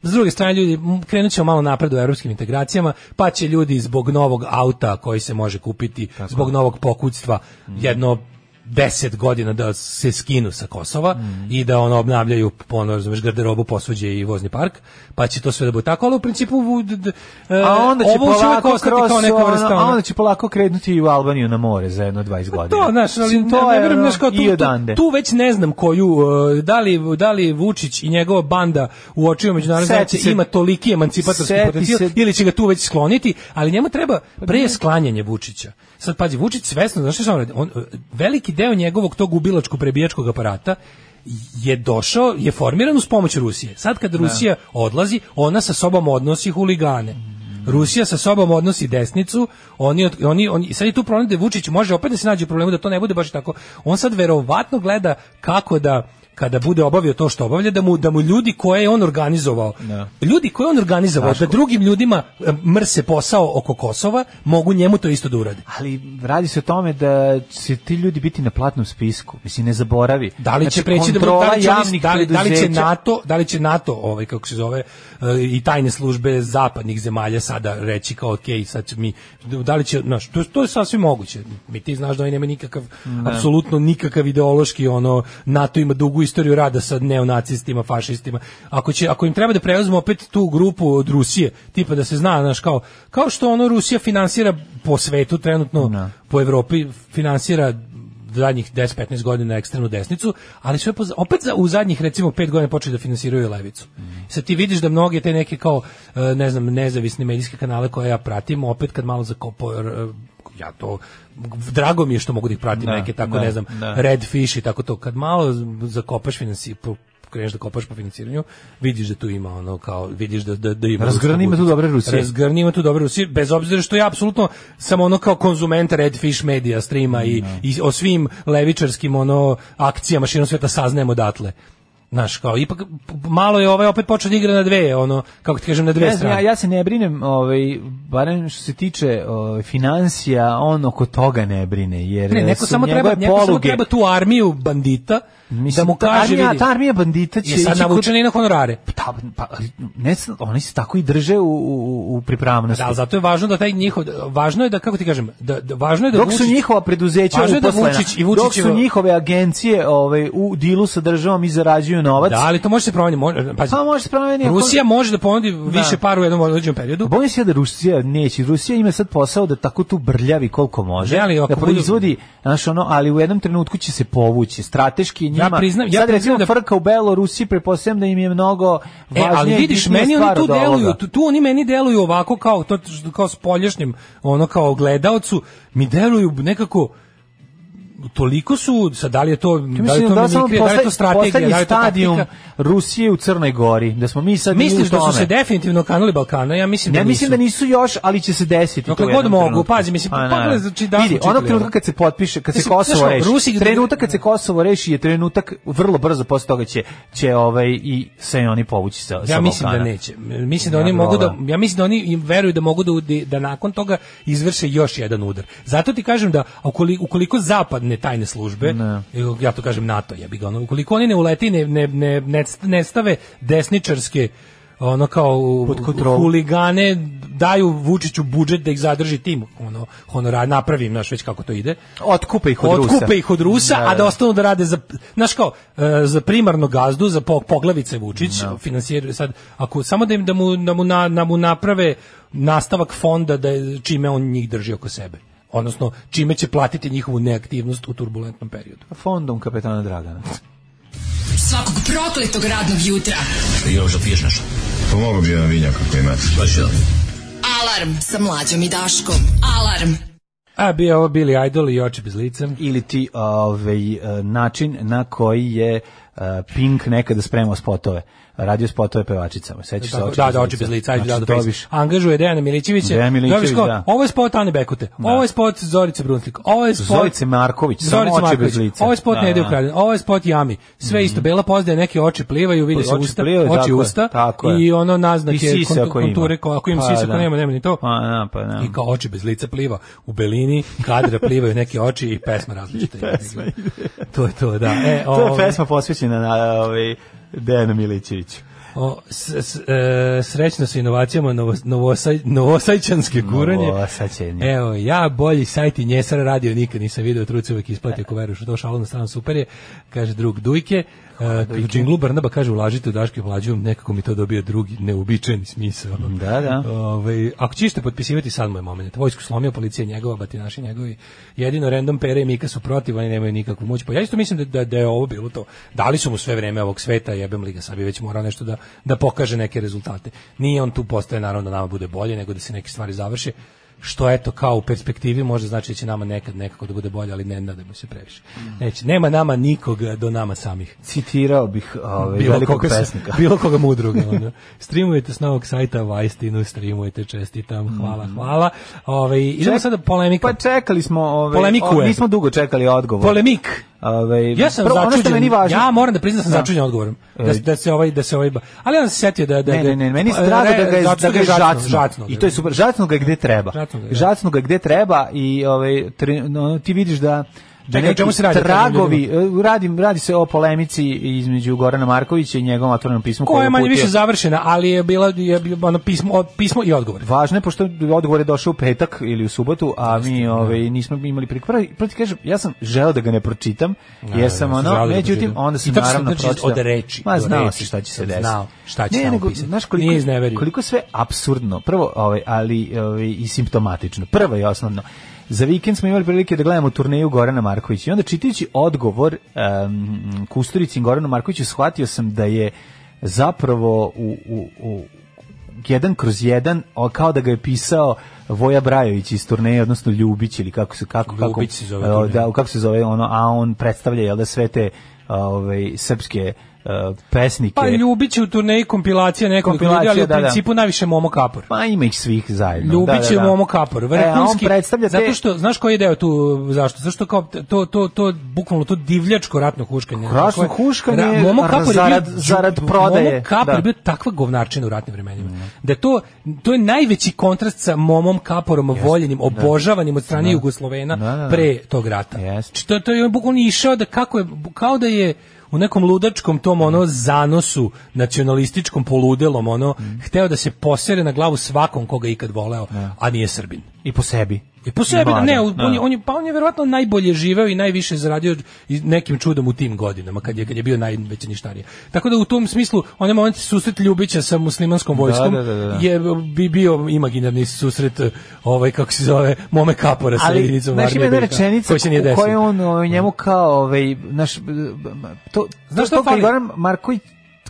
F: S druge strane, ljudi, m, krenut ćemo malo napred u evropskim integracijama, pa će ljudi zbog novog auta koji se može kupiti, zbog novog pokućstva, jedno 10 godina da se skinu sa Kosova i da ono obnavljaju ono, razumeš, garderobu, posuđe i vozni park, pa će to sve da bude tako, ali u principu vu- d- d- e,
E: A onda će
F: ovo će uvek
E: polako
F: ostati
E: kroz,
F: kao neka
E: ono,
F: vrsta,
E: a
F: ono,
E: onda će polako krenuti i u Albaniju na more za jedno 20 godina.
F: Pa to, znaš, ali
E: Mislim,
F: ne, ne
E: je,
F: verujem,
E: ono,
F: znaš, kao tu,
E: i
F: tu-
E: odande.
F: tu već ne znam koju, e, da li, da li Vučić i njegova banda u očima međunarodne
E: Seti
F: zajednice
E: se-
F: ima toliki emancipatorski
E: seti
F: potencijal
E: se-
F: ili će ga tu već skloniti, ali njemu treba pre sklanjanje Vučića. Sad, pazi, Vučić svesno, znaš šta on radi? On, e, veliki deo njegovog tog ubilačko prebijačkog aparata je došao, je formiran uz pomoć Rusije. Sad kad Rusija odlazi, ona sa sobom odnosi huligane. Rusija sa sobom odnosi desnicu, oni, od- oni, oni sad je tu problem da Vučić može opet da se nađe u problemu da to ne bude baš tako. On sad verovatno gleda kako da kada bude obavio to što obavlja, da mu, da mu ljudi koje je on organizovao, ljudi koje je on organizovao, da drugim ljudima e, mrse posao oko Kosova, mogu njemu to isto da urade.
E: Ali radi se o tome da će ti ljudi biti na platnom spisku. Mislim, ne zaboravi.
F: Da li će
E: Znači,
F: preći da
E: kontrola
F: da li će, oni-
E: javnih
F: da li, da li će
E: preduzeća-
F: NATO, da li će NATO, ovaj kako se zove, e, i tajne službe zapadnih zemalja sada reći kao ok, sad ćemo mi da li će, znaš, to, to je sasvim moguće. Mi ti znaš da oni nema nikakav apsolutno nikakav ideološki ono NATO ima dugu istoriju rada sa neonacistima, fašistima. Ako će ako im treba da preuzmu opet tu grupu od Rusije, tipa da se zna, znaš, kao kao što ono Rusija finansira po svetu trenutno po Evropi finansira zadnjih 10-15 godina ekstremnu desnicu, ali sve poz- opet za, u zadnjih recimo 5 godina počeli da finansiraju levicu. Sad ti vidiš da mnoge te neke kao e, ne znam nezavisne medijske kanale koje ja pratim, opet kad malo zakopo r- e, ja to drago mi je što mogu da ih pratim neke tako
E: da,
F: ne znam
E: da.
F: redfish i tako to kad malo z- zakopaš finansi po- kreneš da kopaš po financiranju, vidiš da tu ima ono kao, vidiš da, da, da ima...
E: Razgrni
F: ruskog
E: ima tu
F: utjecaja.
E: dobre Rusije.
F: Razgrni Zgar nije tu dobro Rusi, bez obzira što ja apsolutno sam ono kao konzument Redfish medija streama i, i o svim levičarskim ono akcijama širom sveta saznajem odatle. Znaš, kao, ipak p- malo je ovaj opet počeo da igra na dve, ono, kako ti kažem, na dve
E: Ne znam,
F: strane.
E: ja, ja se ne brinem, ovaj, barem što se tiče ovaj, financija, on oko toga ne brine, jer
F: ne, neko
E: su
F: samo treba,
E: njegove
F: neko samo
E: poluge-
F: treba tu armiju bandita
E: Mislim,
F: da mu
E: ta
F: kaže,
E: armija,
F: vidi,
E: ta armija bandita će
F: je sad
E: ići kod-
F: navučena i na honorare.
E: Pa, pa, ali, ne znam, oni se tako i drže u, u, u pripravnosti.
F: Da, ali zato je važno da taj njihov, važno je da, kako ti kažem, da, da važno je da
E: dok su
F: Vučić-
E: njihova preduzeća
F: Važno je da
E: uposlena,
F: Vučić i
E: dok su
F: Vučićeva-
E: njihove agencije ovaj, u dilu sa državom i zarađuju novac,
F: Da, ali to može se promeniti. Može, pazi,
E: Pa može se promeniti ako-
F: Rusija može da ponudi više para u jednom određenom periodu.
E: Bojim se ja da Rusija neće. Rusija ima sad posao da tako tu brljavi koliko može.
F: Ne, ali ako
E: da
F: budu-
E: proizvodi, znaš ono, ali u jednom trenutku će se povući. Strateški je njima.
F: Ja priznam- ja
E: sad
F: priznam
E: recimo
F: da-
E: frka u Belorusiji, prepostavljam da im je mnogo
F: E,
E: važnije.
F: ali vidiš, meni oni
E: on
F: tu deluju, tu, tu oni meni deluju ovako kao to što- kao spoljašnjem, ono kao gledaocu, mi deluju nekako toliko su, sad da li je to, da li je
E: Mislim
F: to
E: da, samo
F: mimikrija, da li je to
E: poslednji,
F: strategija,
E: poslednji
F: da li je to
E: stadijum
F: taktika?
E: Rusije u Crnoj Gori, da smo mi sad mi
F: Misliš
E: u
F: da
E: tome.
F: su se definitivno kanali Balkana? Ja mislim
E: Ne
F: da
E: mislim da nisu još, ali će se desiti.
F: No,
E: to u
F: kad god
E: jednom
F: mogu,
E: trenutku.
F: pazi, mislim,
E: Pa,
F: pogledaj,
E: naravno.
F: znači, da
E: Vidi,
F: smo
E: onog
F: čitali,
E: trenutka
F: ono.
E: kad se potpiše, kad se
F: Mislim,
E: Kosovo
F: znaš, ono,
E: reši,
F: Rusi-
E: trenutak kad se Kosovo reši je trenutak vrlo brzo posle toga će će ovaj i se i oni povući sa sa
F: Ja mislim da
E: Balkana.
F: neće. Mislim da
E: Ja
F: oni
E: bi
F: mogu da
E: voleo.
F: ja mislim da oni im veruju da mogu da udi- da nakon toga izvrše još jedan udar. Zato ti kažem da ukoliko, ukoliko zapadne tajne službe, ja to kažem NATO, ja bih ga ono, ukoliko oni ne uleti ne ne ne ne, ne stave desničarske ono kao
E: Pod kontrolu.
F: huligane daju Vučiću budžet da ih zadrži tim ono honorar napravim naš već kako to ide
E: Otkupe ih od Rusa.
F: otkupe ih od Rusa,
E: Da,
F: a da
E: da.
F: ostanu da rade za, znaš kao, e, za primarno gazdu, za po- poglavice Vučić, finansiraju sad, ako samo da im da mu, da mu, na, da mu naprave nastavak fonda da je- čime on njih drži oko sebe. odnosno čime će platiti njihovu neaktivnost u turbulentnom periodu.
E: Fondom kapetana Dragana.
D: Svakog prokletog radnog jutra.
G: Još da piješ nešto?
H: Pomogao bi jedan vinjak ako imate.
G: Pa ću da.
D: Alarm sa mlađom i Daškom. Alarm.
F: A bio ovo bili idol i oči bez lica.
E: Ili ti ovaj, e, način na koji je e, Pink nekada spremao spotove. Radio spotove pevačicama. Sećaš se
F: Da, da, da, oči bez lica, ajde, da,
E: Znači,
F: da,
E: dobiš.
F: Angažuje Dejana Milićevića.
E: Dejan Milićević,
F: Dobiš kao,
E: da.
F: Ovo je spot Ane Bekute. Ovo je spot Zorice Brunslik. Ovo je spot...
E: Zorice Marković, samo
F: Zorice
E: oči bez
F: Marković.
E: lica.
F: Ovo je spot
E: Da,
F: da, Nede
E: da. Mhm.
F: Ukraden. Ovo je spot Jami. Sve isto, bela pozdaja, neke oči plivaju, vidi se
E: Oči
F: usta,
E: plivaju,
F: oči
E: tako je,
F: usta
E: tako je.
F: i ono naznake,
E: I sise
F: kontu-
E: ako ima.
F: konture, ko- ako im
E: Pa,
F: sisa,
E: da.
F: ako nema, nema ni to.
E: Pa, da, pa, da.
F: I kao oči bez lica pliva u belini, kadra plivaju neke oči i pesma različita. to je to, da. E,
E: To
F: ovo-
E: je pesma posvećena na ovaj, Dejanu Milićeviću.
F: O, s, s, e, srećno sa inovacijama novo, novosaj, novosajčanske guranje.
E: Novosaćenje.
F: Evo, ja bolji sajt i njesar radio nikad nisam video, truci uvek isplati ako veruš u to, šalo na stranu super je, kaže drug Dujke. E, u džinglu Barnaba kaže ulažite u Daške vlađu, nekako mi to dobio drugi neuobičajeni smisao.
E: Da, da.
F: Ove, Ovaj, ako ćete potpisivati sad moj moment, vojsku slomio, policija njegova, batinaši njegovi, jedino random Pere i Mika su protiv, oni nemaju nikakvu moć. Pa ja isto mislim da, da, da je ovo bilo to. Dali su mu sve vreme ovog sveta, jebem li ga, sad bi već morao nešto da, da pokaže neke rezultate. Nije on tu postaje naravno da nama bude bolje, nego da se neke stvari završe što eto kao u perspektivi može znači da će nama nekad nekako da bude bolje, ali ne nadajmo se previše. Neće, nema nama nikoga do nama samih
E: Citirao bih ovaj,
F: bilo
E: velikog
F: koga, se-
E: pesnika.
F: bilo koga mudrog. ono. Streamujete s novog sajta Vajstinu, streamujete, čestitam, hvala, hvala. Ove, idemo
E: Ček-
F: sada polemika.
E: Pa čekali smo, ovaj,
F: Polemikuje.
E: o, nismo dugo čekali odgovor.
F: Polemik.
E: Ovaj,
F: Ja sam
E: prvo, Ono što
F: začuđen.
E: je meni važno,
F: Ja moram da priznam da sam
E: Da.
F: začuđen odgovorom. Da,
E: E.
F: se- da se ovaj da se ovaj ba- ali on se setio da da
E: Ne,
F: da-
E: ne, ne, meni se
F: e,
E: drago da ga je,
F: začudio
E: da ga je žacno.
F: žacno.
E: I to je super. Žacno ga je gde treba.
F: Žacno ga je, da.
E: Žacno ga je gde treba i ovaj, tre, no, ti vidiš da da
F: Čekaj, o
E: neki
F: čemu se radi, kažem
E: tragovi, e, radim, radi se o polemici između Gorana Markovića i njegovom otvorenom pismu
F: koja je manje
E: uputio.
F: više završena, ali je bila je bilo ono pismo od- pismo i odgovor.
E: Važno je pošto odgovor je došao u petak ili u subotu, a mi ovaj nismo imali priliku. Prvo, prvo ti kažem, ja sam želeo da ga ne pročitam, jesam
F: ja sam želeo
E: ono,
F: da
E: međutim
F: pročitam.
E: onda
F: I
E: sam
F: tako sam,
E: naravno
F: znači,
E: pročitao.
F: od reči
E: Ma
F: do
E: znao
F: reči
E: si šta će se
F: sam
E: desiti.
F: znao šta će
E: ne,
F: tamo
E: nego,
F: pisati.
E: znaš
F: Nije
E: koliko,
F: izneverio.
E: koliko sve apsurdno. Prvo, ovaj, ali ovaj, i simptomatično. Prvo i osnovno. Za vikend smo imali prilike da gledamo turneju Gorana Markovića i onda čitajući odgovor um, Kusturici Goranu Markoviću shvatio sam da je zapravo u, u, u, jedan kroz jedan, o, kao da ga je pisao Voja Brajović iz turneje, odnosno Ljubić ili kako se kako kako
F: Ljubić se zove
E: e,
F: turneja.
E: da, kako se zove ono, a on predstavlja jel da sve te ovaj srpske e, pesnike.
F: Pa Ljubić je u turneji kompilacija nekoliko ljudi,
E: Kompilacija,
F: ali u
E: da, da.
F: principu najviše Momo Kapor.
E: Pa ima ih svih zajedno.
F: Ljubić
E: da,
F: je
E: da, da.
F: Momo Kapor,
E: E, a on
F: vrhunski.
E: predstavlja te...
F: Zato što, znaš koji je deo tu, zašto? Zašto kao to, to, to, bukvalno to divljačko ratno huškanje.
E: Ratno
F: Koje-
E: huškanje
F: Ra- Momo Kapor je bio-
E: zarad- zarad prodaje,
F: Momo Kapor
E: da. Mhm.
F: je bio takva govnarčina u ratnim vremenima. Da je to, to je najveći kontrast sa Momom Kaporom, voljenim, obožavanim od strane Jugoslovena
E: Da, da, da.
F: pre tog rata.
E: Jeste.
F: Znači, To, to je on bukvalno išao da kako je, kao da je u nekom ludačkom tom ono zanosu nacionalističkom poludelom ono
E: Mhm.
F: hteo da se posere na glavu svakom koga je ikad voleo, a nije Srbin.
E: I po sebi.
F: I E, po sebi,
E: Mladen,
F: ne, on,
E: da.
F: on, je, on je, pa on je verovatno najbolje živeo i najviše zaradio i nekim čudom u tim godinama, kad je, kad je bio najveći ništarija. Tako da u tom smislu, onaj moment susret Ljubića sa muslimanskom vojskom
E: da, da, da.
F: je bi bio imaginarni susret, ovaj, kako se zove, Mome Kapora sa
E: ali
F: jedinicom
E: znaš
F: armije
E: ima jedna
F: BiH,
E: rečenica
F: koji se nije
E: u
F: desio.
E: kojoj on ovaj, njemu kao ovaj naš to
F: Znaš
E: znaš
F: šta
E: to kad
F: fali?
E: Goran Marković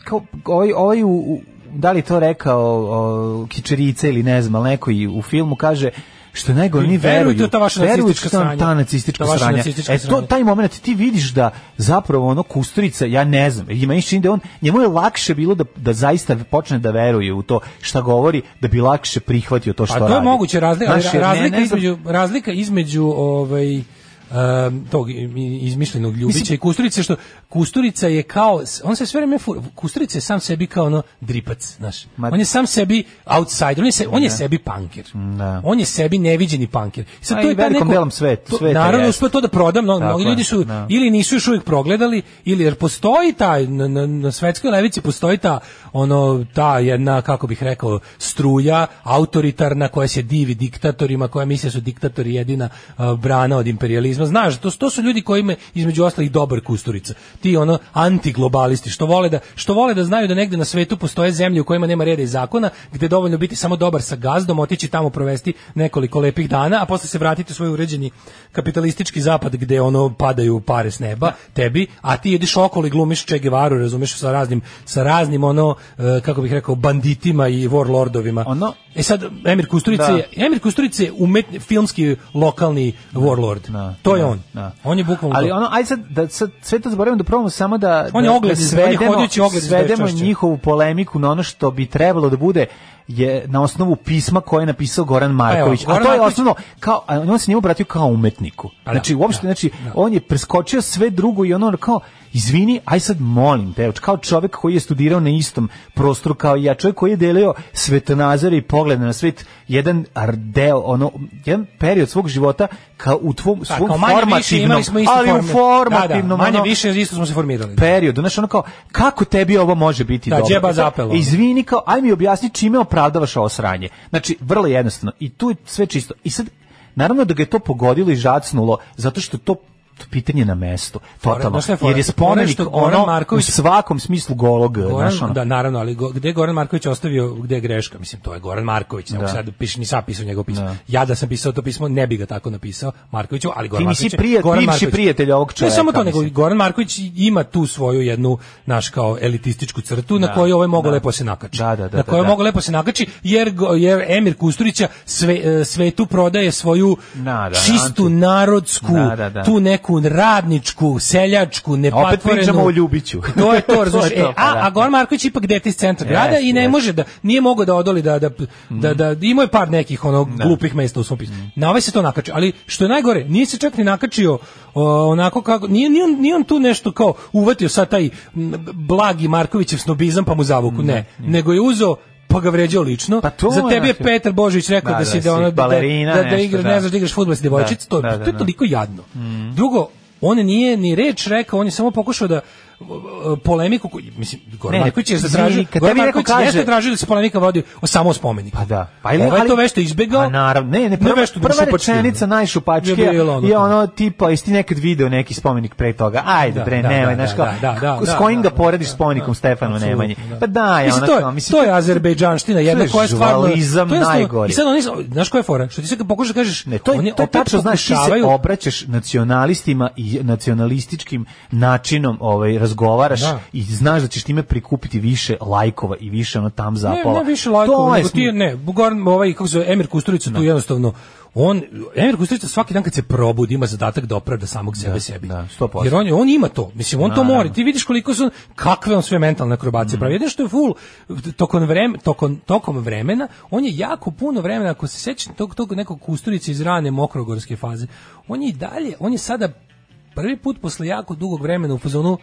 E: kao ovaj ovaj u, u da li je to rekao o, Kičerica ili ne znam, ali neko i u filmu kaže što je najgore
F: I
E: ni
F: verujte
E: veruju.
F: u ta vaša
E: Verujte
F: nacistička
E: u ta-
F: sranja.
E: Ta nacistička
F: Ta vaša
E: sranja.
F: nacistička
E: E to,
F: sranja.
E: taj moment ti vidiš da zapravo ono Kusturica, ja ne znam, ima i čini da on, njemu je lakše bilo da, da zaista počne da veruje u to šta govori, da bi lakše prihvatio to što
F: Pa
E: radi.
F: to je moguće razlika,
E: Znaš, jer ne-
F: razlika
E: ne znam-
F: između razlika između ovaj em, tog i- i- izmišljenog Ljubića i Kusturice što Kusturica je kao s- on se sve vreme fur, Kusturica je sam sebi kao ono dripac, znaš.
E: Ma-
F: on je sam sebi outsider, on je, se, on je sebi punker.
E: Da.
F: On je sebi neviđeni punker. I Sad
E: A
F: to
E: i
F: je ta
E: velikom
F: neko
E: belom svetu,
F: to-
E: sveta
F: Naravno
E: jeste.
F: uspeo pa to da prodam, no,
E: Tako
F: mnogi
E: je,
F: ljudi su
E: da.
F: ili nisu još uvijek progledali ili jer postoji taj na, na, na svetskoj levici postoji ta ono ta jedna kako bih rekao struja autoritarna koja se divi diktatorima koja misle da su diktatori jedina a, brana od kapitalizma. Znaš, to, to su ljudi koji ima između ostalih dobar kusturica. Ti ono antiglobalisti što vole da što vole da znaju da negde na svetu postoje zemlje u kojima nema reda i zakona, gde je dovoljno biti samo dobar sa gazdom, otići tamo provesti nekoliko lepih dana, a posle se vratiti u svoj uređeni kapitalistički zapad gde ono padaju pare s neba tebi, a ti ideš okolo i glumiš Che Guevaru, razumeš, sa raznim sa raznim ono e, kako bih rekao banditima i warlordovima.
E: Ono-
F: E sad Emir Kusturica
E: Da.
F: je Emir Kusturica je umetni filmski lokalni warlord.
E: Da,
F: to je
E: da,
F: on.
E: da.
F: On je bukvalno
E: Ali
F: to.
E: ono, ajde sad, da sad sve to zaboravimo da probamo samo da...
F: On je
E: da-
F: ogledni,
E: da
F: on je hodajući ogledni
E: Svedemo
F: bezčašća.
E: njihovu polemiku na ono što bi trebalo da bude je na osnovu pisma koje je napisao Goran Marković.
F: Pa Goran
E: a to je
F: Marković-
E: osnovno, kao, a on se njemu obratio kao umetniku.
F: Pa da,
E: znači, uopšte,
F: da,
E: znači,
F: da.
E: on je preskočio sve drugo i ono kao, izvini, aj sad molim te, kao čovek koji je studirao na istom prostoru kao i ja, čovek koji je delio svetonazore i poglede na svet, jedan ar- deo, ono, jedan period svog života kao u tvom,
F: Da,
E: svom
F: Pa, kao manje više
E: formativnom,
F: imali smo isto
E: Ah, ali u
F: forme. Da, da,
E: formativnom
F: manje
E: ono,
F: više isto smo se formirali.
E: periodu. Znaš, ono kao, kako tebi ovo može biti
F: Da,
E: dobro?
F: đeba
E: E sad,
F: zapelo.
E: Izvini, kao, aj mi objasni čime opravdavaš ovo sranje. Znači, vrlo jednostavno. I tu je sve čisto. I sad, naravno da ga je to pogodilo i žacnulo, zato što to to pitanje na mestu, totalno.
F: znaš šta je fora?
E: Jer je
F: Fora je
E: spomenik
F: što Goran
E: ono
F: Marković-
E: u svakom smislu golog.
F: Goran,
E: znaš, ono.
F: da naravno, ali go, gde je Goran Marković ostavio, gde je greška, mislim to je Goran Marković, ne mogu sad piše ni sapisao njegovo pismo. Ja da sam pisao to pismo, ne bi ga tako napisao Markoviću, ali Goran
E: Ti nisi
F: Marković. je-
E: prijatelj-
F: Goran
E: bivši
F: Marković-
E: prijatelj ovog
F: Ne
E: čoveka,
F: samo to, nego
E: mislim.
F: Goran Marković ima tu svoju jednu naš kao elitističku crtu na koju ovaj mogu lepo se nakači.
E: Da, da, da,
F: na koju
E: da, da.
F: mogu lepo se nakači jer go- jer Emir Kusturića sve e, svetu prodaje svoju
E: Da, da,
F: čistu
E: anti-
F: narodsku,
E: Da, da, da.
F: tu neku radničku, seljačku, nepatvorenu.
E: pričamo o Ljubiću.
F: To je to,
E: To je
F: razumeš?
E: to,
F: E,
E: pa
F: a,
E: da.
F: a Goran Marković je ipak dete iz centra grada i ne
E: Jeste, Mhm.
F: može da nije mogao da odoli da da da da imao je par nekih ono glupih mesta u svom pismu. Na ovaj se to nakači, ali što je najgore, nije se čak ni nakačio o, onako kako nije nije on, nije on tu nešto kao uvatio sad taj m, blagi Markovićev snobizam pa mu zavuku, ne, nego je uzeo pa ga vređao lično.
E: Pa to
F: Za
E: je,
F: tebi je
E: znači-
F: Petar Božić rekao
E: Da,
F: da,
E: da,
F: si
E: si
F: da, ono, da,
E: balerina,
F: da, da,
E: nešto,
F: igraš,
E: da.
F: ne znaš da igraš fudbal s devojčic, to,
E: Da, da,
F: to je
E: da.
F: toliko jadno. Drugo, on nije ni reč rekao, on je samo pokušao da uh, uh, polemiku koju, mislim Goran
E: Ne, ne,
F: Marković je
E: izvini,
F: zatražio
E: kad
F: Goran
E: tebi neko
F: Marković
E: kaže-
F: jeste tražio da se polemika vodi o samo o spomeniku.
E: Pa da. Pa
F: ili Ovaj je to vešto izbegao.
E: Pa naravno. Ne, ne, prva,
F: vešto, nego
E: prva
F: šupački.
E: rečenica najšupačkija
F: Je
E: je,
F: bilo ono
E: ono, je
F: to.
E: ono tipa, jesi ti nekad video neki spomenik pre toga? Ajde
F: Da,
E: bre,
F: da, da,
E: nemoj, znaš
F: da,
E: kao,
F: da, da, da,
E: s kojim
F: da,
E: ga porediš spomenikom Stefanu
F: apsolutno,
E: Nemanji?
F: da.
E: Pa da, je
F: Mislim,
E: ona
F: to
E: kao,
F: je,
E: mislim,
F: to je azerbejdžanština, jedna
E: to je
F: koja je stvarno...
E: žvalizam
F: to je jednostavno-
E: najgori.
F: I sad oni, znaš koja je fora? Što ti sad kad pokušaš da kažeš,
E: Ne, to
F: oni
E: je, to je
F: opet
E: tačno, znaš, ti se
F: pokušavaju-
E: obraćaš nacionalistima i nacionalističkim načinom ovaj, razgovaraš
F: Da.
E: i znaš da ćeš time prikupiti više lajkova i više ono tam zapala.
F: Ne, ne više lajkova,
E: To je
F: nego ti je, ne, Goran, ovaj, kako se zove, Emir Kusturica tu jednostavno, on, Emir Kusturica svaki dan kad se probudi ima zadatak da opravda samog sebe sebi.
E: da, 100%.
F: Jer on, je- on ima to, mislim, on to mora. Ti vidiš koliko su, kakve on sve mentalne akrobacije pravi. Jedino što je full, tokom, vrem, tokom, tokom vremena, on je jako puno vremena, ako se sećam tog, tog nekog Kusturica iz rane mokrogorske faze, on je i dalje, on je sada prvi put posle jako dugog vremena u fazonu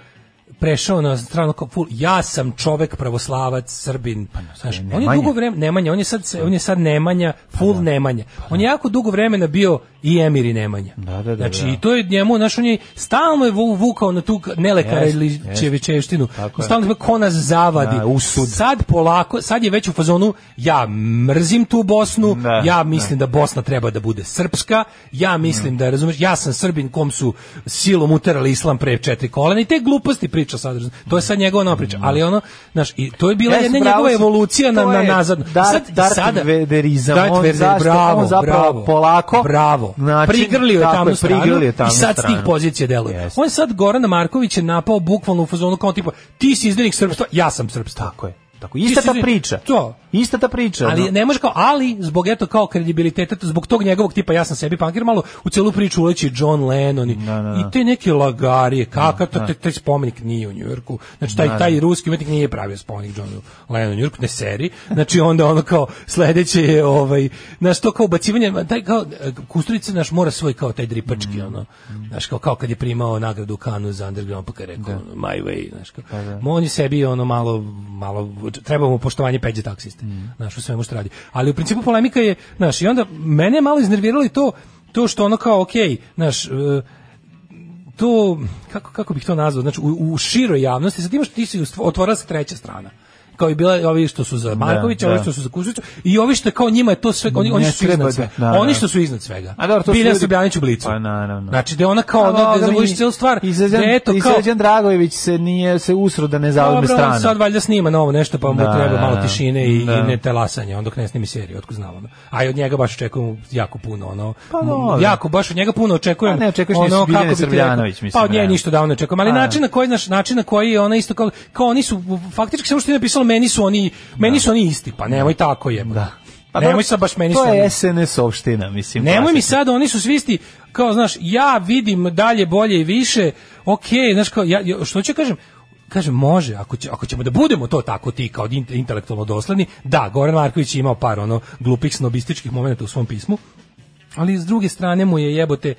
F: prešao na stranu kao full ja sam čovek pravoslavac srbin
E: Pa,
F: Znaš, on je
E: Nemanja.
F: dugo vremena nemanja on je sad se- on je sad nemanja
E: Pa
F: full nemanja on je jako dugo vremena bio i emir i nemanja
E: Da, da, da,
F: znači
E: da.
F: i to je njemu naš on je stalno je vu- vukao na tu nelekara
E: Jest,
F: ili
E: jest.
F: čevičevštinu
E: Tako je.
F: stalno je ko nas zavadi
E: Da, usud.
F: sad polako sad je već u fazonu ja mrzim tu Bosnu
E: Da,
F: ja mislim da Bosna treba da bude srpska ja mislim da razumeš ja sam Srbin kom su silom uterali islam pre četiri kolena i te gluposti priča sad razumeš. to je sad njegova nova priča ali ono znaš i to je bila
E: Jes,
F: jedna
E: bravo
F: njegova
E: si.
F: evolucija na
E: To
F: na
E: je
F: nazad
E: Darth-
F: sad
E: Darth
F: sada
E: Vaderizam,
F: Darth
E: on
F: Vader,
E: zašto-
F: bravo,
E: on zapravo
F: bravo,
E: polako-
F: bravo
E: Znači,
F: prigrlio je
E: tako
F: tamo
E: je,
F: stranu
E: prigrlio je
F: i
E: tamnu
F: sad s tih
E: stranu.
F: pozicija deluje
E: Jeste.
F: on je sad Gorana Marković je napao bukvalno u fazonu kao tipa ti si izdenik srpstva ja sam srpstva
E: Tako je. Tako, ista
F: Ti si-
E: ta priča.
F: To.
E: Ista ta priča.
F: Ali
E: ono.
F: ne može kao ali zbog eto kao kredibiliteta zbog tog njegovog tipa ja sam sebi pankir malo u celu priču uleći John Lennon i, i te neke lagarije kakav to taj- taj spomenik nije u Njujorku znači taj taj ruski umetnik nije pravio spomenik Johnu Lennonu u Njujorku ne seri znači onda ono kao sledeće je ovaj znaš to kao ubacivanje taj kao e, Kusturica naš mora svoj kao taj dripački ono znaš kao, kao kad je primao nagradu Kanu za underground pa kad je rekao ono, my way znaš kao Ma on je sebi ono malo malo treba mu poštovanje peđe taksiste znaš u svemu što radi ali u principu polemika je znaš i onda mene je malo iznerviralo i to to što ono kao okej znaš e, to kako kako bih to nazvao znači u, u široj javnosti sad imaš ti si u stv- otvorila se treća strana kao i bila ovi što su za Markovića,
E: da.
F: ovi što su za Kušića i ovi što kao njima je to sve oni oni
E: Ne
F: što su iznad
E: treba
F: svega.
E: da- da,
F: oni
E: da.
F: što su iznad svega.
E: A dobro, to su
F: Biljan
E: ljudi-
F: Srbljanić u blicu.
E: Pa, naravno.
F: Znači da je ona kao ono da zavuči celu stvar.
E: I Srđan,
F: da je to
E: i
F: kao
E: Srđan Dragojević se nije se usro da ne zauzme
F: Dobro, on
E: stranu.
F: sad valjda snima novo nešto, pa mu
E: Da,
F: treba
E: da,
F: malo
E: da.
F: tišine i,
E: Da.
F: i ne telasanje, on dok ne snimi seriju, otko znam ono. A i od njega baš očekujem jako puno, ono,
E: Pa
F: m,
E: dobro.
F: jako, baš od njega puno očekujem. ono,
E: A ne očekuješ ni od Biljane
F: kako bi ti
E: Srbljanović,
F: rekao,
E: mislim,
F: Pa od nje
E: realno.
F: ništa davno ne očekujem, ali
E: Pa, da.
F: način na koji, znaš, način na koji je ona isto kao, kao oni su, faktički samo što je napisalo, meni su oni, meni su oni isti, pa nemoj tako je. Da. Pa nemoj
E: dobro,
F: sad baš meni su
E: To
F: oni
E: je SNS opština, mislim.
F: Nemoj mi
E: klasično.
F: sad, oni su svi isti, kao, znaš, ja vidim dalje, bolje i više, okej, znaš, kao, ja, ja- što ću kažem, kažem, može, ako, će, ako ćemo da budemo to tako ti kao in- intelektualno dosledni, da, Goran Marković je imao par ono glupih snobističkih momenta u svom pismu, ali s druge strane mu je jebote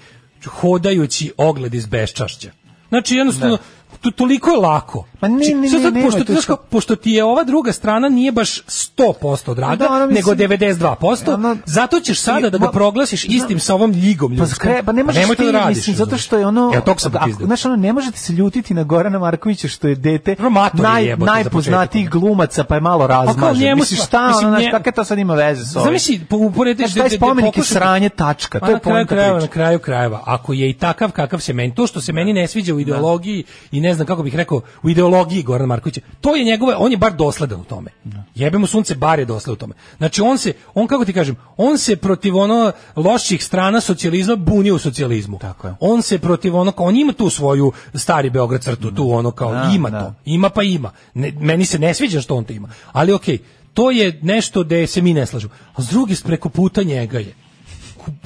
F: hodajući ogled iz beščašća. Znači, jednostavno, to, toliko je lako.
E: Ma Pa ne,
F: Znači,
E: ne,
F: sad
E: ne,
F: sad,
E: nema
F: pošto,
E: tu
F: znaš
E: što-
F: kao, pošto ti je ova druga strana nije baš 100% od rada,
E: Pa Da, ona mislim-
F: nego 92%,
E: Ona-
F: zato ćeš sada da
E: Ma-
F: ga proglasiš istim sa ovom ljigom
E: Pa
F: ljudskom.
E: skre, pa ne možeš
F: nemoj
E: ti,
F: to da radiš.
E: mislim, zato što je ono,
F: Evo, tog sam
E: ako-
F: popizdeo.
E: znaš, ono, ne možete se ljutiti na Gorana Markovića što je dete
F: Prvo, mator je
E: naj,
F: jebote za
E: najpoznatijih
F: početak.
E: glumaca, pa je malo razmažen.
F: njemu
E: Mislim,
F: sva-
E: šta,
F: mislim,
E: ono, znaš,
F: nje-
E: kakve to sad ima veze s ovim?
F: Zamisli, po- uporedite
E: Znaš, taj spomenik je sranje, tačka, to je poenta
F: krajeva,
E: priče.
F: Pa Na kraju krajeva, ako je i takav kakav se meni, to što se meni ne sviđa u ideologiji i ne znam kako bih rekao, u ideologiji Gorana Markovića, to je njegove, on je bar dosledan u tome. Jebe mu sunce, bar je dosledan u tome. Znači on se, on kako ti kažem, on se protiv ono loših strana socijalizma buni u socijalizmu.
E: Tako je.
F: On se protiv ono, on ima tu svoju stari Beograd crtu, tu ono kao,
E: Da,
F: ima
E: da.
F: to. Ima pa ima. Ne, meni se ne sviđa što on to ima. Ali okej, to je nešto gde se mi ne slažemo. A s druge, s- preko puta njega je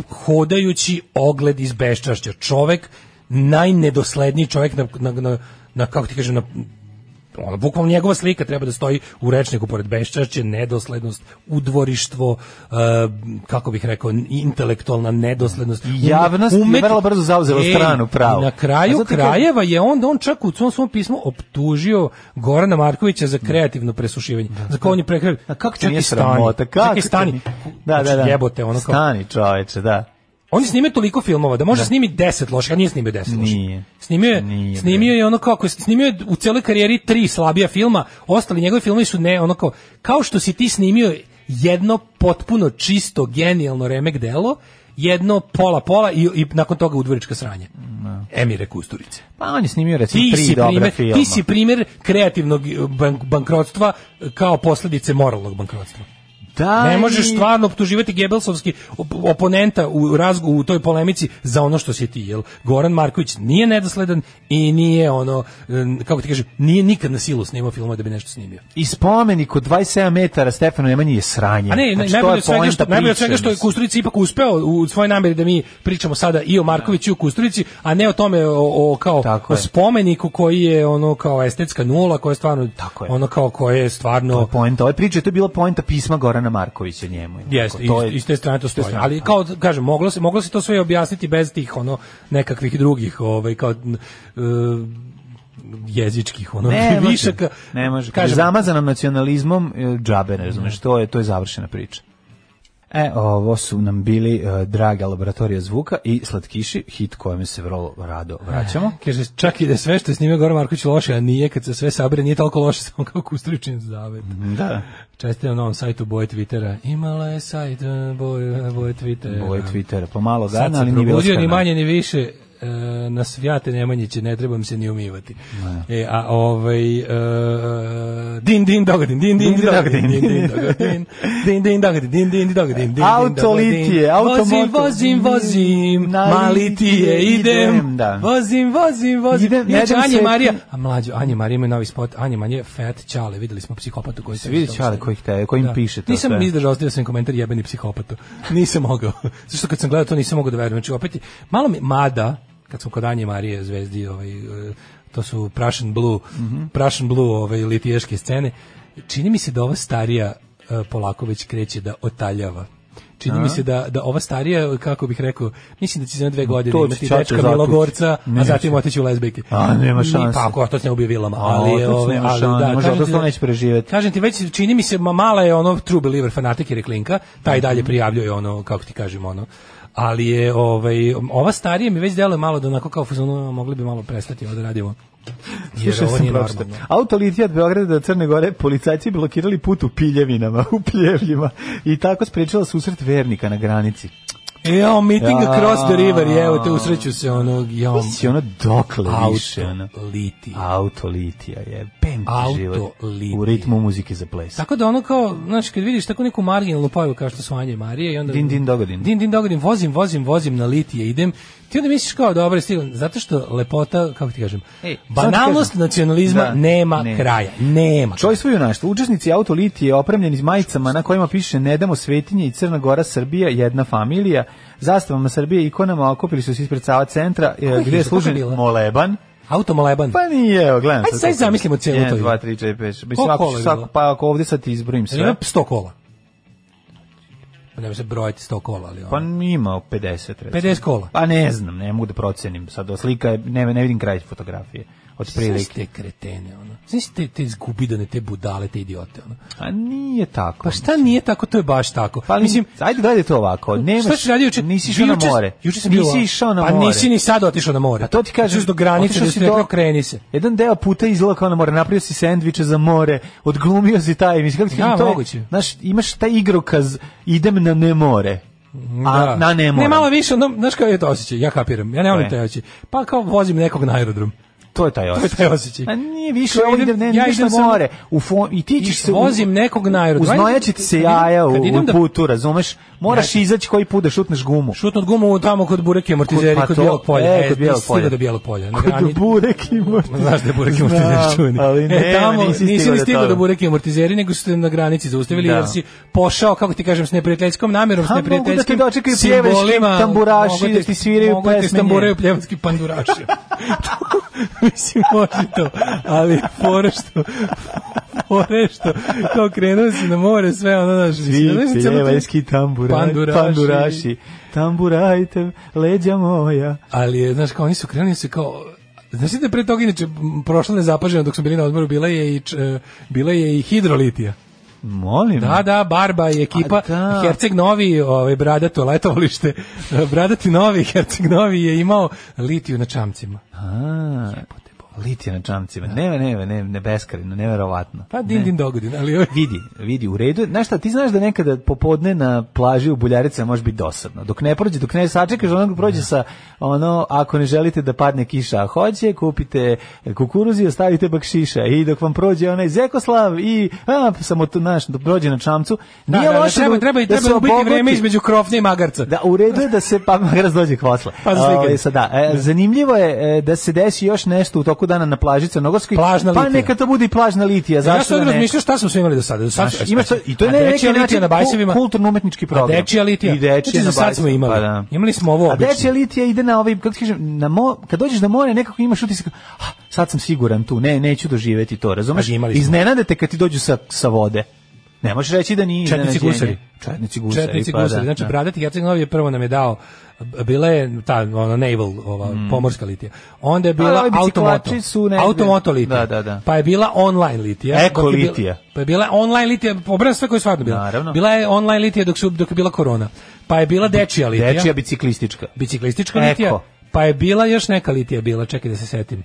F: hodajući ogled iz beščašća. Čovek, najnedosledniji čovek na, na, na, na kako ti kažem, na, ono, bukvalno njegova slika treba da stoji u rečniku pored beščašće, nedoslednost, udvorištvo, e, kako bih rekao, intelektualna nedoslednost.
E: javnost je vrlo brzo zauzela stranu pravu.
F: i Na
E: A
F: kraju
E: zato
F: kraja
E: kažem-
F: Eva je onda on čak u svom svom pismu optužio Gorana Markovića za kreativno presušivanje. za kao on je prekrev.
E: A kako ti nije sramota? Kako
F: Čekaj,
E: ti
F: stani.
E: nije- Da, da, da.
F: Znači, Jebote, ono kao.
E: Stani, čoveče, da.
F: Oni snime toliko filmova da može snimiti 10 loših, a nije snimio 10 loših.
E: Nije.
F: Snimio je,
E: Nije,
F: snimio je ono kako snimio je u celoj karijeri tri slabija filma, ostali njegovi filmovi su ne ono kao kao što si ti snimio jedno potpuno čisto genijalno remek delo, jedno pola pola i, i nakon toga udvorička sranje. Emire Kusturice
E: Pa on je snimio recimo
F: ti
E: tri
F: si
E: dobra
F: primer,
E: filma.
F: ti si primer kreativnog eh, bank- bankrotstva eh, kao posledice moralnog bankrotstva.
E: Da,
F: Ne
E: i-
F: možeš stvarno optuživati Gebelsovski op- oponenta u razgu u toj polemici za ono što si ti, jel Goran Marković nije nedosledan i nije ono em, kako ti kažem, nije nikad na silu snimao filmove da bi nešto snimio.
E: I spomenik od 27 metara Stefanu Nemanji je sranje.
F: A ne,
E: Znači,
F: znači,
E: to
F: najbolje
E: je
F: od svega što
E: poenta
F: najbolje od
E: priče,
F: svega što je
E: mislim.
F: Kusturica ipak uspeo u svojoj nameri da mi pričamo sada i o Markoviću i o Kusturici, a ne o tome o, o kao
E: Tako
F: o
E: je.
F: spomeniku koji je ono kao estetska nula, koja je stvarno
E: Tako je.
F: ono kao koje je
E: To
F: stvarno
E: je poenta ove priče, to je bila poenta pisma Gorana Markovića njemu.
F: Jeste,
E: To je-
F: iz, iz te strane to
E: s te
F: stoji.
E: strane,
F: Ali
E: da.
F: kao kažem, moglo se moglo se to sve objasniti bez tih ono nekakvih drugih, ovaj kao n- e, jezičkih ono
E: Ne može,
F: višaka.
E: ne može. Kad je
F: Kažem,
E: zamazanom nacionalizmom e, džabe, ne razumeš, to je, to je završena priča. E, ovo su nam bili e, draga laboratorija zvuka i slatkiši, hit kojem se vrlo rado vraćamo.
F: Kaže, čak i da je sve što je snimio Goran Marković loše, a nije, kad se sve sabere, nije toliko loše, samo kao kustričin zavet.
E: Da.
F: Čestitam na ovom sajtu boje Twittera. Imala je sajt e, boje, boje Twittera.
E: Ovo je Twitter, pomalo
F: Ehm, Sad
E: gadno,
F: se
E: ali nije bilo
F: probudio, ni
E: skrana.
F: manje ni više e, na svijate Nemanjiće, ne trebam se ni umivati. E, a ovaj... e, din, din, dogodin, din, din,
E: Din, din,
F: dogodin,
E: dogodin.
F: din, din, dogodin, din, din, dogodin, din, din, dogodin, din, din,
E: Autolitije,
F: dogodin.
E: automoto.
F: Vozim, vozim, vozim,
E: Na
F: na litije
E: litije
F: idem,
E: idem, da.
F: vozim, vozim, vozim.
E: Idem,
F: Inače,
E: ne dam
F: Anja
E: se-
F: Marija, a mlađo, Anja Marija ima novi spot, Anja Marija, Fat Ćale, videli smo psihopatu koji se...
E: Vidi Ćale koji te- koji im piše to
F: Nisam
E: sve.
F: iz- izdržao, ostavio sam im komentar jebeni psihopatu. Nisam mogao. Zato što kad sam gledao to nisam mogao da verujem. Znači opet je, malo mi mada kad sam kod Anje Marije zvezdi ovaj eh, to su Prussian Blue,
E: Mhm.
F: Prussian Blue ovaj litiješke scene. Čini mi se da ova starija eh, polako već kreće da otaljava. Čini mi se da, da ova starija, kako bih rekao, mislim da će za jedno dve godine
E: To će
F: imati
E: Čača
F: dečka
E: zateći.
F: Milogorca, a
E: Neće.
F: zatim otići u lesbijke.
E: A, nema šanse.
F: Pa, ako to se ne ubije vilama.
E: A,
F: Ali,
E: otac
F: ove,
E: nema
F: ali,
E: šanse,
F: da,
E: ne može,
F: kažem ti
E: otac to
F: da-
E: neće preživjeti.
F: Kažem ti već čini mi se ma mala je ono true believer fanatik i reklinka, taj
E: Mhm.
F: dalje prijavljuje ono kako ti kažem ono. Ali je ovaj ova starija mi već deluje malo da onako kao fuzonu mogli bi malo prestati ovo da radimo Jer
E: Slušao
F: ovo
E: sam
F: nije
E: pročitao.
F: normalno.
E: Auto Litija od Beograda do Crne Gore policajci blokirali put u Piljevinama, u Pljevljima i tako sprečila susret vernika na granici.
F: Jo, meeting
E: Ja.
F: across the river, i evo te usreću se onog, jo,
E: Si ono dokle više, ono.
F: auto, liti.
E: Auto Litija je, pem ti
F: Auto
E: život.
F: Litija.
E: U ritmu muzike za ples.
F: Tako da ono kao, znači kad vidiš tako neku marginalnu pojavu kao što su Anja i Marija i onda...
E: Din, din, dogodin.
F: Din, din, dogodin, vozim, vozim, vozim, na litije idem. Ti onda misliš kao, dobro, stigam, zato što lepota, kako ti kažem,
E: Ej, E, samo ti
F: banalnost
E: kažem.
F: nacionalizma
E: Da,
F: nema
E: ne.
F: kraja, nema.
E: Čojstvo i junaštvo. Učesnici Autolitije opremljeni s majicama na kojima piše Ne damo svetinje i Crna Gora, Srbija, jedna familija. Zastavama Srbije i ikonama okupili su se ispred Sava centra e,
F: je
E: gde je
F: išlo? Kako je
E: služen
F: bilo?
E: moleban.
F: Automoleban.
E: Pa nije, evo, gledam.
F: Ajde, sad zamislimo cijelu to
E: 1,
F: ime.
E: 2, 3, 4, 5, 6. Mislim,
F: Koliko
E: ako,
F: kola je
E: svako,
F: bilo?
E: pa ako ovdje sad ti izbrojim
F: Jel ima
E: sve.
F: 100 kola. Pa ne može brojati 100 kola, ali ono.
E: Pa ima 50, recimo.
F: 50 kola.
E: Pa ne znam, ne mogu da procenim. Sad o slika, je- ne, ne vidim kraj fotografije. Od
F: Znaš
E: prilike.
F: te kretene, ono. Znaš te, te zgubidane, te budale, te idiote, ono.
E: A nije tako.
F: Pa šta nije tako, to je baš tako.
E: Pa mislim,
F: mislim,
E: ajde gledaj to ovako. Nemaš,
F: šta si radio juče?
E: Nisi išao na
F: Juče-
E: more.
F: Juče sam bio.
E: nisi išao na
F: pa
E: more.
F: Pa nisi ni sad otišao na more.
E: A to ti kažem.
F: Otišao si do granice,
E: otišao
F: da si
E: si
F: rekao, kreni se.
E: Jedan deo puta izgleda kao na more, napravio si sendviče za more, odglumio si taj, mislim, kako ti
F: Da,
E: kažem, to je-
F: moguće.
E: znaš, imaš taj igrokaz, idem na ne more. A
F: Da.
E: na ne more.
F: Ne, malo više, ono, znaš kao je to osjećaj, ja kapiram, ja ne volim
E: Ne.
F: taj osjećaj. Pa kao vozim nekog na aerodrom.
E: To je taj
F: To je
E: osjećaj.
F: taj osjećaj.
E: A nije više,
F: Kao
E: ja idem, ne, ja idem na
F: samo-
E: more. U fo, I ti
F: I
E: ćeš se... u-
F: vozim nekog na aerodrom.
E: Uznojači ti se
F: Kad idem-
E: jaja u,
F: kad idem
E: u
F: da-
E: putu, razumeš? Moraš izaći koji put da šutneš gumu.
F: Šutnut gumu tamo kod bureke i amortizeri,
E: Kod- pa
F: kod,
E: to,
F: bijelog polja.
E: e, kod
F: ti
E: bijelog
F: si stigao
E: polja.
F: do bijelog polja. Na
E: Kod
F: grani-
E: burek i mortizera.
F: Znaš da je burek i amortizeri
E: Znam,
F: čuveni.
E: Ali ne,
F: e, tamo
E: nisi
F: nisi,
E: stigao
F: ni
E: do
F: stigao
E: toga.
F: do bureke i amortizeri, nego su te na granici zaustavili,
E: Da.
F: jer si pošao, kako ti kažem, s neprijateljskom namjerom, s
E: Ha, mogu da te
F: neprijateljskim
E: dočekaju pjevački
F: simbolima.
E: tamburaši,
F: mogu
E: da ti sviraju
F: mogu da ti
E: pesme
F: stamburaju
E: njene.
F: pljevački panduraši. Mislim, može to, ali fora što, fora je što, kao krenuo si na more, sve ono, znaš, mislim, znaš,
E: Svi
F: cijelo to-
E: pljevaljski tamburaši,
F: Panduraši.
E: panduraši, tamburajte, leđa moja.
F: ali je, znaš, kao oni su krenuli se kao Znaš li da je pre toga, inače, m, prošlo nezapaženo dok smo bili na odmoru, bila je i, č- e, bila je i hidrolitija.
E: Molim.
F: Da, da, Barba i ekipa,
E: Mm. A, da.
F: Herceg Novi, ovaj, bradato letovalište, e, bradati Novi, Herceg Novi je imao litiju na čamcima.
E: A, litija na čamcima. Ne, ne, ne, ne, beskrajno, neverovatno.
F: Pa din, din dogodin, ali ovaj-
E: Vidi, vidi, u redu. je. Znaš šta, ti znaš da nekada popodne na plaži u Buljaricama može biti dosadno. Dok ne prođe, dok ne sačekaš, onog prođe sa, ono, ako ne želite da padne kiša, a hoće, kupite kukuruz i ostavite bakšiša. I dok vam prođe onaj Zekoslav i, a, samo tu, naš, dok prođe na čamcu,
F: Da,
E: nije
F: ovaj, da, da,
E: loše
F: treba,
E: da,
F: treba, i
E: da
F: treba
E: se
F: ubiti
E: obogati.
F: vreme između krofne i magarca.
E: Da, u redu je da se pa magarac dođe k posle.
F: Pa za slikanje.
E: Ovaj, sad da. E, zanimljivo je e, da se desi još nešto u toku dana na plaži Crnogorskoj.
F: Plažna
E: pa
F: litija. E,
E: neka to bude i plažna litija.
F: Ja
E: Zašto
F: sam
E: da ne?
F: razmišljao šta smo sve imali do sada. Do sada
E: Znaš, imaš to, I to je
F: A
E: na neki
F: dečija litija
E: način
F: na
E: ku-
F: Bajsevima.
E: kulturno-umetnički program.
F: A dečija litija?
E: I dečija
F: Znači,
E: na
F: za sad
E: Bajsevima,
F: smo imali.
E: Pa, da.
F: Imali smo ovo
E: A
F: obično.
E: dečija litija ide na ovaj, kako ti kažem, na mo, kad dođeš na more, nekako imaš utisak, ah, sad sam siguran tu, ne, neću doživeti to, razumeš?
F: Ali imali smo.
E: Iznenade te kad ti dođu sa, sa vode. Ne možeš reći da nije
F: Četnici
E: iznenađenje.
F: gusari.
E: Četnici gusari.
F: Četnici
E: pa da,
F: gusari. Znači,
E: da.
F: Bradati Herceg Novi je prvo nam je dao bila je ta ona naval ova pomorska litija. Onda je
E: Ali
F: bila
E: Mm. Pa, ovi biciklači
F: automoto.
E: su negde-
F: Automoto litija.
E: Da, da, da.
F: Pa je bila online litija.
E: Eko
F: Dok je bila-
E: litija.
F: Pa je bila online litija, obrana sve koje stvarno bila.
E: Naravno.
F: Bila je online litija dok su dok je bila korona. Pa je bila dečija litija.
E: Dečija biciklistička.
F: biciklistička
E: Eko.
F: litija. Pa je bila još neka litija bila, čekaj da se setim.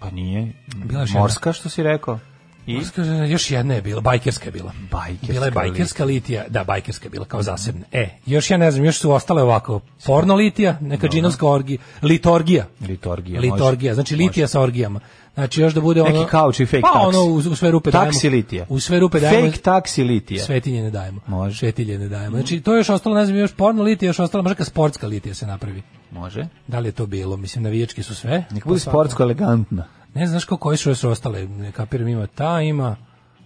E: Pa nije.
F: Bila je još
E: Morska, što si rekao? I?
F: Morska, još jedna je bila, bajkerska je bila.
E: Bajkerska
F: bila je bajkerska litija. da, bajkerska je bila kao zasebna. E, još ja ne znam, još su ostale ovako, porno litija, neka džinovska orgija, litorgija.
E: Litorgija, može.
F: Litorgija, znači litija sa orgijama. Znači još da bude ono...
E: Neki kauč i fake
F: pa,
E: taksi.
F: ono, u, u sve rupe dajemo.
E: Taksi litija.
F: U sve rupe dajemo.
E: Fake taksi litija.
F: Svetinje ne dajemo.
E: Može.
F: Svetilje ne dajemo. Znači, to je još ostalo, ne znam, još porno litija, još ostalo, možda neka sportska litija se napravi.
E: Može.
F: Da li je to bilo? Mislim, navijački su sve. Pa,
E: Neka bude sportsko elegantna.
F: Ne znaš kako koje su još ostale. Ne kapiram, ima ta, ima...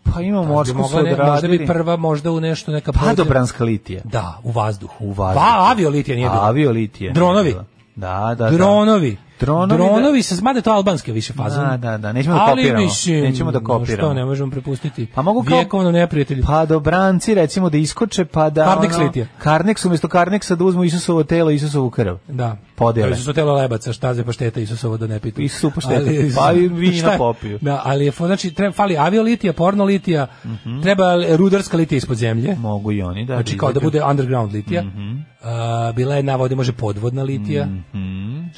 E: Pa ima
F: Možda
E: morsku
F: mogla,
E: su
F: ne, možda bi
E: odradili.
F: prva možda u nešto neka
E: Padobranska litija.
F: Da, u vazduhu.
E: U vazduhu.
F: Pa aviolitija nije bila.
E: Aviolitija.
F: Dronovi.
E: Da, da, da.
F: Dronovi.
E: Dronovi
F: Dronovi,
E: da-
F: dronovi se smade to albanske više faze.
E: Da, da, da, nećemo da kopiramo. Nećemo da kopiramo.
F: Što ne možemo prepustiti?
E: Pa mogu kao- Pa,
F: Vjekovno neprijatelji.
E: Padobranci recimo da iskoče pa da
F: Karneks litija.
E: Karneks umjesto Karneksa da uzmu Isusovo telo i Isusovu krv.
F: Da.
E: Podele.
F: To su telo lebaca, štaze pašteta, Isusovo da ne pitu.
E: Isusovu paštetu.
F: Ali-
E: Pa i vina
F: Šta je?
E: popiju.
F: Da, ali je, znači, treba, fali aviolitija, pornolitija, treba rudarska litija ispod zemlje.
E: Mogu i oni Mhm. da. Mhm.
F: Znači kao da
E: izađu. Mhm.
F: bude underground litija. A, bila je na vodi može podvodna litija.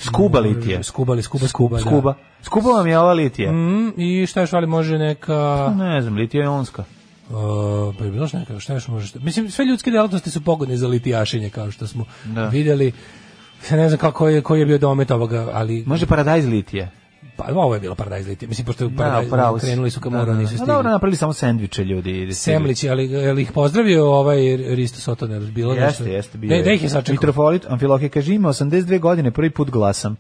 E: Skuba litije.
F: Skuba, li, skuba, skuba,
E: Skuba. Skuba vam je ova litija. Pa
F: Da. Mm, I šta još vali može neka...
E: Ne znam, litija je onska.
F: Uh, pa je bilo što neka, šta još može... šta- Mislim, sve ljudske delatnosti su pogodne za litijašenje, kao što smo
E: Da.
F: vidjeli. Ja ne znam kako je, koji je bio domet ovoga, ali...
E: Može paradajz litije.
F: Pa, ovo je bilo paradajz litije. Mislim, pošto je
E: Da,
F: paradajz,
E: pravo. si.
F: krenuli su ka
E: Da,
F: moru,
E: da,
F: nisu
E: da.
F: stigli.
E: Dobro, napravili samo sendviče ljudi. i stigli.
F: Semlić, ali jel ih pozdravio ovaj Risto Sotoner, bilo nešto?
E: Jeste, jeste. Bio
F: Da, da ih je sačekao.
E: Mitropolit Amfilohije kaže, ima 82 godine, prvi put glasam.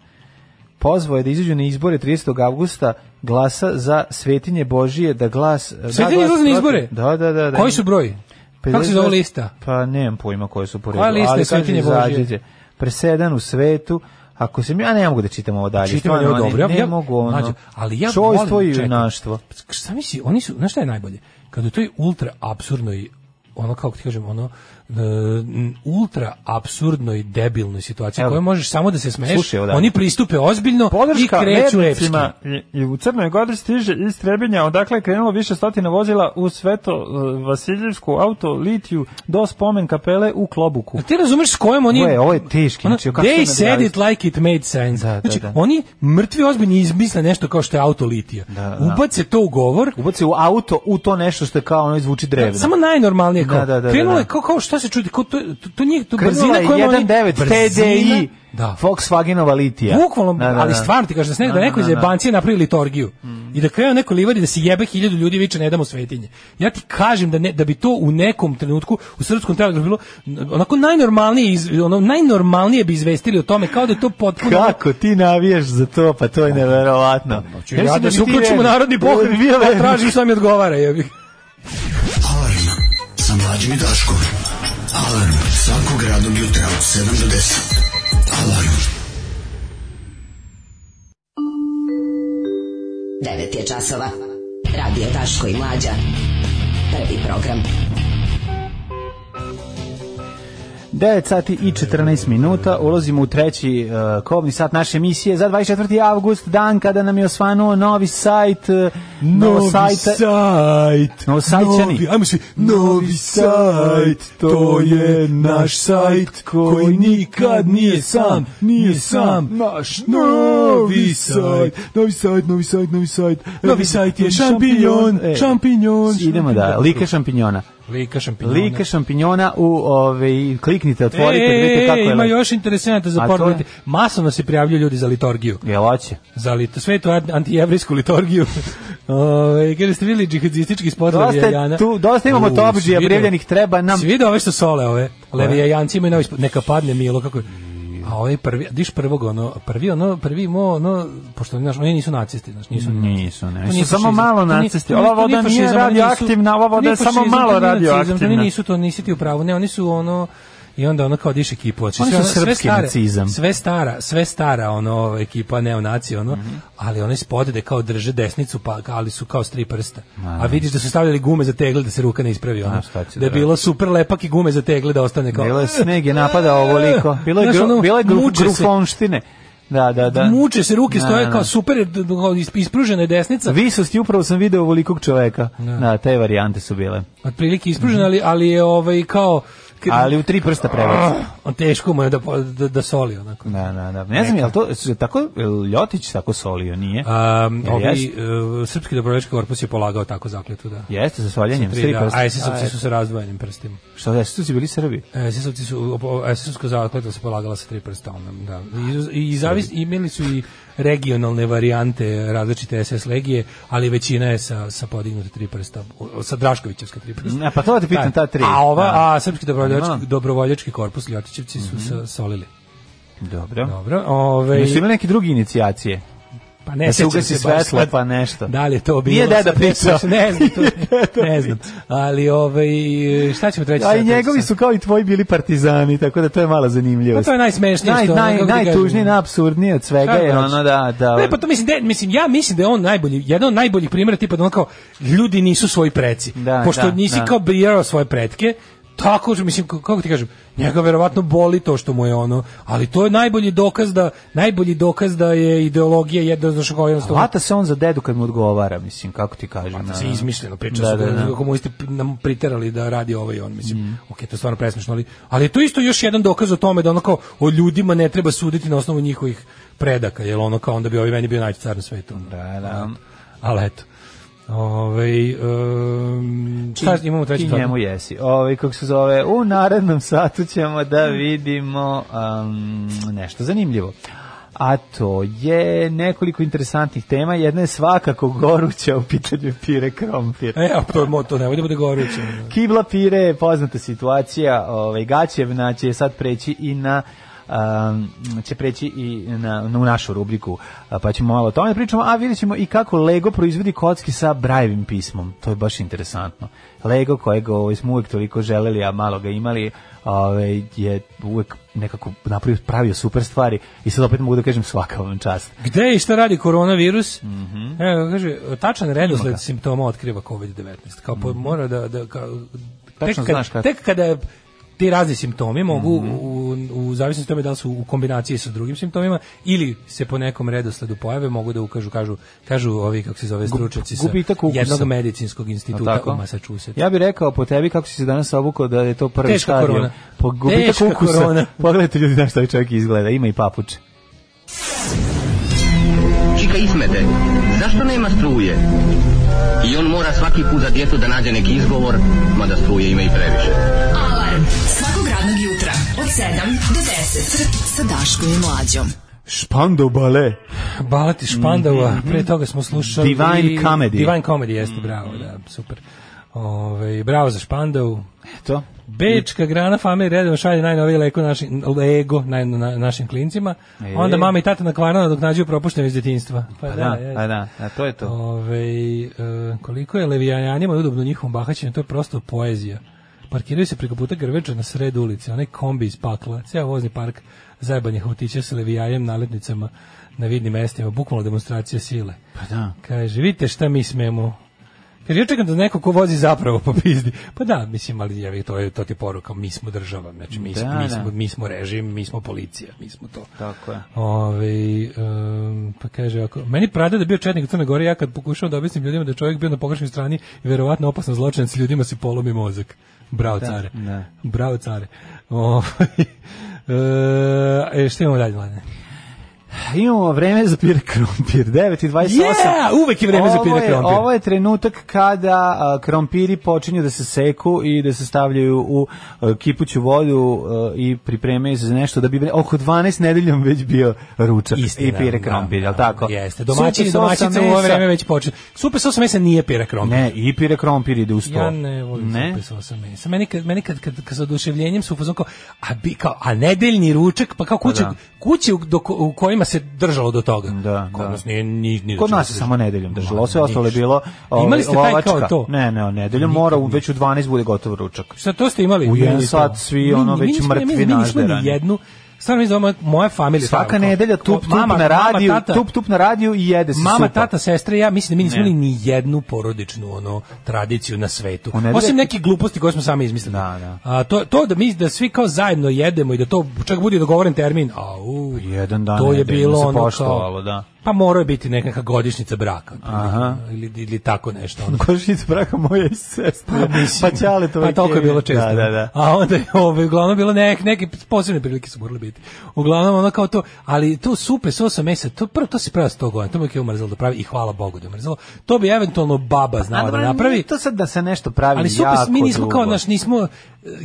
E: Pozvao je da izađu na izbore 30. avgusta glasa za Svetinje Božije, da glas... da
F: Svetinje
E: glas
F: izlaze na
E: protiv-
F: izbore?
E: Da, da, da. da.
F: Koji su broji? Kako se zove lista?
E: Pa nemam pojma koje su po redu.
F: Koja lista
E: ali
F: je
E: kaže,
F: Svetinje Božije?
E: izađite. Presedan u svetu, Ako se mi, ja ne mogu da čitam ovo dalje.
F: Čitam
E: stvarno,
F: ovo dobro.
E: Ne,
F: Ja-
E: ne
F: ja-
E: mogu ono.
F: Mlađo, ali ja
E: Čojstvo
F: volim-
E: i
F: čekaj.
E: junaštva.
F: Šta misli, oni su, znaš šta je najbolje? Kad u toj ultra absurdnoj ono kako ti kažem, ono e, n- ultra absurdnoj debilnoj situaciji
E: Evo.
F: kojoj možeš samo da se smeješ,
E: Slušaj, evo da.
F: oni pristupe ozbiljno
E: Podrška
F: i kreću repski.
E: vernicima i- i u Crnoj Gori stiže iz Trebinja, odakle je krenulo više stotina vozila u Sveto e, Vasiljevsku auto litiju do spomen kapele u Klobuku.
F: A ti razumeš s kojom oni...
E: Gle, ovo je teški,
F: Ono,
E: znači, kako se
F: they
E: ne
F: said
E: radi?
F: it like it made sense.
E: Da, da,
F: znači,
E: da.
F: oni mrtvi ozbiljni izmisle nešto kao što je autolitija.
E: Da, da.
F: Ubace to u govor,
E: Ubaci u auto u to nešto što je kao ono izvuči drevno.
F: Samo najnormalnije kao.
E: Da, da, da, da,
F: krenulo je
E: da.
F: kao kao šta se čudi, kao to to, to nije to
E: Krenula
F: brzina
E: je
F: kojom oni
E: 1.9
F: Brzina-
E: TDI
F: Da.
E: Volkswagenova litija.
F: Bukvalno,
E: Da, da, da.
F: ali stvarno ti kažeš da se ne,
E: Da,
F: da neko
E: da, Mhm.
F: iz
E: da.
F: jebancije napravi liturgiju i da krene neko livari da se jebe hiljadu ljudi i viče ne damo svetinje. Ja ti kažem da ne, da bi to u nekom trenutku u srpskom telegrafu bilo onako najnormalnije iz, ono najnormalnije bi izvestili o tome kao da je to potpuno
E: Kako ti navijaš za to, pa to je neverovatno.
F: Znači, Ja, da se uključimo u narodni pokret, ja tražim šta mi odgovara. jebi ga.
C: Alarm sa mlađim i Daškom. Alarm svakog radnog jutra od 7 do 10. Alarm.
D: 9 je časova. Radio Daško i Mlađa. Prvi program.
E: 9 sati i 14 minuta, ulazimo u treći uh, kovni sat naše emisije za 24. avgust, dan kada nam je osvanuo novi sajt, uh,
F: Novi sajt.
E: Novosajčani.
F: Novi- Ajmo svi. Novi sajt, to je naš sajt koji nikad nije sam, nije sam. Naš novi sajt.
E: novi sajt, E, novi sajt, novi sajt.
F: Novi sajt je šampinjon, šampinjon.
E: E, Idemo da, lika šampinjona.
F: Lika šampinjona.
E: Lika šampinjona u, ovaj, kliknite, otvorite,
F: E,
E: vidite kako je.
F: ima
E: lepo.
F: još interesanta za
E: A to je?
F: porno. Masovno se prijavljuju ljudi za liturgiju.
E: Jel hoće?
F: Za lit svetu antijevrijsku liturgiju. Ove, kada ste videli džihadistički spot
E: Dosta je
F: Levijajana?
E: tu- dosta imamo
F: U,
E: topdžija
F: si vidio?
E: prijavljenih, treba nam-
F: Si vidio ove što sole ove? Levijajanci imaju novi spot. Neka padne Milo, kako je. A ovaj prvi, diš prvog, ono, prvi, ono, prvi, mo, ono, pošto, znaš, oni nisu nacisti, znaš, nisu
E: Nisu, ne.
F: to nije
E: Su samo
F: fašizam.
E: malo
F: To nije-
E: nacisti.
F: to nije-
E: Ova
F: to
E: voda nije
F: fašizam, oni nisu-
E: radioaktivna, ova
F: to
E: voda
F: nije
E: je samo
F: fašizam, to nije
E: malo
F: nacizam,
E: radioaktivna.
F: Oni nisu to, nisi ti u pravu. Ne, oni su ono i onda ono kao diš ekipu. Znači,
E: Oni
F: sve
E: su
F: ono- sve
E: srpski
F: stare-
E: nacizam.
F: Sve stara, sve stara ono ova ekipa neonaci ono,
E: Mhm.
F: ali oni spode da kao drže desnicu pa ali su kao s tri prsta. A vidiš da su stavljali gume za tegle da se ruka ne ispravi ono.
E: šta će
F: Da je
E: da radi.
F: bilo super lepak i gume za tegle da ostane kao.
E: Bilo je sneg je napadao ovoliko. Bilo je,
F: Znaš,
E: gru,
F: ono,
E: bilo je gru,
F: muče se.
E: grufonštine. Da, da, da.
F: Muče se ruke
E: Da,
F: stoje
E: da,
F: kao
E: da.
F: super je, d- d- ispružena je desnica.
E: Visosti, upravo sam video ovolikog čoveka. Da, te varijante su bile.
F: otprilike ispružen, ali, ali je ovaj kao k-
E: Ali u tri prsta prebaci.
F: on teško mu je da, po- da, da soli onako.
E: Da, da, da. Ne znam, jel to, su tako, jel Ljotić tako solio, nije?
F: Um,
E: Jel
F: ovi,
E: jest?
F: uh, srpski dobrovoljački korpus je polagao tako zakljetu, da.
E: Jeste, za soljenjem, s
F: Tri,
E: tri
F: da.
E: prsta.
F: A SS-ovci su sa razdvojenim prstima.
E: Što da, su bili Srbi?
F: E, SS-ovci su, SS-ovsko zakletva se polagala sa tri prsta, onda, da. I, i, i zavis, imali su i regionalne varijante različite SS legije, ali većina je sa, sa podignute tri prsta, o- sa Draškovićevska tri prsta.
E: Ne, pa to da te pitam, ta tri.
F: A, ova,
E: Da.
F: a srpski dobrovoljački,
E: Da.
F: dobrovoljački korpus Ljotićevci su sa, solili.
E: Dobro.
F: Dobro, ovaj
E: Jesu imali neke druge inicijacije?
F: pa ne
E: da se
F: sećam
E: ugasi
F: baš sad
E: svetlo, pa nešto.
F: Da li je to bilo?
E: Nije deda
F: sad,
E: pričao.
F: Ne znam, to,
E: Nije deda
F: ne znam. Ali ovaj šta ćemo treći?
E: A i
F: sad?
E: njegovi su kao i tvoji bili partizani, tako da to je malo
F: Pa
E: zanimljivo.
F: to je najsmešnije
E: naj,
F: što ono,
E: naj,
F: kako ti
E: najtužnije,
F: kažem.
E: najabsurdnije od svega
F: Šta
E: je
F: hoćeš?
E: ono da... da
F: Ne, pa to mislim, da, mislim, ja mislim da je on najbolji, jedan od najboljih primjera tipa da on kao, ljudi nisu svoji preci.
E: Da,
F: Pošto
E: da,
F: nisi
E: da.
F: kao brijao svoje pretke, tako, že, mislim, k- kako ti kažem, njega verovatno boli to što mu je ono, ali to je najbolji dokaz da, najbolji dokaz da je ideologija jednoznačno kao jednostavno
E: Hvata se on za dedu kad mu odgovara, mislim, kako ti kažem.
F: da
E: ono.
F: se izmišljeno priča
E: Da,
F: da,
E: da, da.
F: kako mu ste nam priterali da radi ovo i on mislim mm. okej to je stvarno presmešno ali ali je to isto još jedan dokaz o tome da ono kao o ljudima ne treba suditi na osnovu njihovih predaka jer ono kao onda bi ovi meni bio najveći car na svetu
E: Da, da.
F: ali eto Ove, um, šta imamo treći
E: Ti
F: zakon?
E: njemu jesi. Ovaj kako se zove, u narednom satu ćemo da vidimo um, nešto zanimljivo. A to je nekoliko interesantnih tema. Jedna je svakako goruća u pitanju pire krompir.
F: E, a to je mo- to nemoj da bude goruće.
E: Kibla pire je poznata situacija, ovaj Gaćevna će sad preći i na um, će preći i na, na u našu rubriku, a, pa ćemo malo o tome da pričamo, a vidjet ćemo i kako Lego proizvodi kocki sa brajevim pismom, to je baš interesantno. Lego kojeg ovaj, smo uvek toliko želeli, a malo ga imali, ovaj, je uvek nekako napravio, pravio super stvari i sad opet mogu da kažem svaka vam čast.
F: Gde i šta radi koronavirus? Mhm. Evo kaže tačan redosled simptoma otkriva COVID-19. Kao po, mora da da kao tek,
E: Mhm. Tačno
F: kad,
E: znaš kako. Mhm.
F: tek kada ti razni simptomi mogu u, u, u zavisnosti od tome da li su u kombinaciji sa drugim simptomima ili se po nekom redosledu pojave mogu da ukažu kažu kažu ovi kako se zove stručnjaci sa
E: gubitak ukusa.
F: jednog medicinskog
E: Jel
F: instituta u Massachusettsu.
E: Ja bih rekao po tebi kako si se danas obukao da je to prvi
F: Teška
E: stadion.
F: korona.
E: Po gubitak
F: Teška
E: ukusa.
F: korona.
E: Pogledajte ljudi na što ovaj čovjek izgleda, ima i papuče.
G: Čika Ismete, zašto nema struje? I on mora svaki put za djetu da nađe neki izgovor, mada struje ima i previše.
D: Alarm. Svakog radnog jutra od 7 do 10. Sa Daškom i Mlađom.
E: Špando bale.
F: Balati Špandova, pre toga smo slušali
E: Mhm. Divine Comedy. Mhm.
F: Divine Comedy jeste, bravo, da, super. Ove, bravo za Špandovu.
E: To?
F: Bečka grana fame redom šalje najnovije leko našim, lego naj, na, našim klincima.
E: E.
F: Onda mama i tata na kvarno dok nađu propušteno iz detinjstva. Pa
E: Da,
F: jeste.
E: da, da, da, to je to.
F: Ove, e, koliko je levijanjanima udobno njihovom bahaćenju, to je prosto poezija. Parkiraju se preko puta Grveča na sred ulice, onaj kombi iz pakla, ceo vozni park zajebanih autića sa levijanjem, naletnicama na vidnim mestima, bukvalno demonstracija sile.
E: Pa da.
F: Kaže, vidite šta mi smemo. Kaže, ja čekam da neko ko vozi zapravo popizdi. Pa da, mislim, ali ja, to, je, to ti je poruka, mi smo država, znači mi,
E: Da,
F: da, mi,
E: da.
F: smo, mi smo režim, mi smo policija, mi smo to.
E: Tako je.
F: Ove, um, pa kaže ako, meni prade da je bio četnik u Crne Gore, ja kad pokušavam da objasnim ljudima da je čovjek bio na pogrešnoj strani i verovatno opasan zločinac, ljudima se polomi mozak. Bravo, care.
E: da.
F: Bravo, care. Ove, e, šta imamo dalje, mladine?
E: Imamo vreme za pire krompir, 9 i 28.
F: Yeah, uvek je vreme za
E: Ovo
F: pire
E: je-
F: krompir.
E: Ovo je trenutak kada a, krompiri počinju da se seku i da se stavljaju u a, kipuću vodu a, i pripremaju se za nešto da bi oko 12 nedeljom već bio ručak i pire krompir, jel tako?
F: Jeste, domaćin
E: Supe
F: i
E: s osam
F: domaćica u ovo
E: mesa.
F: vreme već počne. Super sosa mesa nije pire krompir.
E: Ne, i pire krompir ide uz to.
F: Ja ne volim
E: Ne?
F: supe sa osam mesa. Meni kad meni kad kad, kad sa oduševljenjem su fazon kao a bi kao a nedeljni ručak pa kao kuće
E: Pa da.
F: kuće u, do, ko- u kojima se držalo do toga.
E: Da,
F: Kod
E: da.
F: nas nije ni ni do
E: Kod
F: čega
E: nas
F: se
E: je
F: držalo.
E: samo nedeljom držalo,
F: Ma,
E: sve ostalo je
F: ništa. E,
E: bilo ovaj,
F: Imali ste taj kao
E: lovačka.
F: to?
E: Ne, ne, nedeljom mora u, već u 12 bude gotov ručak.
F: Šta to ste imali?
E: U jedan
F: Meni to.
E: sat svi,
F: Mi-
E: ono,
F: mi
E: već
F: nismo- mi-
E: mrtvi
F: Mi nismo
E: nažderani.
F: ni jednu Stvarno mislim da moja, moja familija
E: Svaka
F: tako, kao-
E: nedelja
F: kao
E: tup tup
F: mama-
E: na
F: mama,
E: radiju,
F: tata-
E: tup tup na radiju i jede se
F: Mama,
E: supa.
F: tata, sestra i ja, mislim da mi nismo
E: Ne.
F: imali ni jednu porodičnu ono tradiciju na svetu.
E: U nedelje-
F: Osim nekih gluposti koje smo sami izmislili.
E: Da, da.
F: A to to da mi da svi kao zajedno jedemo i da to čak bude dogovoren termin. Au.
E: Jedan dan
F: to je
E: nedeljno
F: bilo
E: se
F: ono
E: poštovalo,
F: kao,
E: da.
F: Pa morao je biti nekakva godišnjica braka.
E: Aha.
F: Ili, ili tako nešto. Ono.
E: Košnica braka moja i sestra. Pa,
F: Mislim,
E: ćale to
F: pa toliko je bilo često.
E: Da, da, da.
F: A onda je ovaj, uglavnom bilo nek, neke posebne prilike su morali biti. Uglavnom ono kao to, ali to supe s osam mesa, to prvo to se pravi sto godina, to mi je umrzalo da pravi i hvala Bogu da je umrzalo. To bi eventualno baba znala da
E: A, dobro,
F: napravi.
E: nije To sad da se nešto pravi
F: Ali supe,
E: jako
F: mi nismo kao,
E: dugo.
F: naš, nismo,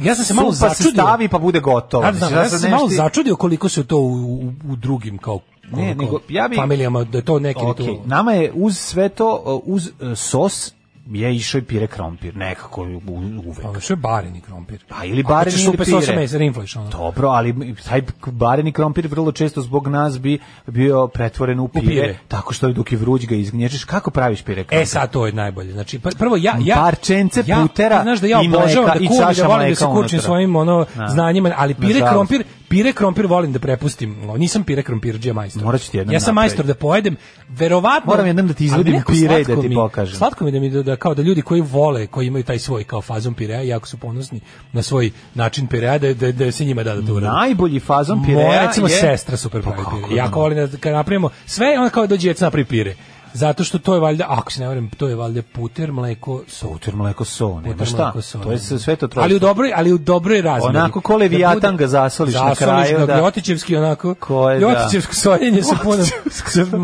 F: ja sam se malo
E: Supa se
F: začudio.
E: stavi pa bude gotovo.
F: Ja, znam,
E: Mislim,
F: ja sam se malo
E: nešto-
F: začudio koliko se to u, u, u drugim kao,
E: Ne,
F: ono, kao
E: nego, ja bi-
F: familijama, da je to neki
E: Ok,
F: ritual.
E: nama je uz sve to, o, uz e, sos, je išao i pire krompir, nekako u- uvek.
F: Pa, što je bareni krompir?
E: Pa ili bareni ili
F: Ako ćeš supe s
E: pire.
F: osam mesa, rinflaš, ono.
E: Dobro, ali taj bareni krompir vrlo često zbog nas bi bio pretvoren u pire,
F: pire.
E: tako što dok je vruć ga izgnječeš. Kako praviš pire krompir?
F: E sad to je najbolje. Znači pr- prvo ja ja
E: Parčence putera
F: znaš da ja
E: i
F: obožavam
E: mleka
F: da
E: i
F: kuvam i
E: čaša
F: da volim da
E: mleka
F: se kurčim
E: unutra.
F: svojim ono
E: Da.
F: znanjima, ali pire
E: Nažalost.
F: krompir, pire krompir volim da prepustim. No, nisam pire krompirđija majstor.
E: Morat ću ti jednom
F: Ja sam
E: napraviti.
F: majstor da pojedem. Verovatno
E: Moram jednom da ti izvadim
F: Ali nekako
E: pire i
F: slatko
E: da ti
F: mi-
E: pokažem.
F: Slatko mi da mi da, da kao da ljudi koji vole, koji imaju taj svoj kao fazon pirea, jako su ponosni na svoj način pirea da da, da se njima da da to uradi.
E: Najbolji fazon pirea
F: Moja recimo
E: je...
F: sestra super
E: Pa
F: pravi
E: kako
F: pire. Jako
E: da?
F: volim da kad napravimo sve, ona kao dođe djeca napravi pire. Zato što to je valjda, ako se ne varam, to je valjda puter, mleko, so.
E: Puter mleko so, nema
F: Puter,
E: Pa šta.
F: mleko, so,
E: To je
F: nema.
E: sve to
F: Ali u
E: trojstvo.
F: dobroj, ali u dobroj razmeri.
E: Onako ko Leviatan
F: Da bude-
E: ga zasoliš na kraju,
F: ga,
E: da.
F: Ljotićevski onako.
E: Ko je, da.
F: Ljotićevsko soljenje se puno.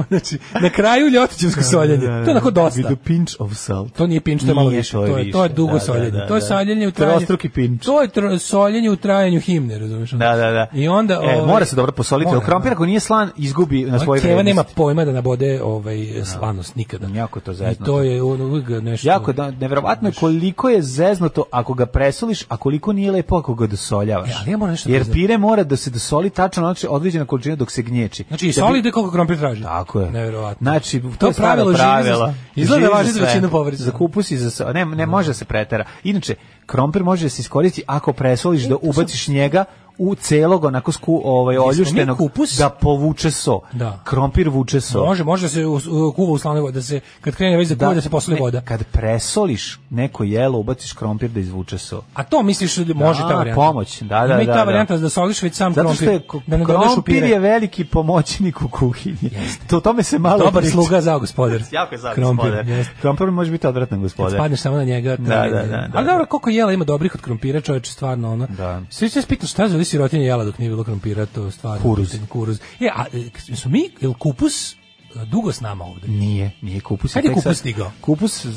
F: znači, na kraju Ljotićevsko soljenje. To je onako dosta.
E: With a pinch of salt.
F: To nije pinč, to je malo više. To je, to je
E: više,
F: dugo
E: da,
F: soljenje.
E: da, da,
F: to je
E: da.
F: soljenje u trajanju.
E: Trostruki pinč.
F: To je tro, soljenje u trajanju himne, razumiješ?
E: Da, da, da.
F: I onda...
E: e,
F: ovaj,
E: mora se dobro posoliti.
F: mora,
E: Mora, krompir ako nije slan, izgubi na
F: Moja
E: svojoj
F: keva
E: vrednosti.
F: nema pojma da nabode ovaj slanost nikada.
E: Jako je to
F: I
E: zezno.
F: to je ono uvijek nešto.
E: Jako, da, nevjerovatno je koliko je zeznuto ako ga presoliš, a koliko nije lepo ako ga dosoljavaš.
F: E, ali ja moram nešto da
E: Jer
F: priznam.
E: pire mora da se dosoli tačno znači određena količina dok se gnječi.
F: Znači, i
E: Da bi-
F: soli ide koliko krompir traži.
E: Tako je.
F: Neverovatno.
E: Znači, to,
F: To
E: je staro
F: pravilo živi za-
E: pravilo.
F: izgleda
E: Živi
F: važi za
E: sve.
F: većinu povrća.
E: Za kupus i za... s- Ne, ne može da se pretera. Inače, krompir može da se iskoristiti ako presoliš
F: E,
E: da ubaciš njega u celog onako sku ovaj
F: Jesmo mi
E: oljuštenog
F: kupus?
E: da povuče so.
F: Da.
E: Krompir vuče so.
F: Može, može da se us- u- kuva u slanoj vodi, da se kad krene već da kuva da, se posle
E: ne,
F: voda.
E: Kad presoliš neko jelo, ubaciš krompir da izvuče so.
F: A to misliš da može ta
E: Da,
F: varijanta?
E: pomoć, da, da,
F: Ima i ta
E: da, da.
F: varijanta da soliš već sam
E: Zato što je
F: krompir,
E: k-
F: da ne dodaš u
E: krompir
F: pire.
E: je veliki pomoćnik u kuhinji. To o tome se malo
F: Dobar
E: priča.
F: sluga za gospodar.
E: Jako je za
F: Krompir,
E: gospodar.
F: jeste.
E: Krompir može biti odvratan
F: Kad
E: gospodar.
F: spadneš samo na njega.
E: Da,
F: tragedija.
E: da, da, da,
F: Ali
E: da.
F: dobro, koliko jela ima dobrih od krompira, čoveče, stvarno ono.
E: Da.
F: Svi se pitam šta je za li sirotinje jela dok nije bilo krompira, to stvarno.
E: Kuruz.
F: pitanje, Kuruz. Je, a e, su mi, jel kupus e, dugo s nama ovde?
E: Nije, nije kupus.
F: Kad je
E: tek
F: kupus
E: sad-
F: stigao?
E: Kupus, e,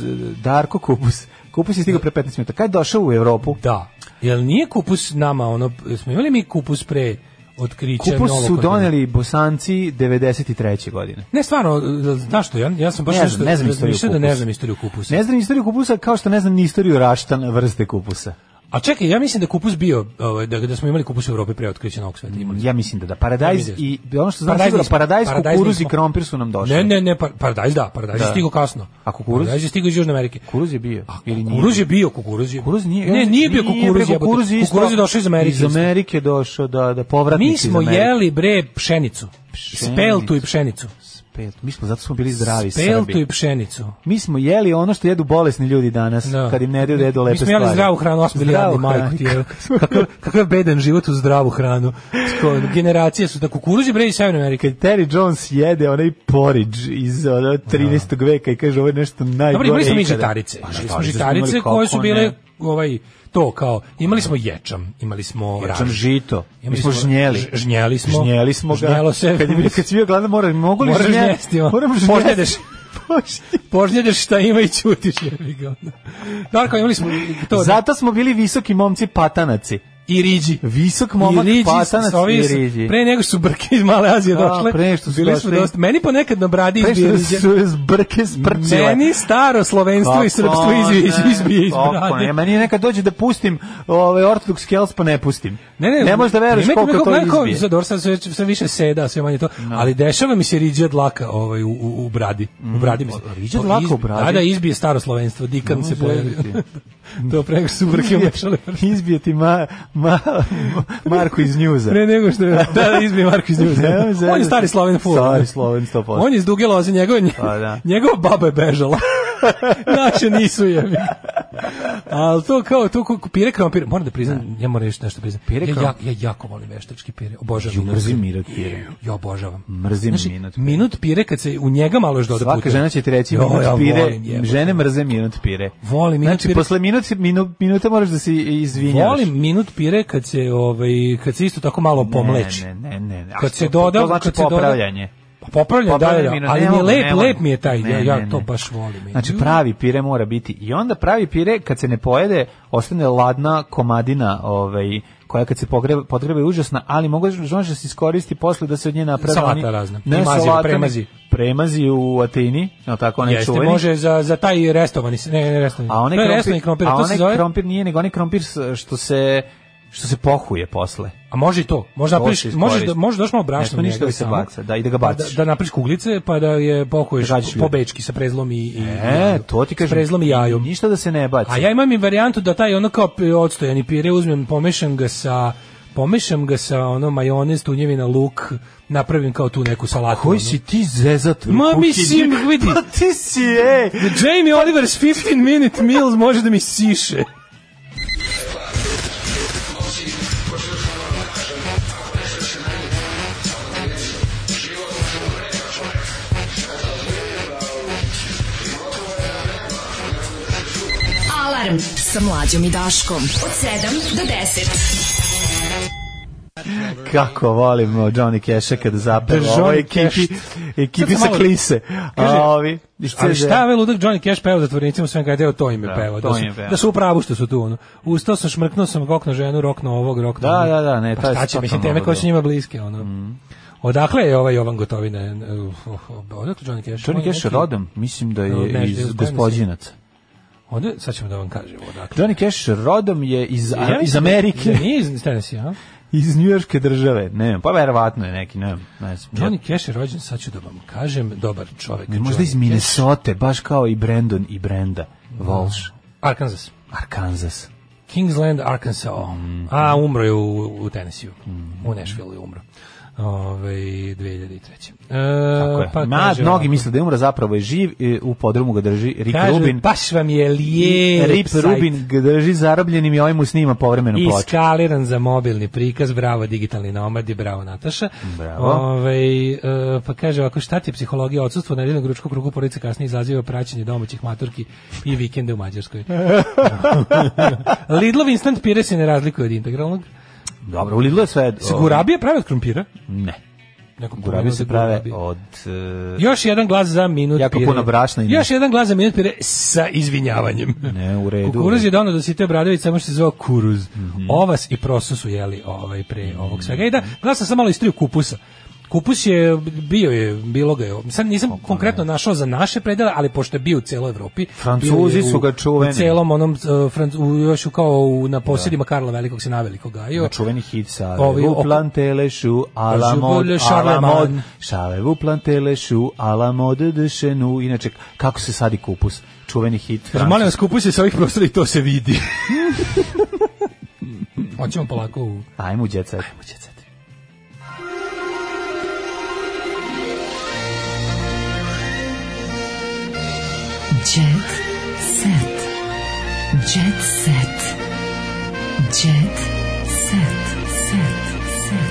E: Darko kupus. Kupus je stigao pre 15 minuta. Kad je došao u Evropu?
F: Da. Jel nije kupus nama ono, smo imali mi kupus pre otkrića
E: Kupus
F: novog
E: su
F: kontinenta?
E: doneli bosanci 93. godine.
F: Ne, stvarno, e, znaš što, ja, ja sam baš
E: Ne znam,
F: nešto
E: ne znam istoriju
F: razmišljao da ne znam
E: kupusa.
F: istoriju kupusa.
E: Ne znam istoriju kupusa kao što ne znam ni istoriju raštan vrste kupusa.
F: A čekaj, ja mislim da je kupus bio, ovaj, da, da smo imali kupus u Evropi pre otkrića novog sveta. Imali smo.
E: Ja mislim da da. Paradajz
F: Ja mislim
E: i ono što znam
F: Paradajz
E: sigurno,
F: nismo.
E: paradajz,
F: Paradajz
E: kukuruz i
F: nismo.
E: krompir su nam došli.
F: Ne, ne, ne, par, paradajz da, paradajz je
E: Da.
F: stigao kasno.
E: A kukuruz?
F: Paradajz je stigao iz Južne Amerike.
E: Kukuruz je bio.
F: A
E: ili nije
F: kukuruz je bio, kukuruz je.
E: Kukuruz nije.
F: Ne, nije bio kukuruz,
E: bre,
F: je. Kukuruz je,
E: isto-
F: došao iz Amerike.
E: Iz Amerike došao da da povratnici
F: Mi smo
E: iz Amerike.
F: jeli bre pšenicu.
E: Pšenicu.
F: Speltu i pšenicu.
E: Spelt. Mi smo zato smo bili zdravi
F: Speltu
E: Srbi.
F: i pšenicu.
E: Mi smo jeli ono što jedu bolesni ljudi danas, kad im ne daju da jedu lepe
F: Mi smo
E: stvari.
F: jeli zdravu hranu, osam milijardi
E: Zdravu
F: majku
E: hranu.
F: ti je. Kakav, kakav beden život u zdravu hranu. Sko- Generacije su da kukuruz je bre iz Severne Amerike.
E: Kad Terry Jones jede onaj porridge iz ono, 13. veka i kaže ovo je nešto najgore.
F: Dobro, imali smo mi
E: ikada."
F: žitarice.
E: Pa,
F: Imali smo
E: imali,
F: žitarice
E: kako
F: koje su
E: ne?
F: bile ovaj to kao imali smo ječam, imali smo
E: Ječam
F: raž.
E: žito. Mi
F: Imali
E: smo žnjeli.
F: ž- Žnjeli smo.
E: Žnjeli smo ga.
F: Žnjelo se.
E: Kad je bio, kad si bio gladan, moram, mogu li
F: Moraš
E: žnje-
F: žnjesti, ono.
E: Moram žnjesti.
F: Požnjedeš.
E: Požnjedeš.
F: Požnjedeš šta ima i ćutiš. jebi ga, ono. Darko, imali smo i to da-
E: Zato smo bili visoki momci patanaci.
F: i riđi.
E: Visok momak
F: I riđi,
E: patanac
F: s- ovi
E: i
F: s-
E: riđi.
F: Pre nego što su brke iz Male Azije
E: Da,
F: došle,
E: pre nego što su
F: bili smo
E: došli.
F: dosta. Meni ponekad na bradi
E: Pre
F: izbije
E: što
F: riđa.
E: su s brke sprčile.
F: Meni staro slovenstvo i srpstvo izbije, izbije iz brade.
E: Ja, meni nekad dođe da pustim ovaj ortodoks kels pa ne pustim. ne možeš da veruješ
F: primetim
E: koliko to
F: nekog- nekog-
E: izbije.
F: Za dobro, sad sve, sve više seda, sve manje to. Ali dešava mi se riđa dlaka ovaj, u, u, u bradi.
E: Mm.
F: U bradi mi se.
E: riđa
F: To
E: Pa, dlaka u
F: izbije-
E: bradi?
F: Da, da, izbije staro slovenstvo, dikan se
E: može
F: pojavi.
E: veriti.
F: to preko su brke umešale.
E: Izbije ti ma, ma, Marko iz njuza.
F: Pre nego što je, da, da, izbije Marko iz Njuza.
E: Ne, ne, ne.
F: On je stari sloven ful.
E: Stari Sloven 100%.
F: On je iz duge loze, njegov,
E: Pa, da.
F: njegova baba je bežala. Naše nisu je. Ali to kao, to kao pire krompir, moram da priznam, ja moram reći nešto priznam.
E: Pire
F: ja, ja,
E: krompir.
F: ja jako volim veštački pire, obožavam.
E: Ju,
F: minut
E: mrzim
F: pire.
E: minut pire.
F: Ja obožavam.
E: Mrzim
F: Znaš,
E: minut pire.
F: Znači, minut pire kad se u njega malo još doda
E: Svaka
F: puter.
E: žena će ti reći
F: Jo,
E: minut
F: ja
E: pire,
F: volim, jebote.
E: žene mrze minut pire.
F: Volim minut
E: znači,
F: pire.
E: posle minut, minu, minuta moraš da se izvinjaš.
F: Volim minut pire kad se ovaj kad se isto tako malo pomleči.
E: Ne, ne, ne. ne. A
F: Kad
E: što-
F: se
E: to-
F: doda,
E: to znači
F: kad se doda-
E: popravljanje.
F: Pa popravljam, da, da,
E: Popravljam
F: da,
E: minut,
F: ali
E: ne
F: mi je
E: mogu,
F: lep,
E: ne mogu.
F: lep mi je taj, ja,
E: Ne,
F: ja
E: ne,
F: to
E: ne.
F: baš volim.
E: Znači
F: Ju.
E: pravi pire mora biti. I onda pravi pire kad se ne pojede, ostane ladna komadina, ovaj koja kad se pogreba, potreba je užasna, ali mogu da se iskoristi posle da se od nje napravi
F: Salata
E: oni-
F: razna.
E: Ne,
F: Primazi,
E: salata,
F: premazi.
E: premazi u Atini, no tako ne
F: Jeste, može za, za taj restovani, se- ne, ne restovani.
E: Znači, ovaj- A onaj
F: to je
E: krompir,
F: restovani krompir,
E: a
F: to se
E: onaj
F: zove.
E: krompir nije nego onaj krompir s- što se što se pohuje posle.
F: A može i to. Može napriš,
E: se iskoristi.
F: možeš da možeš daš malo brašna
E: Ne sme
F: u
E: ništa
F: njega
E: da se
F: samog,
E: baca, da, i da ga
F: pa
E: baciš.
F: Da, da napriš kuglice pa da je pokuješ
E: Da gađaš
F: po
E: ljude.
F: bečki sa prezlom i, i
E: E, to ti
F: s
E: kažem.
F: prezlom i jajom.
E: Ništa da se ne baci.
F: A ja imam i varijantu da taj ono kao p- odstojani pire uzmem, pomešam ga sa pomešam ga sa ono majonez, tunjevina, luk, napravim kao tu neku salatu.
E: Koji
F: ono.
E: si ti zezat?
F: Ma
E: Kukić?
F: mislim, vidi.
E: Pa ti si, ej.
F: Jamie Oliver's 15 minute meals može da mi siše.
D: Alarm sa mlađom i Daškom. Od 7 do 10.
E: Kako volim o, Johnny Cash-a kada zapeva
F: Johnny
E: ovoj ekipi,
F: Cash.
E: ekipi
F: Sad sam
E: sa
F: malo-
E: klise.
F: Kaže,
E: A ovi, iz
F: Ali
E: CZ.
F: šta je ovaj ludak Johnny Cash peva zatvorenicima sve kada je o to ime
E: Da,
F: peva. Da
E: to
F: su,
E: ime peva.
F: da su u pravu što su tu. Ono. Ustao sam, šmrknuo sam rokno ženu, rokno ovog, rokno
E: Da,
F: onog.
E: da, da, ne,
F: pa
E: to je
F: šta će, mislim,
E: totalno Mhm.
F: teme koje
E: ludilo.
F: su njima bliske. Ono. Odakle je ovaj Jovan Gotovina? Uf, uf, uh, Odakle Johnny Cash? On
E: Johnny
F: je
E: Cash
F: neki-
E: je rodom, mislim da
F: No,
E: je
F: ne, ne,
E: iz
F: ne,
E: gospodinaca.
F: Onda, sad ćemo da vam kažemo odakle.
E: Johnny Cash rodom je iz,
F: Ja mislim
E: iz
F: da-
E: Amerike,
F: Da nije iz Tennessee, a?
E: iz njujorske države. Ne znam, pa verovatno je neki, ne znam. ne znam.
F: Johnny Cash je rođen, sad ću da vam kažem, dobar čovek.
E: Ne, Možda iz
F: Johnny Cash.
E: Minnesota, baš kao i Brandon i Brenda. Walsh,
F: Arkansas.
E: Arkansas.
F: Kingsland, Arkansas.
E: Mhm.
F: A, umro je u, u Tennessee. U Nashville je umro. Ove, 2003.
E: Tako
F: E,
E: je. Ma,
F: kaže
E: mnogi
F: ovako.
E: misle da je umro, zapravo je živ, i u podrumu ga drži Rick
F: Kaže,
E: Rubin.
F: baš vam je
E: I
F: lijep
E: Rip
F: sajt.
E: Rubin ga drži zarobljenim i ovaj mu snima povremenu ploču.
F: Iskaliran za mobilni prikaz, bravo digitalni nomadi, bravo Nataša.
E: Bravo.
F: Ovaj, e, pa kaže ovako, šta ti je psihologija odsustvo nedeljnog ručkog kruga porodice kasnije izaziva praćenje domaćih maturki i vikende u Mađarskoj. Lidlov instant pire se ne razlikuje od integralnog.
E: Dobro, u Lidlu je sve...
F: Se gurabije prave od krumpira?
E: Ne.
F: Nekom
E: Gurabi se prave od... e,
F: Još jedan glas za minut
E: Jako
F: pire.
E: puno brašna i
F: Još jedan glas za minut pire sa izvinjavanjem.
E: Ne, u redu. Mhm.
F: Kukuruz je donao da si te Obradović, samo što se zvao kuruz. Ovas i prosu su jeli ovaj, pre ovog svega. I da, glasam sam malo istriju kupusa. Kupus je bio je, bilo ga je. Sad nisam konkretno našao za naše predele, ali pošto je bio u celoj Evropi.
E: Francuzi
F: bio je u-
E: su ga čuveni.
F: U celom onom, uh, Franc, u, još u kao u, na posjedima Karla Velikog se na veliko gajio.
E: na čuveni hit sa
F: Ovi,
E: Ovi,
F: oko-
E: u plantelešu, a la
F: Kažu,
E: mod,
F: bolje
E: a la mod,
F: Charlemagne.
E: šave u plantelešu, a la mod dešenu, inače, kako se sadi kupus, čuveni hit.
F: Kaže, molim vas, kupuj se sa ovih prostora i to se vidi. Hoćemo polako u...
E: Ajmo, djecet. Ajmo, djecet.
D: Jet set. Jet set. Jet set. Set. Set.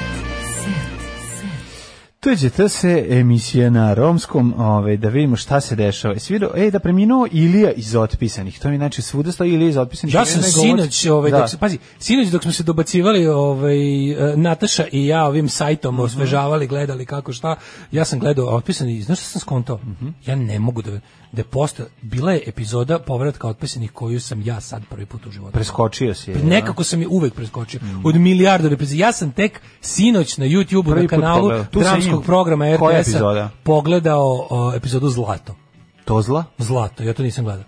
E: Tuđete se emisija na romskom, ovaj, da vidimo šta se dešava. Jesi vidio, ej, da preminuo Ilija iz otpisanih. To je znači svuda stoji Ilija iz otpisanih.
F: Ja sam
E: Jedan je glumac-
F: sinoć, ovaj,
E: Da.
F: dok, se- pazi, sinoć dok smo se dobacivali, ovaj, e, Nataša i ja ovim sajtom osvežavali, gledali kako šta, ja sam gledao otpisani, znaš šta sam skontao? Ja ne mogu da, da je posta, bila je epizoda povratka otpisanih koju sam ja sad prvi put u životu.
E: Preskočio si je. da.
F: Nekako sam je uvek preskočio. Od milijardu epizoda. Ja sam tek sinoć na YouTube-u
E: Prvi
F: na
E: put
F: kanalu
E: pogledao. Tu sam
F: dramskog
E: im-
F: programa
E: Koja
F: RTS-a
E: epizoda?
F: pogledao o, epizodu Zlato.
E: To zla?
F: Zlato, ja to nisam gledao.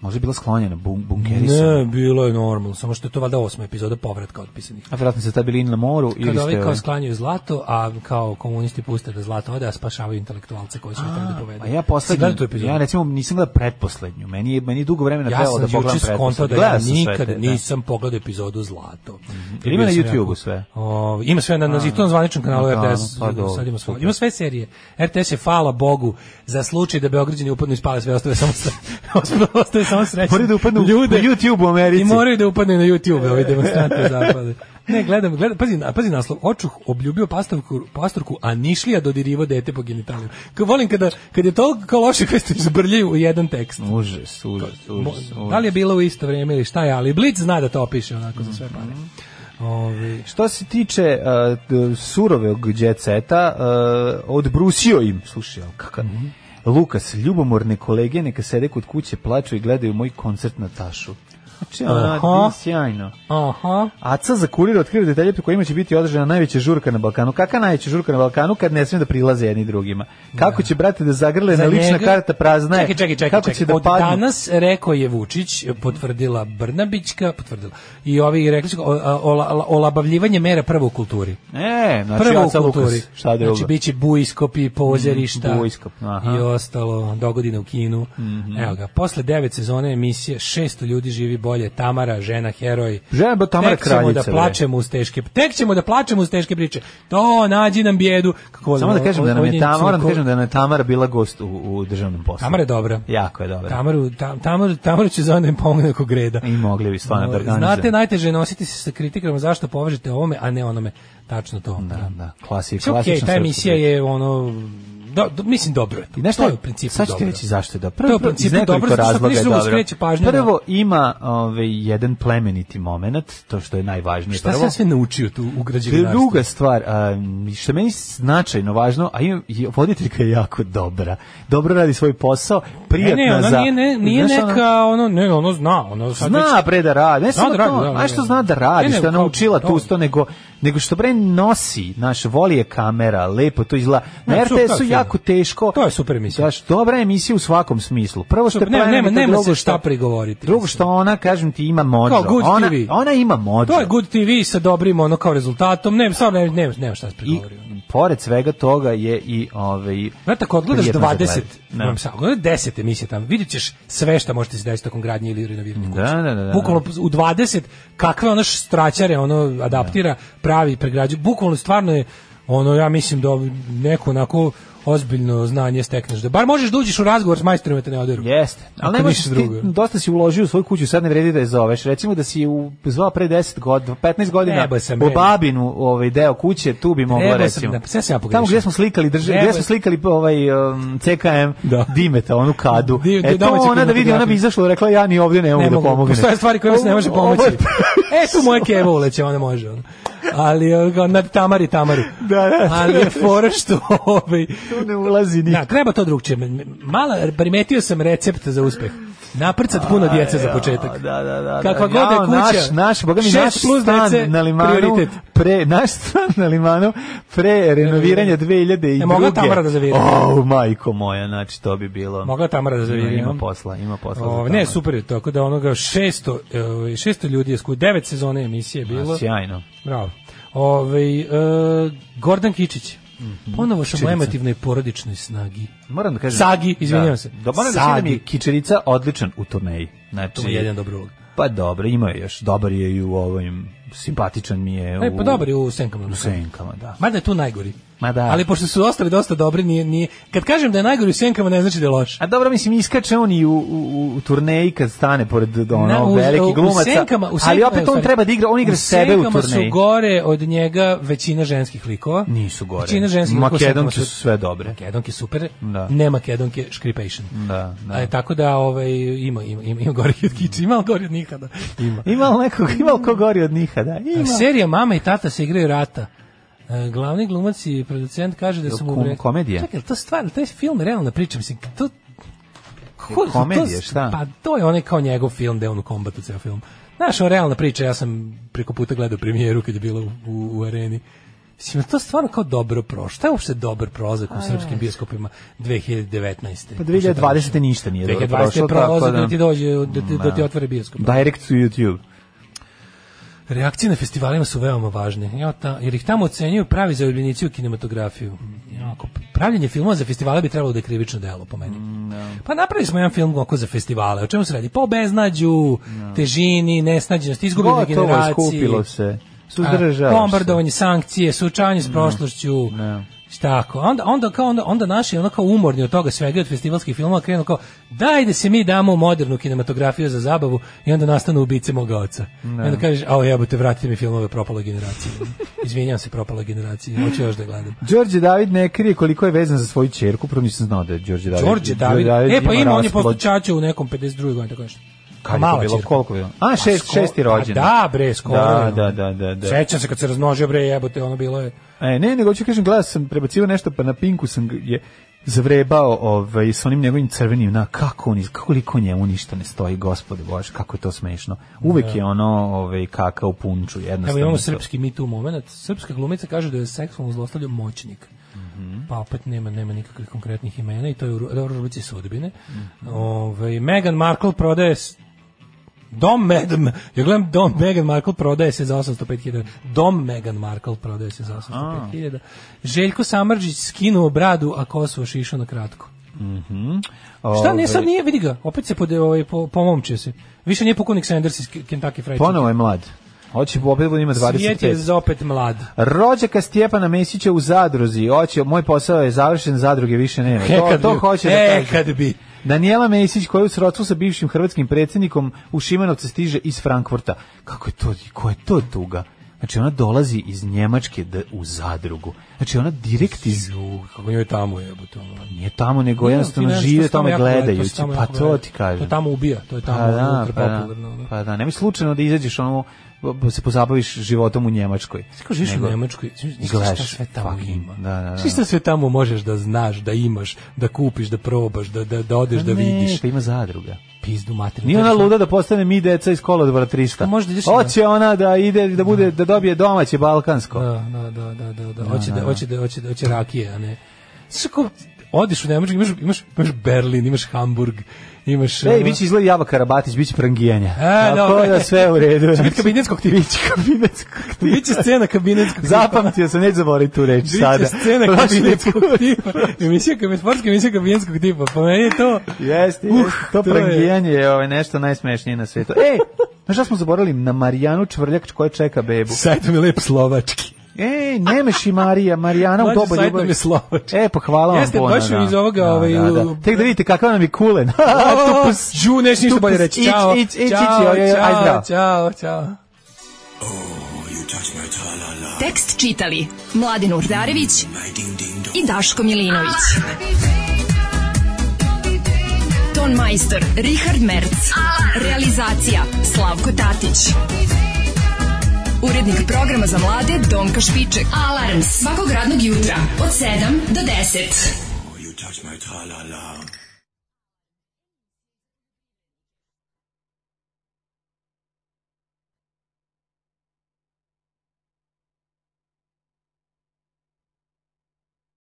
E: Možda je bila sklonjena, bun, bunkerisana.
F: Ne, bilo je normalno, samo što je to valjda osma epizoda povratka otpisanih.
E: A vjerojatno se ta bili na moru ili
F: Kada
E: ste...
F: ovi kao
E: ovaj,
F: sklanjaju zlato, a kao komunisti puste da zlato ode, a spašavaju intelektualce koji su ih tada povedu.
E: A pa ja
F: Gledao tu
E: poslednju,
F: epizodu?
E: ja recimo nisam gledao pretposlednju. Meni je, meni je dugo vremena
F: Ja
E: trebalo
F: sam
E: da pogledam
F: juče skontao
E: pretposlednju.
F: da ja
E: Gledao sam sve
F: nikada
E: te, da. Mhm.
F: nisam pogledao epizodu Zlato.
E: Ili ima na
F: Bio sam
E: YouTubeu
F: jako-
E: sve?
F: O, Ovaj, ima sve na, na i to na zvaničnom kanalu
E: Na kanalu,
F: RTS.
E: pa dobro,
F: sad ima, sve,
E: super.
F: ima sve serije. RTS je, hvala Bogu, za slučaj da Beograđani upadnu i spale sve, ostave samo, sa, ostave samo srećni.
E: Moraju da upadnu
F: Ljude.
E: po YouTube E. u Americi.
F: I moraju da upadne na YouTube, ovi demonstranti zapade. Ne, gledam, gledam, pazi, na- pazi naslov, očuh obljubio pastorku, pastorku, a nišlija dodirivo dete po genitaliju. Kao volim kada, kad je toliko kao loše koje ste izbrljaju u jedan tekst.
E: Užas, užas,
F: Mo-
E: užas.
F: Da li
E: užas.
F: je bilo u isto vrijeme ili šta je, ali Blitz zna da to opiše onako za sve pare.
E: Mhm.
F: Ovi,
E: Što se tiče uh, d- surovog djeceta, uh, odbrusio im, slušaj, ali kakav...
F: Mhm.
E: Lukas, ljubomorne kolege neka sede kod kuće, plaču i gledaju moj koncert na tašu. Znači,
F: Aha.
E: ono, sjajno.
F: aha.
E: Aca za kurir otkriva detalje pri kojima će biti održana najveća žurka na Balkanu. Kaka najveća žurka na Balkanu kad ne smiju da prilaze jedni drugima? Kako će, brate, da zagrle na lična
F: njega-
E: karta prazna je?
F: Čekaj, čekaj, čekaj.
E: Kako
F: čekaj.
E: će da
F: Od
E: padnu?
F: danas rekao je Vučić, potvrdila Brnabićka, potvrdila. I ovi rekli su o- a- ola- olabavljivanje mera prvo u kulturi.
E: E, znači
F: Prvo u
E: Aca
F: kulturi.
E: Lukas, šta drugo?
F: Znači, bit će bujskopi, pozorišta
E: Mm, bujskop, aha. Mhm.
F: i ostalo, dogodine u kinu. Evo ga, posle devet sezone emisije, 600 ljudi živi bolje, Tamara, žena, heroj.
E: Žena ba Tamara
F: Tek ćemo da
E: kraljica, bre.
F: plačemo uz teške, tek ćemo da plačemo uz teške priče. To, nađi nam bijedu. Kako volim,
E: Samo da kažem
F: ovo-
E: da nam
F: ovo
E: je
F: njen
E: Tamara, moram da
F: cvrko-
E: kažem da nam je Tamara bila gost u, u državnom poslu.
F: Tamara je dobra.
E: Jako je dobra.
F: Tamaru, tam, Tamaru, Tamaru ću zovem da im pomogne oko greda.
E: I mogli bi stvarno da
F: Ovaj,
E: organizujemo.
F: Znate, najteže je nositi se sa kritikama zašto povežete ovome, a ne onome. Tačno to.
E: Da, da, klasi,
F: Sve okej,
E: klasična
F: ta
E: srpska
F: emisija
E: priča.
F: je ono... Do, do, mislim dobro je. to.
E: I znaš
F: To
E: šta,
F: je u principu
E: sad ću ti
F: dobro.
E: reći zašto je
F: To je
E: dobro.
F: u
E: Prvo, iz
F: principu dobro,
E: nekoliko
F: zato što
E: razloga je
F: ništa drugo
E: dobro.
F: skreće pažnju na-
E: Prvo, ima ovaj, jedan plemeniti moment, to što je najvažnije.
F: Šta
E: prvo.
F: sam ja sve naučio tu u građevinarstvu?
E: Druga stvar, a, što je meni značajno važno, a ima, je- voditeljka je jako dobra. Dobro radi svoj posao,
F: E, Ne,
E: prijatna
F: ne, ona
E: za...
F: nije, ne, nije
E: Znaš, ona-
F: neka, ono, ne, ono zna, ono sad već-
E: Zna bre da radi, ne samo
F: da radi,
E: to,
F: da, da,
E: znaš što
F: da.
E: zna da
F: Ne,
E: radi,
F: ne,
E: što je
F: kao-
E: naučila tu
F: dobro.
E: sto, nego, nego što bre nosi, naš, voli je kamera, lepo to izgleda.
F: Ne,
E: Na
F: super,
E: RTS-u
F: film.
E: jako teško.
F: To je super emisija.
E: Znaš, dobra je emisija u svakom smislu. Prvo što je
F: Super, nema-
E: plemenita,
F: nema- nema
E: drugo
F: se
E: što-
F: šta prigovoriti.
E: Drugo što ona, kažem ti, ima mođo.
F: Kao Good
E: ona,
F: TV.
E: ona ima mođo.
F: To je Good TV sa dobrim ono kao rezultatom, ne, stvarno ne, ne, nema šta se
E: I
F: prigovorio.
E: pored svega toga je i ovaj
F: Znate, ako odgledaš
E: Prijetno za
F: 20,
E: gledanje. Da.
F: imam sad, odgledaš 10 emisija tamo, vidjet ćeš sve šta možete se desiti tokom gradnje ili renoviranja kuće.
E: Da, da, da, da.
F: Bukvalno u 20, kakve ono straćare ono adaptira, pravi, pregrađuje. Bukvalno stvarno je, ono, ja mislim da neko onako ozbiljno znanje stekneš. Da bar možeš da uđeš u razgovor s majstorima te ne oderu.
E: Jeste, ali
F: Ako
E: ne možeš
F: ništa
E: ti,
F: drugo.
E: dosta si uložio u svoju kuću, sad ne vredi da je zoveš. Recimo da si u, zvao pre 10 godina, 15 godina
F: Trebao sam,
E: u
F: bre.
E: Babinu ovaj deo kuće, tu bi mogla
F: Trebao sam,
E: recimo.
F: da, sve sam ja pogrešio.
E: Tamo gde smo slikali, drži,
F: Trebao
E: gde smo
F: sam.
E: slikali ovaj um, CKM
F: Da.
E: Dimeta, onu kadu.
F: Di-
E: e, to
F: domaća
E: ona da vidi, ona bi
F: kinematografija.
E: izašla i rekla ja ni ovdje ne mogu
F: ne
E: da
F: mogu,
E: pomognem.
F: postoje stvari kojima se ne može
E: Ovo- ovo
F: pomoći.
E: je-
F: e, tu moje kevo uleće, ona može. Ona. Ali, ono, kao, nad Tamari, Tamaru.
E: Da, da.
F: Ali je fora što, ovaj,
E: Tu ne ulazi ni.
F: Da, treba to drugčije. M- m- Mala, primetio sam recept za uspeh. Naprcat puno djece za početak.
E: Da, da, da.
F: Kakva
E: da.
F: god je
E: Jao,
F: kuća,
E: Naš, naš, boga mi,
F: šest
E: naš
F: plus
E: stan
F: dece,
E: na limanu,
F: prioritet.
E: pre, naš stan na limanu, pre renoviranja 2002.
F: E, mogla Tamara da zaviri?
E: O, majko moja, znači to bi bilo.
F: Mogla Tamara da zaviri,
E: Ima, ima
F: no?
E: posla, ima posla.
F: O, ne, super je, tako da onoga 600, ovaj, 600 ljudi je skuo, devet sezone emisije je bilo.
E: bilo. Sjajno.
F: Bravo. Ovaj, e, Gordan Kičić.
E: Mhm.
F: Ponovo sam o emotivnoj porodičnoj snagi.
E: Moram da kažem.
F: Sagi, izvinjavam se.
E: Da, moram da kažem da mi je
F: Sagi.
E: Kičerica odličan u turneji. Znači,
F: To je jedan dobro ulog.
E: Pa dobro, ima je još. Dobar je i u ovim, simpatičan mi je.
F: E, pa
E: u-
F: dobar je u Senkama.
E: U senkama, da.
F: Mada je tu najgori.
E: Ma da.
F: Ali pošto su ostali dosta dobri, nije, nije... Kad kažem da je najgori u Senkama, ne znači da je loš.
E: A dobro, mislim, iskače on i u, u, u turneji kad stane pored ono,
F: Na, u-
E: velikih glumaca,
F: senkama- u
E: ali
F: senkama-
E: opet
F: u
E: on
F: stvari,
E: treba da igra, on igra
F: u
E: sebe u
F: senkama
E: turneji.
F: su gore od njega većina ženskih likova.
E: Nisu gore.
F: Većina ženskih likova u
E: Makedonke
F: senkama
E: su sve dobre.
F: Makedonke super,
E: Da.
F: ne Makedonke škripation.
E: Da, da.
F: E, tako da ovaj, ima, ima, ima, ima gore od kiči, ima ali gore od nikada. Ima.
E: Ima li nekog, ima li ko gori od njiha, da? Ima.
F: A serija Mama i tata se igraju rata. E, Glavni glumac i producent kaže da
E: Jel
F: su mu...
E: kom-
F: vre-
E: komedija?
F: Čekaj, jel to stvarno, to je film, realna priča, mislim, to... Ko,
E: Je komedija,
F: to-
E: šta?
F: Pa to je onaj kao njegov film, gde je on u kombatu ceo film. Znaš, ovo je realna priča, ja sam preko puta gledao premijeru kad je bila u, u, u areni. Mislim, je to stvarno kao dobro prošlo. Šta je uopšte dobar prozak u srpskim bioskopima 2019.
E: Pa 2020. ništa nije dobro
F: 2020. je
E: prošlo,
F: prolazak
E: tako
F: da
E: da...
F: ti dođe, da ti, da ti
E: Da.
F: otvore bioskop.
E: Direct to YouTube.
F: Reakcije na festivalima su veoma važne, ja, ta, jer ih tamo ocenjuju pravi zaljubljenici u kinematografiju.
E: Mm,
F: Ja, Ako pravljenje filmova za festivale bi trebalo da je krivično delo, po meni.
E: Mm,
F: Pa napravili smo jedan film oko za festivale. O čemu se radi? Pa o beznađu, težini, nesnađenosti, izgubljene
E: Gotovo je,
F: generacije.
E: skupilo se.
F: A,
E: Suzdržavaš se. Mm,
F: Bombardovanje, sankcije, suočavanje s prošlošću. Šta Tako. A Onda, onda, kao, onda, onda naši ono kao umorni od toga svega i od festivalskih filmova krenu kao daj da se mi damo u modernu kinematografiju za zabavu i onda nastanu ubice moga oca. I onda kažeš, ao jebote, vratite mi filmove propale generacije. Izvinjam se, propala generacija, hoću još da gledam.
E: Đorđe David ne krije koliko je vezan za svoju čerku, prvo nisam znao da je Đorđe David.
F: Đorđe David, e pa ima, on je
E: rasplod.
F: posto ćaću u nekom 52. godini, tako nešto.
E: Kad je to
F: Mala
E: bilo?
F: ćerka.
E: Koliko je bilo? A, šest-
F: sko-
E: šesti rođendan.
F: Pa Da, bre, skoro.
E: Da,
F: je. ono.
E: da, da, da, da.
F: Sećam se kad se razmnožio, bre, jebote, ono bilo je...
E: E, ne, nego ću kažem, gledao sam, prebacivao nešto, pa na Pinku sam ga- je zavrebao ovaj, s onim njegovim crvenim, na, kako on, iz- kako liko njemu ništa ne stoji, gospode Bože, kako je to smešno. Uvek je ono, ovaj, kaka u punču, jednostavno.
F: Evo imamo
E: to.
F: srpski Me Too moment. Srpska glumica kaže da je seksualno zlostavljao moćnik.
E: Mhm.
F: Pa opet nema, nema nikakvih konkretnih imena i to je u ru- dobro, u rubrici sudbine. Ovaj, Meghan Markle prodaje s- Dom Medm, ja gledam Dom Meghan Markle prodaje se za 805.000. Dom Meghan Markle prodaje se za 805.000. Željko Samrđić skinuo bradu, a Kosovo šišao na kratko. Šta ne
E: Ovaj,
F: sad nije, vidi ga, opet se pode, ovaj, po, pomomčio se. Više nije pukovnik Sanders iz K- Kentucky Fried
E: Ponovo je mlad. Hoće opet da ima
F: Chicken. Svijet je
E: 25.
F: za opet mlad.
E: Rođaka Stjepana Mesića u zadruzi. Hoće, moj posao je završen, zadruge više nema. To, to hoće da
F: e,
E: kaže.
F: kad bi.
E: Daniela Mesić koja je u srodstvu sa bivšim hrvatskim predsjednikom u Šimanovce stiže iz Frankfurta. Kako je to, ko je to tuga? Znači ona dolazi iz Njemačke da, u zadrugu. Znači ona direkt iz...
F: Kako njoj tamo je, to ono.
E: Nije tamo, nego jednostavno
F: Ti znaš,
E: žive
F: se
E: tamo
F: jako gleda,
E: gledajući.
F: se tamo
E: Pa
F: jako
E: to
F: gleda.
E: ti kažem.
F: To tamo ubija, to je tamo
E: Pa da,
F: ultra
E: pa da,
F: popularno. ono.
E: pa da, nemoj slučajno da izađeš ono, b- se pozabaviš životom u Njemačkoj.
F: Kako živiš u
E: Nego-
F: Njemačkoj, znaš
E: I
F: šta
E: gledaš,
F: sve tamo
E: fucking,
F: ima.
E: Da, da, da.
F: Znaš šta sve tamo možeš da znaš, da imaš, da kupiš, da probaš, da, da, da odeš, da
E: Ne,
F: vidiš.
E: pa ima zadruga.
F: Pizdu materinu.
E: Nije ona luda da postane mi deca iz kolodvora 300.
F: Može da ideš na-
E: Hoće ona da ide da bude da dobije domaće balkansko.
F: Da, da, da, da, da, da. Hoće da, hoće da, hoće da, hoće rakije, a ne. Znaš kako, odiš u Nemačku, imaš, imaš, imaš Berlin, imaš Hamburg, imaš...
E: Ej,
F: ono-
E: biće izgleda Java Karabatić, biće prangijanja.
F: E,
E: Tako
F: dobro.
E: da sve u redu.
F: Će biti Znači, kabinetskog tipa.
E: Biće kabinetskog tipa.
F: Biće scena kabinetskog tipa.
E: Znači, Zapamtio sam, neću zaboraviti tu reč sada.
F: Biće scena
E: Prošli
F: kabinetskog
E: put.
F: tipa. Emisija, kabi- sportska emisija kabinetskog tipa. Pa meni je to...
E: Jeste,
F: Uh,
E: jeste. to,
F: to je-
E: prangijanje je ovaj, nešto najsmešnije na svijetu. Ej, znaš šta smo zaboravili? Na Marijanu Čvrljak koja čeka bebu.
F: Sajt mi je lep slovački.
E: Ej, Nemeš i Marija, Marijana u
F: Mlađe,
E: doba
F: sajt
E: ljubavi.
F: nam je slovački.
E: E, pa hvala vam
F: Jeste,
E: puno,
F: baš
E: da.
F: iz ovoga,
E: Da,
F: ovaj,
E: da, da. Tek da vidite kakav nam je kulen. pa Tupus.
F: Đu, neš ništa bolje reći.
E: Ić,
F: Ćao.
E: ić, ić, ić,
F: Ćao,
E: joj, joj, aj, zdravo.
F: Ćao, čao, čao.
D: Tekst čitali Mladin Urdarević i Daško Milinović. Ton majstor Richard Merc. Realizacija Slavko Tatić. Urednik programa za mlade Donka Špiček. Alarms svakog radnog jutra od 7 do 10.